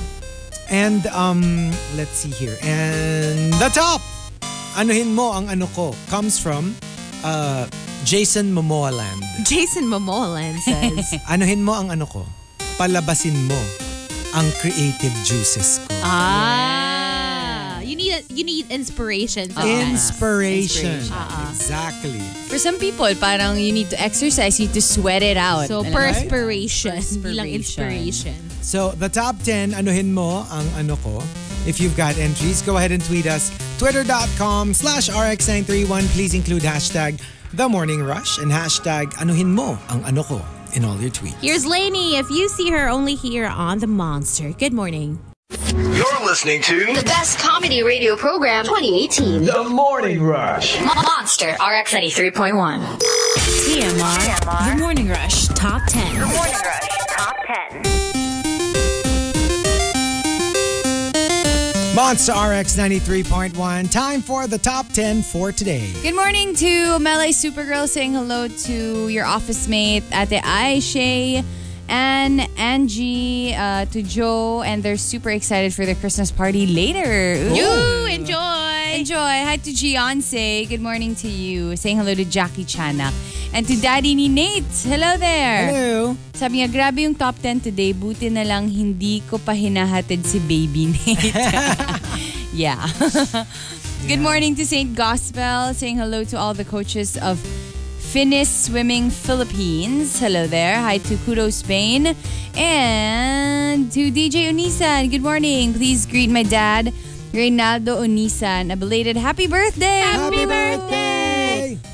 Speaker 3: And um, let's see here. And the top! Anuhin mo ang ano ko comes from uh, Jason Momoa Land.
Speaker 5: Jason Momolan says,
Speaker 3: Anuhin mo ang ano ko. Palabasin mo ang creative juices ko.
Speaker 5: ah, you need a, you need inspiration. sometimes.
Speaker 3: Inspiration.
Speaker 4: Inspiration.
Speaker 3: Exactly.
Speaker 4: For some people, parang you need to exercise, you need to sweat it out.
Speaker 5: So
Speaker 4: Alam mo?
Speaker 5: perspiration, bilang
Speaker 4: Perspiration.
Speaker 5: inspiration.
Speaker 3: So, the top 10, anuhin mo ang ano ko. If you've got entries, go ahead and tweet us. Twitter.com slash RX931. Please include hashtag The Morning Rush and hashtag anuhin mo ang ano ko in all your tweets.
Speaker 5: Here's Lainey. If you see her, only here on the Monster. Good morning.
Speaker 1: You're listening to
Speaker 2: The best comedy radio program 2018.
Speaker 1: The Morning Rush.
Speaker 2: Monster RX 83.1.
Speaker 6: TMR. The Morning Rush Top 10.
Speaker 7: Morning Rush Top 10.
Speaker 3: Monster RX 93.1. Time for the top 10 for today.
Speaker 4: Good morning to Mele Supergirl saying hello to your office mate, Ate Ai, Shay, and Angie, uh, to Joe, and they're super excited for their Christmas party later. Ooh.
Speaker 5: You enjoy.
Speaker 4: Enjoy. Hi to Gianse. Good morning to you. Saying hello to Jackie Chana. And to Daddy ni Nate. Hello there.
Speaker 3: Hello.
Speaker 4: Sabi niya, grabe yung top 10 today. Buti na lang hindi ko pa hinahatid si Baby Nate. yeah. Good morning to St. Gospel. Saying hello to all the coaches of Finnish Swimming Philippines. Hello there. Hi to Kudo Spain. And to DJ Unisan. Good morning. Please greet my dad, Reynaldo Unisan. A belated happy birthday!
Speaker 3: Happy birthday!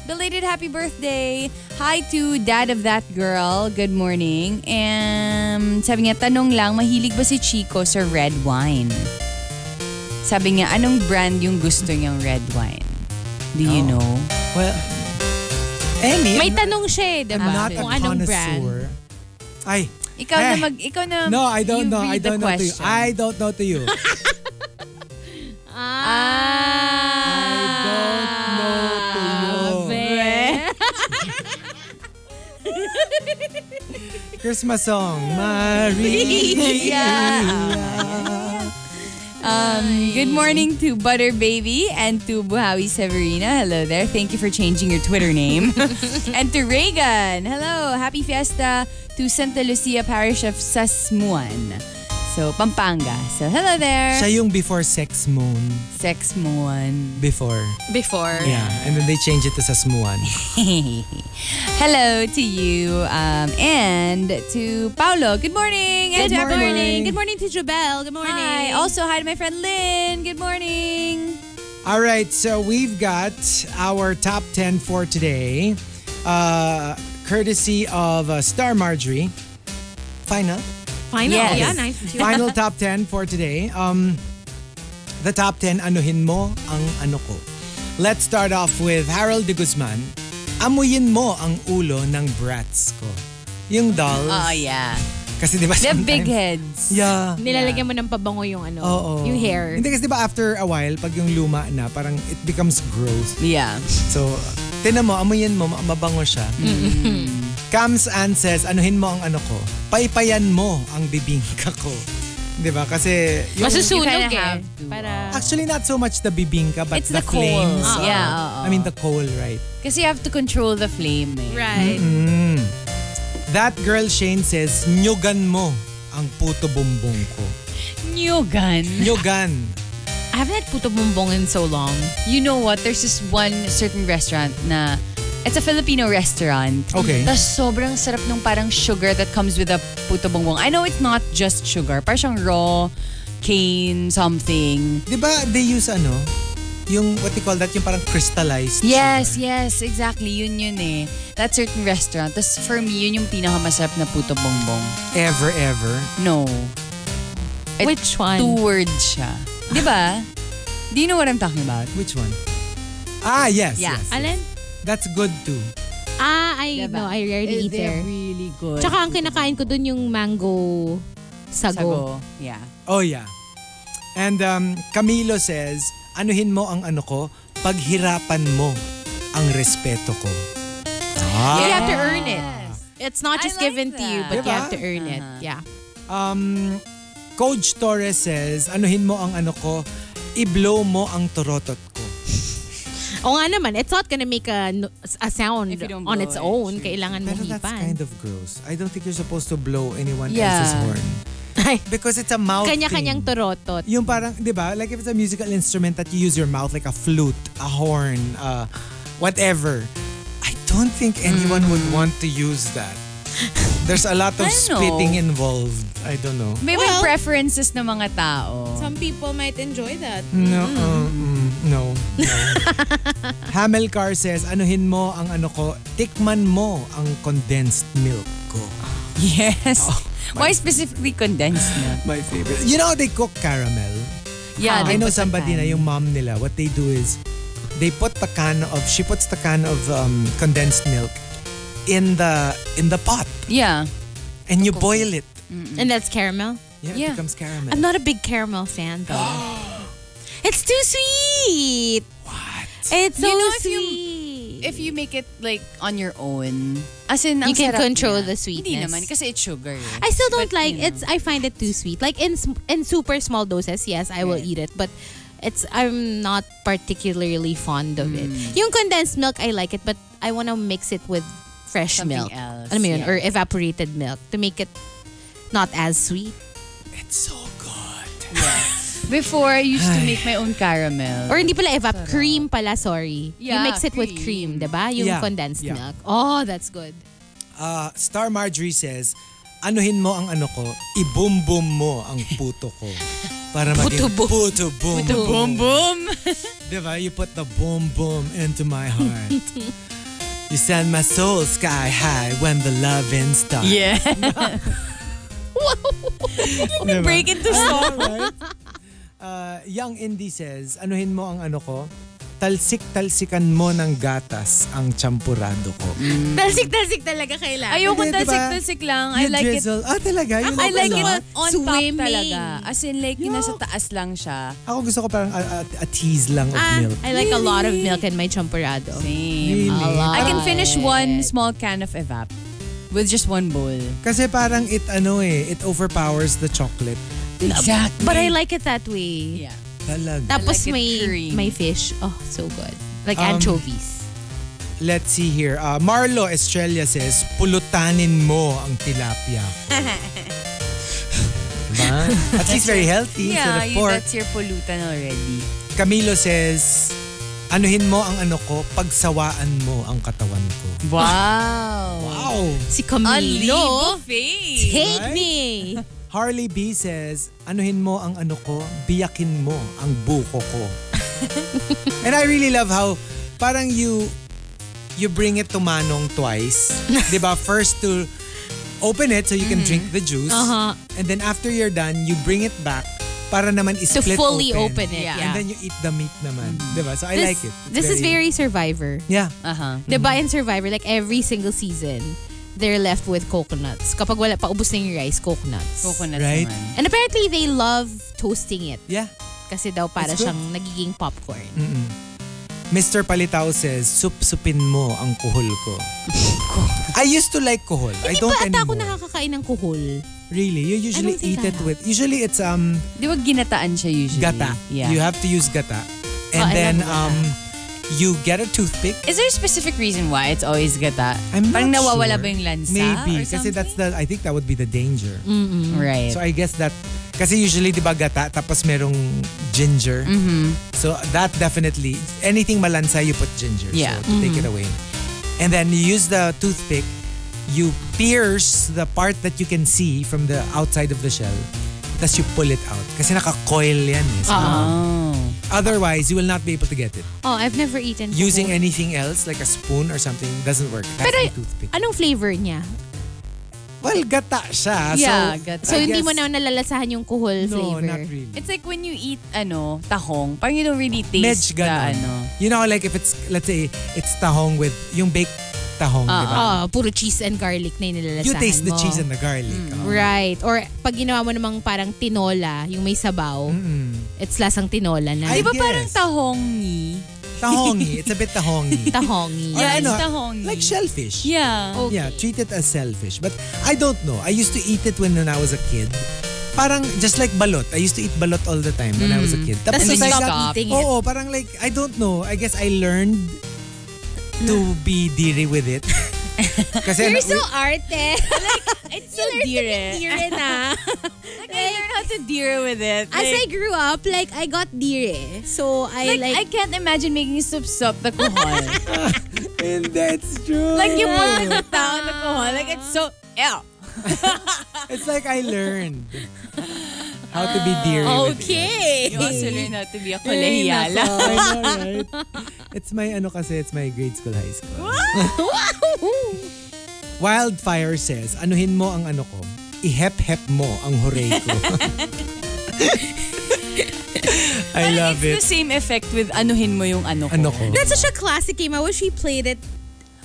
Speaker 4: Belated happy birthday. Hi to dad of that girl. Good morning. And sabi niya, tanong lang, mahilig ba si Chico sa red wine? Sabi niya, anong brand yung gusto niyang red wine? Do you
Speaker 3: Oh.
Speaker 4: know?
Speaker 3: Well, any.
Speaker 5: May tanong siya eh, diba?
Speaker 3: I'm not a
Speaker 5: Kung anong brand.
Speaker 3: connoisseur. Ay.
Speaker 4: Ikaw na
Speaker 3: eh.
Speaker 4: mag... Ikaw na...
Speaker 3: No, I don't
Speaker 4: you
Speaker 3: know. I
Speaker 4: read the
Speaker 3: don't know to you.
Speaker 4: question.
Speaker 3: I don't know to you.
Speaker 4: Ah,
Speaker 3: I don't know to you. Christmas song. Maria.
Speaker 4: Um, good morning to Butter Baby and to Buhawi Severina. Hello there. Thank you for changing your Twitter name. and to Reagan. Hello. Happy Fiesta to Santa Lucia Parish of Sasmuan. So, Pampanga. So, hello there.
Speaker 3: Siya yung before Sex Moon.
Speaker 4: Sexmuan.
Speaker 3: Before.
Speaker 5: Before.
Speaker 3: Yeah. And then they changed it to Sasmuan.
Speaker 4: hello to you. Um, and to Paolo. Good morning. and
Speaker 5: Good
Speaker 4: to
Speaker 5: morning.
Speaker 4: everyone.
Speaker 5: Good morning to Jobel. Good morning.
Speaker 4: Hi. Also, hi to my friend Lynn. Good morning.
Speaker 3: All right, so we've got our top 10 for today, uh, courtesy of uh, Star Marjorie. Final.
Speaker 5: Final.
Speaker 4: Yes.
Speaker 5: Yeah, nice.
Speaker 3: Final top 10 for today. Um, the top 10, anuhin mo ang ano ko. Let's start off with Harold de Guzman. Amuyin mo ang ulo ng brats ko. Yung dolls.
Speaker 4: yeah.
Speaker 3: Kasi di ba
Speaker 4: They have
Speaker 3: Oh, sometimes-
Speaker 4: big heads.
Speaker 3: Yeah.
Speaker 5: Nilalagyan mo ng pabango yung ano,
Speaker 3: Oo.
Speaker 5: yung hair.
Speaker 3: Hindi kasi di ba after a while, pag yung luma na, parang it becomes gross.
Speaker 4: Yeah.
Speaker 3: So, tinan mo, amuyin mo, ma- mabango siya.
Speaker 4: Mm-hmm.
Speaker 3: Cams Ann says, anuhin mo ang ano ko, paypayan mo ang bibingka ko. Di ba? Kasi, yung,
Speaker 5: Masusunog
Speaker 4: You kinda
Speaker 5: eh.
Speaker 4: have to.
Speaker 5: Para,
Speaker 3: actually not so much the bibingka, but
Speaker 4: It's the coal. Ah.
Speaker 3: flames. oh.
Speaker 4: Oo.
Speaker 3: are-
Speaker 4: Yeah, oo.
Speaker 3: I mean, the coal, right?
Speaker 4: Kasi you have to control the flame. eh.
Speaker 5: right.
Speaker 3: Mm. That girl, Shane, says, nyugan mo ang puto bumbong ko.
Speaker 4: New gun.
Speaker 3: Nyugan.
Speaker 5: I haven't had puto bumbong in so long.
Speaker 4: You know what? There's this one certain restaurant na It's a Filipino restaurant.
Speaker 3: Okay.
Speaker 4: Tapos sobrang sarap nung parang sugar that comes with a puto bongbong. I know it's not just sugar. Parang siyang raw cane something.
Speaker 3: Di ba they use ano? Yung, what you call that? Yung parang crystallized.
Speaker 4: Yes, yes. Exactly. Yun yun eh. That certain restaurant. Tapos for me, yun yung pinakamasarap na puto bongbong.
Speaker 3: Ever, ever.
Speaker 4: No. It-
Speaker 5: Which one?
Speaker 4: Two words siya. Di ba? Do you know what I'm talking about?
Speaker 3: Which one? Ah, yes.
Speaker 4: Yeah.
Speaker 3: yes.
Speaker 5: Alin?
Speaker 3: That's good too.
Speaker 5: Ah, I
Speaker 4: Diba?
Speaker 5: know. I rarely eat
Speaker 4: They're
Speaker 5: there.
Speaker 4: really good.
Speaker 5: Tsaka ang kinakain ko dun yung mango sago.
Speaker 4: Sago. Yeah.
Speaker 3: Oh yeah. And um, Camilo says, anuhin mo ang ano ko, paghirapan mo ang respeto ko.
Speaker 5: You
Speaker 3: Ah.
Speaker 5: have to earn it. It's
Speaker 4: I
Speaker 5: not just
Speaker 4: like
Speaker 5: given to you,
Speaker 4: that. Uh-huh.
Speaker 5: but you
Speaker 3: Diba?
Speaker 5: have to earn it. Yeah.
Speaker 3: Um, Coach Torres says, anuhin mo ang ano ko, i-blow mo ang torotot ko.
Speaker 5: O nga naman, it's not gonna make a, no- a sound
Speaker 4: If you don't
Speaker 5: on
Speaker 4: blow it,
Speaker 5: its own.
Speaker 4: sure.
Speaker 5: Kailangan mo
Speaker 3: Pero that's
Speaker 5: hipan.
Speaker 3: kind of gross. I don't think you're supposed to blow anyone
Speaker 4: Yeah.
Speaker 3: else's horn.
Speaker 5: Ay.
Speaker 3: Because it's a mouth
Speaker 5: Kanya-kanyang
Speaker 3: thing.
Speaker 5: torotot.
Speaker 3: Yung parang, di ba? Like if it's a musical instrument that you use your mouth, like a flute, a horn, uh, whatever. I don't think anyone would want to use that. There's a lot of
Speaker 4: Hmm. I know.
Speaker 3: splitting involved. I don't know.
Speaker 4: May may
Speaker 5: Well-
Speaker 4: preferences ng mga tao.
Speaker 5: Some people might enjoy that.
Speaker 3: No, uh, mm, no, no. Hamel Car says, anuhin mo ang ano ko, tikman mo ang condensed milk ko.
Speaker 4: Yes. Why specifically condensed na?
Speaker 3: Oh, My favorite. You know, they cook caramel.
Speaker 4: Yeah,
Speaker 3: Ah, I
Speaker 4: they
Speaker 3: know
Speaker 4: put the
Speaker 3: somebody na
Speaker 4: pan.
Speaker 3: yung mom nila, what they do is they put the can of she puts the can of um, condensed milk in the in the pot
Speaker 4: Yeah.
Speaker 3: and you boil it.
Speaker 5: And that's caramel.
Speaker 3: Yeah,
Speaker 4: Yeah.
Speaker 3: it becomes caramel.
Speaker 5: I'm not a big caramel fan though. It's too sweet.
Speaker 3: What?
Speaker 5: It's so
Speaker 4: You know, if you-
Speaker 5: sweet.
Speaker 4: If you make it like on your own, as in, ang
Speaker 5: You can
Speaker 4: sarap
Speaker 5: control
Speaker 4: niya.
Speaker 5: the sweetness.
Speaker 4: Hindi naman, kasi it's sugar. eh.
Speaker 5: I still don't
Speaker 4: But,
Speaker 5: like
Speaker 4: you know.
Speaker 5: it's I find it too sweet. Like in sm- in super small doses, yes, I will eat it, but it's I'm not particularly fond of it.
Speaker 4: Mm.
Speaker 5: Yung condensed milk I like it, but I want to mix it with fresh
Speaker 4: Something
Speaker 5: milk.
Speaker 4: else,
Speaker 5: Alam mo yun,
Speaker 4: yeah.
Speaker 5: or evaporated milk to make it not as sweet
Speaker 4: Eh.
Speaker 3: It's so good.
Speaker 4: Before, I used to make my own caramel.
Speaker 5: or hindi pala evap cream pala, sorry. you
Speaker 4: Yeah,
Speaker 5: mix it with
Speaker 4: cream.
Speaker 5: cream, 'di ba? Yung
Speaker 3: Yeah,
Speaker 5: condensed
Speaker 3: yeah.
Speaker 5: milk. Oh, that's good.
Speaker 3: Uh, Star Marjorie says, anuhin mo ang ano ko, ibumbum mo ang puto ko. Para maging
Speaker 5: Puto-bum.
Speaker 3: puto boom.
Speaker 4: boom!
Speaker 3: Diba? You put the boom boom into my heart. you send my soul sky high when the loving starts.
Speaker 4: Yeah.
Speaker 3: Diba?
Speaker 4: Break into song.
Speaker 3: Alright. Uh, Young Indy says, anuhin mo ang ano ko, talsik-talsikan mo ng gatas ang champurado ko.
Speaker 5: Talsik-talsik talaga kailangan.
Speaker 4: Ayoko
Speaker 3: Hindi, diba?
Speaker 4: Mm. talsik-talsik lang. I
Speaker 3: You
Speaker 4: like it.
Speaker 3: drizzle. Ah, talaga? Yun
Speaker 4: I
Speaker 3: ang
Speaker 4: like
Speaker 3: ano?
Speaker 4: it on
Speaker 5: Swimming.
Speaker 4: top talaga. As in like, yung nasa taas lang siya.
Speaker 3: Ako gusto ko parang a, a- a tease lang of
Speaker 5: Ah,
Speaker 3: milk.
Speaker 5: I like a lot of milk in my champurado.
Speaker 4: Same.
Speaker 3: Really?
Speaker 4: I can finish one small can of evap with just one bowl.
Speaker 3: Kasi parang it ano eh, it overpowers the chocolate.
Speaker 4: Exactly.
Speaker 5: But I like it that way.
Speaker 4: Yeah.
Speaker 3: Talaga.
Speaker 5: Tapos
Speaker 4: I like it
Speaker 5: may
Speaker 4: cream.
Speaker 5: may fish. Oh, so good. Like
Speaker 3: Um,
Speaker 5: anchovies.
Speaker 3: Let's see here. Uh, Marlo Estrella says, pulutanin mo ang tilapia. diba? At least very healthy
Speaker 4: Yeah,
Speaker 3: instead of
Speaker 4: you,
Speaker 3: pork.
Speaker 4: that's your pollutant already.
Speaker 3: Camilo says, anuhin mo ang ano ko, pagsawaan mo ang katawan ko.
Speaker 4: Wow.
Speaker 3: Wow!
Speaker 5: Si Camilo.
Speaker 4: buffet.
Speaker 5: Take
Speaker 3: Right?
Speaker 5: me.
Speaker 3: Harley B says, anuhin mo ang ano ko, biyakin mo ang buko ko. And I really love how parang you you bring it to Manong twice. 'Di ba? First to open it so you can drink the juice.
Speaker 5: Mm. Uh-huh.
Speaker 3: And then after you're done, you bring it back para naman
Speaker 5: To
Speaker 3: i-split
Speaker 5: fully open it.
Speaker 4: Yeah.
Speaker 5: Yeah. Mm.
Speaker 3: And then you eat the meat naman. 'Di ba? So I
Speaker 5: this,
Speaker 3: like it. It's Mm-hmm.
Speaker 5: this is very Survivor.
Speaker 3: Yeah.
Speaker 4: Uh-huh.
Speaker 5: Diba in Survivor, like every single season, they're left with coconuts. Kapag wala, paubos na yung rice, coconuts.
Speaker 4: Coconut
Speaker 3: Right?
Speaker 4: naman.
Speaker 5: And apparently, they love toasting it.
Speaker 3: Yeah.
Speaker 5: Kasi daw para
Speaker 3: It's good.
Speaker 5: siyang nagiging popcorn.
Speaker 3: Mr. Palitao says, sup-supin mo ang kuhol ko. I used to like kuhol. I
Speaker 5: Hindi
Speaker 3: don't
Speaker 5: pa ata Diba? ako
Speaker 3: anymore.
Speaker 5: nakakakain ng kuhol.
Speaker 3: Really? You usually
Speaker 5: don't think
Speaker 3: eat it
Speaker 5: I have.
Speaker 3: with usually it's um
Speaker 4: Eh, Di ba ginataan siya usually?
Speaker 3: gata.
Speaker 4: Yeah.
Speaker 3: You have to use gata. And
Speaker 5: Oh, I
Speaker 3: then
Speaker 5: love
Speaker 3: um you get a toothpick.
Speaker 4: Is there a specific reason why it's always gata?
Speaker 3: I'm
Speaker 4: Parang
Speaker 3: not
Speaker 4: nawawala
Speaker 3: sure.
Speaker 4: ba yung lansa?
Speaker 3: Maybe
Speaker 4: or
Speaker 3: kasi that's
Speaker 4: something?
Speaker 3: the I think that would be the danger.
Speaker 4: Right.
Speaker 3: So I guess that kasi usually 'di ba gata tapos merong ginger.
Speaker 4: Mm-hmm.
Speaker 3: So that definitely anything malansa you put ginger.
Speaker 4: Yeah.
Speaker 3: So
Speaker 4: Mm-hmm.
Speaker 3: to take it away. And then you use the toothpick you pierce the part that you can see from the outside of the shell tapos you pull it out. Kasi naka-coil yan eh. So
Speaker 4: oh.
Speaker 3: Otherwise, you will not be able to get it.
Speaker 5: Oh, I've never eaten
Speaker 4: Mm-hmm.
Speaker 5: kuhol.
Speaker 3: Using anything else, like a spoon or something, doesn't work. That's
Speaker 5: Pero-
Speaker 3: the toothpick.
Speaker 5: Anong flavor niya?
Speaker 3: Well, gata siya.
Speaker 4: Yeah,
Speaker 3: so,
Speaker 4: gata.
Speaker 5: So,
Speaker 3: I
Speaker 5: hindi
Speaker 3: guess-
Speaker 5: mo na nalalasahan yung kuhol
Speaker 3: No,
Speaker 5: flavor?
Speaker 3: not really.
Speaker 4: It's like when you eat, ano, tahong, parang you don't really
Speaker 3: Medj
Speaker 4: taste the,
Speaker 3: ganon.
Speaker 4: ano.
Speaker 3: You know, like if it's, let's say, it's tahong with, yung baked tahong,
Speaker 5: Ah,
Speaker 3: di ba?
Speaker 5: Oo, puro cheese and garlic na yung nilalasahan
Speaker 3: You taste
Speaker 5: mo.
Speaker 3: the cheese and the garlic. oh.
Speaker 5: Hmm. Right. Or pag ginawa mo namang parang tinola, yung may sabaw, it's lasang tinola na.
Speaker 3: I
Speaker 4: Di ba parang
Speaker 3: guess.
Speaker 4: tahongi?
Speaker 3: Tahongi. It's a bit tahongi.
Speaker 5: Tahongi.
Speaker 3: Or
Speaker 4: Yeah,
Speaker 3: ano,
Speaker 4: it's tahongi.
Speaker 3: Like shellfish.
Speaker 4: Yeah.
Speaker 5: Okay.
Speaker 3: Yeah, treat it as shellfish. But I don't know. I used to eat it when, when I was a kid. Parang just like balot. I used to eat balot all the time when I was a kid.
Speaker 5: Tapos you
Speaker 3: like
Speaker 5: stop
Speaker 3: that-
Speaker 5: eating it.
Speaker 3: Oo, parang like, I don't know. I guess I learned to be diri with it. Kasi
Speaker 5: You're
Speaker 3: na-
Speaker 5: so arte. it's so eh.
Speaker 4: dire.
Speaker 5: dire na.
Speaker 4: Like, I learned how to deal with it.
Speaker 5: As I grew up, like, I got dire. So,
Speaker 4: like,
Speaker 5: I like...
Speaker 4: I can't imagine making sup-sup the kuhol.
Speaker 3: And that's true.
Speaker 4: like, you put the gata on the kuhol. Like, it's so, ew.
Speaker 3: It's like I learned how to be diri with it.
Speaker 5: Ah, okay.
Speaker 4: You also learn how to be a
Speaker 5: Ay,
Speaker 4: kolehiyala.
Speaker 5: nako.
Speaker 3: I know, right? It's my ano kasi, it's my grade school, high school. Wildfire says, anuhin mo ang ano ko, ihep-hep mo ang hooray ko. I love it.
Speaker 4: It's the same effect with anuhin mo yung ano ko.
Speaker 3: Ano ko?
Speaker 5: That's such a classic game. I wish we played it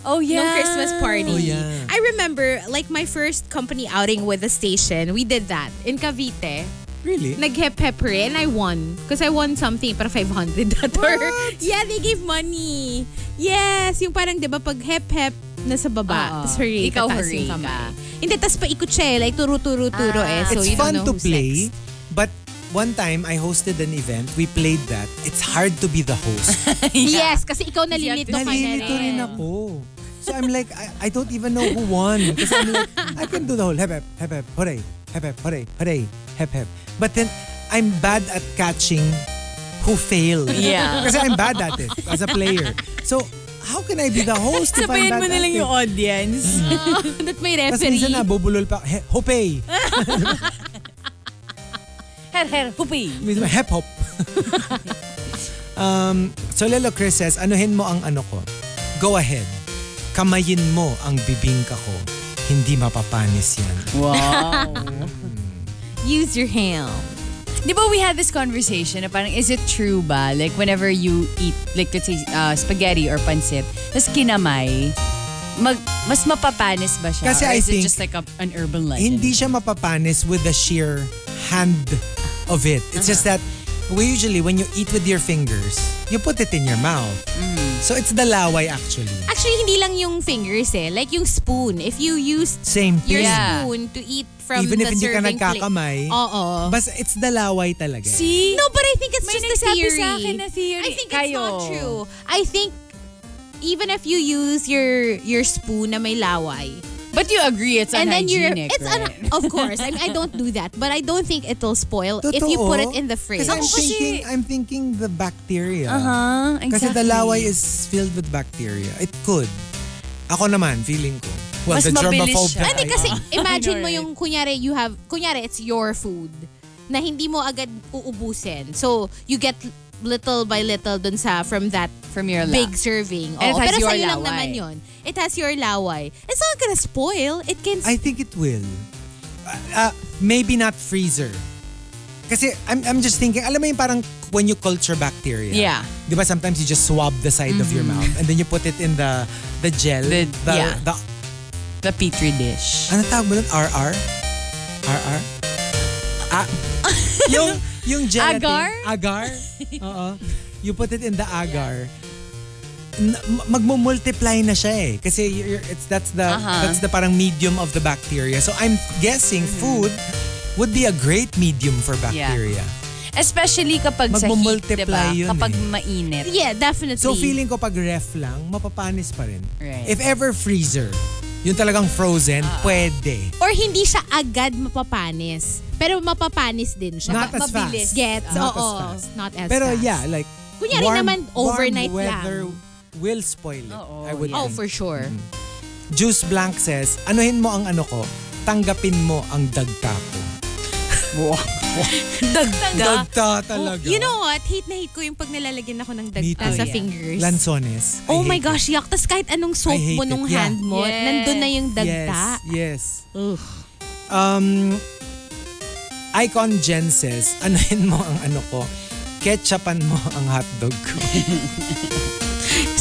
Speaker 4: Oh, yeah.
Speaker 5: nung Christmas party.
Speaker 3: Oh, yeah.
Speaker 5: I remember, like, my first company outing with the station, we did that in Cavite.
Speaker 3: Really?
Speaker 5: Nag-hep-hep rin, I won. Because I won something, para 500 that or... Yeah, they gave money. Yes, yung parang, di ba, pag hep-hep, nasa
Speaker 8: Oo.
Speaker 5: baba. Tapos hooray,
Speaker 8: Ikaw
Speaker 5: tataas yung
Speaker 8: hooray
Speaker 5: kamay. Hindi, tapos paikot siya eh. Like, turo-turo-turo eh.
Speaker 3: Ah, it's
Speaker 5: So, you
Speaker 3: fun
Speaker 5: don't
Speaker 3: to
Speaker 5: know who's
Speaker 3: play,
Speaker 5: next.
Speaker 3: but one time I hosted an event. We played that. It's hard to be the host.
Speaker 5: Yes, kasi ikaw nalilito ka na rin.
Speaker 3: Nalilito rin ako. So I'm like, I, I don't even know who won. Because I'm like, I can do the whole hep hep, hep hep, hooray, hep hep, hooray, hooray, hep hep. But then, I'm bad at catching who failed.
Speaker 8: Yeah.
Speaker 3: Kasi I'm bad at it as a player. So, how can I be the host if I'm
Speaker 4: Sabayan
Speaker 3: bad
Speaker 4: mo na
Speaker 3: at
Speaker 4: lang
Speaker 3: it?
Speaker 4: yung audience.
Speaker 5: That may
Speaker 3: Tapos minsan
Speaker 5: referee.
Speaker 3: nabubulol pa, he, hopey.
Speaker 4: her, her, hupi.
Speaker 3: Minsan, hep hop. um, so Lelo Chris says, anuhin mo ang ano ko. Go ahead. Kamayin mo ang bibingka ko. Hindi mapapanis yan.
Speaker 5: Use your hand.
Speaker 4: Di ba we had this conversation na parang, is it true ba? Like, whenever you eat, like, let's say, uh, spaghetti or pancit, tas kinamay, mag, mas mapapanis ba siya?
Speaker 3: Kasi
Speaker 4: or
Speaker 3: I
Speaker 4: is
Speaker 3: think-
Speaker 4: it just like a, an urban legend?
Speaker 3: Hindi siya mapapanis with the sheer hand of it. It's just
Speaker 5: Uh-huh.
Speaker 3: that we usually, when you eat with your fingers, you put it in your mouth.
Speaker 5: Mm.
Speaker 3: So it's the laway actually.
Speaker 5: Actually, hindi lang yung fingers eh. Like yung spoon. If you used
Speaker 3: Same
Speaker 5: your
Speaker 3: thing.
Speaker 4: Yeah.
Speaker 5: spoon to eat from
Speaker 3: Even
Speaker 5: the
Speaker 3: if hindi ka
Speaker 5: serving plate.
Speaker 3: nagkakamay.
Speaker 5: Oo.
Speaker 3: Basta it's the laway talaga.
Speaker 4: See?
Speaker 5: No, but I think it's
Speaker 4: May
Speaker 5: just a
Speaker 4: nagsabi
Speaker 5: theory.
Speaker 4: sa akin na theory.
Speaker 5: I think it's
Speaker 4: Kayo.
Speaker 5: not true. I think even if you use your your spoon na may laway,
Speaker 4: But you agree, it's
Speaker 5: and then you're
Speaker 4: unhygienic,
Speaker 5: it's oh.
Speaker 4: right?
Speaker 5: an, of course. I mean, I don't do that, but I don't think it'll spoil if you
Speaker 3: Totoo.
Speaker 5: put it in the fridge.
Speaker 3: Kasi I'm
Speaker 4: Ako kasi-
Speaker 3: thinking, I'm thinking the bacteria.
Speaker 4: Huh?
Speaker 3: Kasi
Speaker 4: Exactly.
Speaker 3: the laway is filled with bacteria. It could. Ako naman, feeling ko. Well,
Speaker 4: Mas
Speaker 3: the
Speaker 4: mabilis
Speaker 3: germaphobe
Speaker 4: siya.
Speaker 3: that
Speaker 5: Hindi
Speaker 3: I
Speaker 5: kasi
Speaker 3: am.
Speaker 4: I
Speaker 5: imagine
Speaker 4: know,
Speaker 5: mo yung kunyari you have kunyari it's your food na hindi mo agad uubusin. So you get little by little dun sa from that
Speaker 4: From your lap.
Speaker 5: big serving.
Speaker 4: And it
Speaker 5: Oo,
Speaker 4: has
Speaker 5: pero
Speaker 4: your
Speaker 5: sa'yo lang
Speaker 4: laway.
Speaker 5: naman yun. It has your laway. It's not gonna spoil. It can
Speaker 3: I think it will. Uh, uh, maybe not freezer. Kasi I'm, I'm just thinking, alam mo yung parang when you culture bacteria.
Speaker 4: Yeah.
Speaker 3: Di ba sometimes you just swab the side of your mouth and then you put it in the the gel.
Speaker 4: Mm-hmm. The-
Speaker 3: the,
Speaker 4: yeah.
Speaker 3: the
Speaker 4: The petri dish.
Speaker 3: Ano tawag mo nun? RR? RR? Ah, yung, yung gelatin.
Speaker 4: Agar?
Speaker 3: Agar? Oo. You put it in the agar. N- m- magmumultiply na siya eh. Kasi you're, you're- it's, that's the
Speaker 4: Aha.
Speaker 3: that's the parang medium of the bacteria. So I'm guessing
Speaker 4: Mm-hmm.
Speaker 3: food would be a great medium for bacteria.
Speaker 4: Especially kapag sa heat,
Speaker 3: Magmumultiply
Speaker 4: di ba?
Speaker 3: yun
Speaker 4: Kapag
Speaker 3: eh.
Speaker 4: mainit.
Speaker 5: Yeah, definitely.
Speaker 3: So feeling ko pag ref lang, mapapanis pa rin.
Speaker 4: Right. Uh-uh.
Speaker 3: If ever freezer, yung talagang frozen, pwede.
Speaker 5: Or hindi siya agad mapapanis. Pero mapapanis din siya.
Speaker 3: Not as
Speaker 5: Mabilis.
Speaker 3: fast.
Speaker 5: Gets,
Speaker 3: Not
Speaker 5: oo.
Speaker 3: as fast.
Speaker 5: Not as
Speaker 3: Pero
Speaker 5: fast.
Speaker 3: yeah, like
Speaker 5: Kunyari naman, overnight
Speaker 3: warm
Speaker 5: lang.
Speaker 3: weather will spoil it.
Speaker 4: Oo,
Speaker 3: I would
Speaker 5: Oh,
Speaker 3: think.
Speaker 5: for sure.
Speaker 3: Mm, Juice Blank says, anuhin mo ang ano ko, tanggapin mo ang dagta ko.
Speaker 4: Dagdag.
Speaker 3: Dagta talaga.
Speaker 5: You know what? Hate na hate ko yung pag nalalagyan ako ng
Speaker 3: Me too.
Speaker 5: dagta sa
Speaker 3: Oh, yeah.
Speaker 5: fingers.
Speaker 3: Lansones. I
Speaker 5: Oh my
Speaker 3: hate
Speaker 5: gosh, yuck. Tapos kahit anong soap
Speaker 3: I hate
Speaker 5: mo nung
Speaker 3: it. Yeah.
Speaker 5: hand mo,
Speaker 4: Yes.
Speaker 5: nandun na yung
Speaker 3: it.
Speaker 5: dagta.
Speaker 3: Yes, yes.
Speaker 5: Ugh.
Speaker 3: Um, Icon Jen says, anuhin mo ang ano ko, ketchupan mo ang hotdog ko.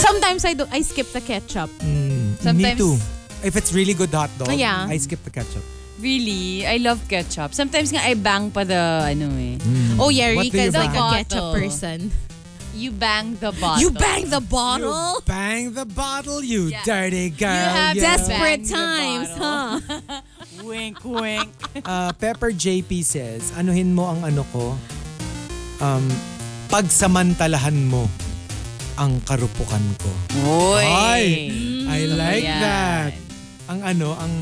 Speaker 5: Sometimes I do, I skip the ketchup.
Speaker 3: Me
Speaker 4: Sometimes-
Speaker 3: too. If it's really good hotdog,
Speaker 5: Oh, Yeah.
Speaker 3: I skip the ketchup.
Speaker 4: Really? I love ketchup. Sometimes nga I bang pa the, ano eh.
Speaker 3: Hmm.
Speaker 5: Oh yeah,
Speaker 3: Mm. What do you
Speaker 5: Rika is
Speaker 4: bang?
Speaker 5: like a ketchup
Speaker 4: Bottle.
Speaker 5: person.
Speaker 4: You bang the bottle.
Speaker 5: You bang the bottle?
Speaker 3: Bang the bottle, you
Speaker 4: Yeah.
Speaker 3: dirty girl. you.
Speaker 4: have best- Bang
Speaker 5: Desperate
Speaker 4: the
Speaker 5: times, huh?
Speaker 4: bottle. wink, wink.
Speaker 3: Uh, Pepper JP says, anuhin mo ang ano ko, um, pagsamantalahan mo ang karupukan ko.
Speaker 4: Oy.
Speaker 3: Ay! I
Speaker 5: Mm.
Speaker 3: like
Speaker 4: Ayan.
Speaker 3: that. Ang ano, ang,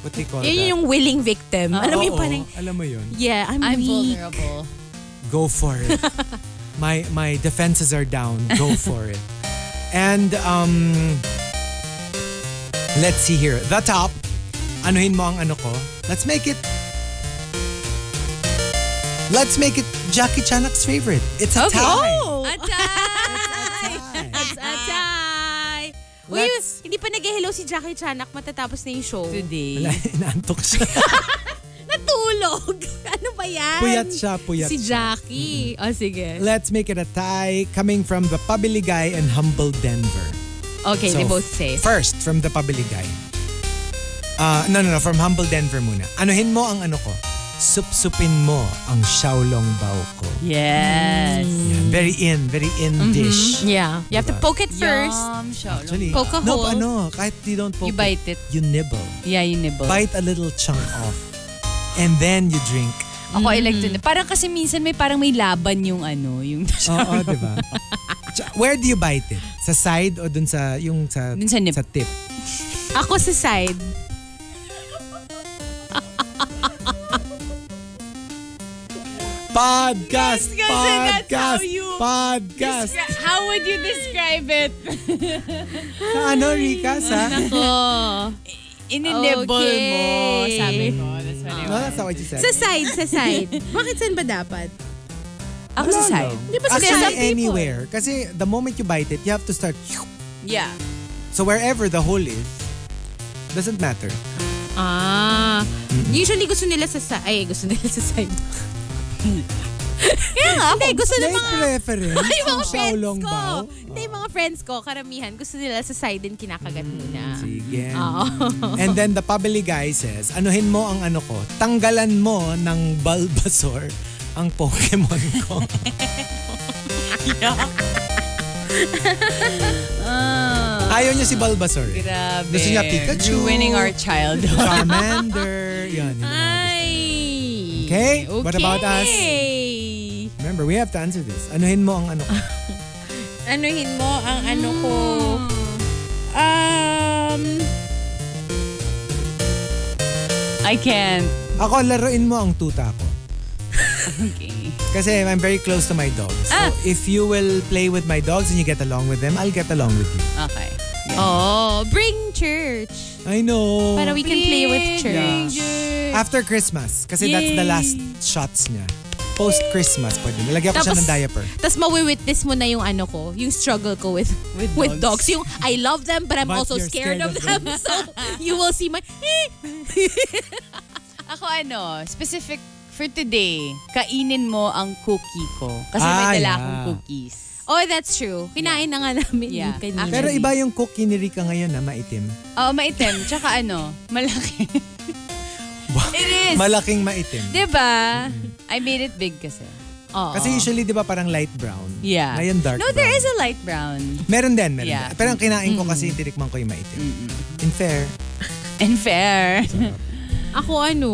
Speaker 3: what they call that?
Speaker 5: Yun yung willing victim. Alam mo yung
Speaker 3: Oo,
Speaker 5: parang,
Speaker 3: alam mo yun.
Speaker 5: yeah, I'm,
Speaker 4: I'm
Speaker 5: weak.
Speaker 4: vulnerable.
Speaker 3: Go for it. my my defenses are down. Go for it. And um, let's see here. The top. Anuhin mo ang ano ko. Let's make it. Let's make it Jackie Chanak's favorite. It's a
Speaker 4: Okay.
Speaker 3: tie.
Speaker 5: Oh, Atay! It's atay! Uy,
Speaker 3: Let's-
Speaker 5: hindi pa nag-hello si Jackie Chanak matatapos na yung show.
Speaker 3: Wala,
Speaker 4: Today.
Speaker 3: inaantok siya.
Speaker 5: Natulog! ano ba yan?
Speaker 3: puyat siya, puyat
Speaker 5: Si
Speaker 3: siya.
Speaker 5: Jackie. O sige.
Speaker 3: Let's make it a tie coming from the Pabiligay and Humble Denver.
Speaker 5: Okay,
Speaker 3: So,
Speaker 5: they both say.
Speaker 3: First, from Ah, the Pabiligay. Uh, no, no, no. From Humble Denver muna. Anuhin mo ang ano ko. Supsupin mo ang Xiaolong Bao ko.
Speaker 4: Yes.
Speaker 3: Yan. Very in, very in dish.
Speaker 5: Yeah. You have to poke it first.
Speaker 4: Yum, Shaolong.
Speaker 3: Actually,
Speaker 5: Poke a
Speaker 3: no,
Speaker 5: hole.
Speaker 3: ano, kahit you don't poke
Speaker 4: You bite it.
Speaker 3: you nibble.
Speaker 4: Yeah, you nibble.
Speaker 3: Bite a little chunk off. And then you drink.
Speaker 4: Ako, I like to
Speaker 5: Mm-hmm.
Speaker 4: nib- Parang kasi minsan may parang may laban yung ano, yung
Speaker 3: Oo, di ba? Ch- Where do you bite it? Sa side o dun sa, yung sa,
Speaker 4: Dun sa nib.
Speaker 3: tip?
Speaker 5: Ako sa side.
Speaker 3: Podcast!
Speaker 4: Yes, kasi that's how
Speaker 3: podcast!
Speaker 4: you-
Speaker 3: Podcast!
Speaker 4: How would you describe it?
Speaker 3: Sa ano, Rika? Sa...
Speaker 5: Oh.
Speaker 4: Ininibble mo.
Speaker 5: Okay.
Speaker 4: Sabi ko. That's what I
Speaker 3: No, that's not what you said.
Speaker 5: Sa side, sa side. Bakit saan ba dapat?
Speaker 4: Ako sa side.
Speaker 5: Di ba sa
Speaker 3: Actually,
Speaker 5: side?
Speaker 3: anywhere. Kasi the moment you bite it, you have to start...
Speaker 4: Yeah.
Speaker 3: So wherever the hole is, doesn't matter.
Speaker 5: Ah.
Speaker 3: Mm-hmm.
Speaker 5: Usually gusto nila sa side. Ay, gusto nila sa side. Kaya nga Hindi, gusto
Speaker 3: May
Speaker 5: ng mga...
Speaker 3: preference
Speaker 5: Ay,
Speaker 3: ang
Speaker 5: mga friends
Speaker 3: Xiaolong
Speaker 5: ko.
Speaker 3: Bao.
Speaker 5: Hindi, mga friends ko, karamihan, gusto nila sa side din kinakagat muna.
Speaker 3: Sige.
Speaker 5: Oo.
Speaker 3: And then the Pabili guy says, anuhin mo ang ano ko, tanggalan mo ng Bulbasaur ang Pokemon ko. Ayaw niya si Bulbasaur. eh.
Speaker 4: Grabe.
Speaker 3: Gusto niya Pikachu.
Speaker 4: Ruining our childhood.
Speaker 3: Charmander. Yan. yun ang mga gusto.
Speaker 5: Ay!
Speaker 3: Okay? What about us?
Speaker 5: Okay.
Speaker 3: Remember, we have to answer this. Anuhin mo ang ano ko.
Speaker 5: Anuhin mo ang ano ko. Um,
Speaker 4: I can't.
Speaker 3: Ako, laruin mo ang tuta ko.
Speaker 4: Okay.
Speaker 3: Kasi I'm very close to my dogs. So
Speaker 4: Ah.
Speaker 3: if you will play with my dogs and you get along with them, I'll get along with you.
Speaker 4: Okay.
Speaker 5: oh, bring church.
Speaker 3: I know.
Speaker 5: Para we can play with church.
Speaker 3: After Christmas. Kasi that's the last shots niya. Post-Christmas pwede. Nilagyan ko siya
Speaker 5: Tapos-
Speaker 3: ng diaper.
Speaker 5: Tapos mawi-witness mo na yung ano ko, yung struggle ko with with, dogs. Yung I love them but I'm
Speaker 3: But
Speaker 5: also
Speaker 3: you're
Speaker 5: scared,
Speaker 3: scared of
Speaker 5: of, them. so you will see my
Speaker 4: Ako ano, specific for today, kainin mo ang cookie ko. Kasi
Speaker 3: Ah,
Speaker 4: may dala
Speaker 3: yeah.
Speaker 4: akong cookies.
Speaker 5: Oh, that's true. Kinain na nga namin
Speaker 4: Yeah.
Speaker 5: yung kanina.
Speaker 3: Pero iba yung cookie ni Rika ngayon na maitim.
Speaker 4: Oo, Oh, maitim. Tsaka ano, malaki. It is.
Speaker 3: Malaking maitim.
Speaker 4: diba? I made it big kasi. Oo.
Speaker 3: Kasi usually, di ba, parang light brown.
Speaker 4: yeah.
Speaker 3: Ngayon dark
Speaker 4: No, there
Speaker 3: brown.
Speaker 4: is a light brown.
Speaker 3: Meron din, meron
Speaker 4: Yeah.
Speaker 3: din. Pero ang kinain ko kasi, tinikman ko yung maitim. In fair,
Speaker 4: And fair.
Speaker 5: Ako ano,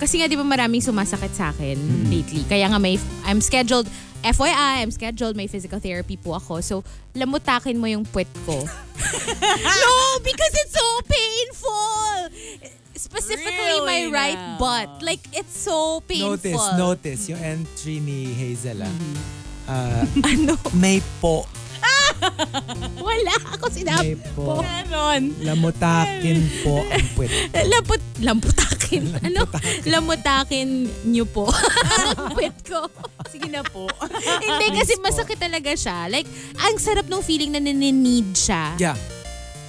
Speaker 5: kasi nga di ba maraming sumasakit sa akin
Speaker 3: Hmm.
Speaker 5: lately. Kaya nga may, I'm scheduled, FYI, I'm scheduled, may physical therapy po ako. So, lamutakin mo yung puwet ko. no, because it's so painful! Specifically my
Speaker 4: Really
Speaker 5: right
Speaker 4: now?
Speaker 5: butt. Like, it's so painful. Mm-hmm.
Speaker 3: notice, notice, yung entry ni Hazel ah. Ah,
Speaker 5: Ano?
Speaker 3: May po.
Speaker 5: Wala ako
Speaker 3: May
Speaker 5: sinabi.
Speaker 3: po.
Speaker 4: Meron.
Speaker 3: Lamutakin po ang puwet.
Speaker 5: Lamput, lamputakin. Ano? Lamutakin niyo po. Ang puwet ko.
Speaker 4: Sige na po.
Speaker 5: Hindi, kasi masakit talaga siya. Like, ang sarap nung feeling na naninid siya.
Speaker 3: Yeah.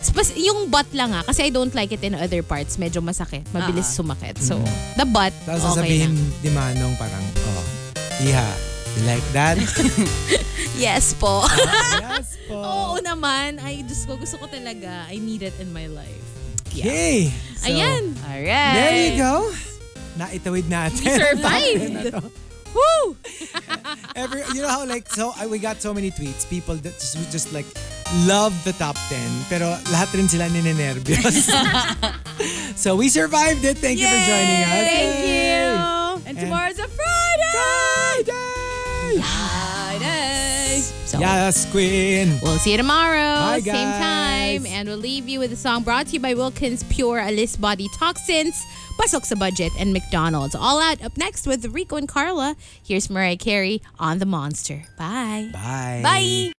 Speaker 5: Spas- yung butt lang ah, kasi I don't like it in other parts. Medyo masakit. Mabilis
Speaker 4: Ah.
Speaker 5: sumakit. So, the butt,
Speaker 3: Mm-hmm. Tapos
Speaker 5: okay
Speaker 3: sasabihin
Speaker 5: lang.
Speaker 3: ni Manong parang, oh, iha, you like that?
Speaker 5: Yes po.
Speaker 3: yes po.
Speaker 5: Oo naman. Ay, Diyos ko, gusto ko talaga. I need it in my life.
Speaker 3: Okay. So,
Speaker 5: Ayan.
Speaker 4: Alright.
Speaker 3: There you go. Naitawid natin.
Speaker 5: Survived. Woo!
Speaker 3: Every, you know how like, so I- we got so many tweets. People that just, who just like, love the top 10. Pero lahat rin sila ninenervyos. so we survived it. Thank you for joining us.
Speaker 4: Thank you. And
Speaker 3: And-
Speaker 4: tomorrow's a Friday.
Speaker 3: Friday.
Speaker 4: Friday.
Speaker 5: So,
Speaker 3: Yes, Queen.
Speaker 5: We'll see you
Speaker 3: Bye,
Speaker 5: tomorrow, same
Speaker 3: guys.
Speaker 5: time. And we'll leave you with a song brought to you by Wilkins Pure Alice Body Toxins, Pasok sa Budget, and McDonald's. All out up next with Rico and Carla. Here's Mariah Carey on The Monster. Bye.
Speaker 3: Bye.
Speaker 4: Bye.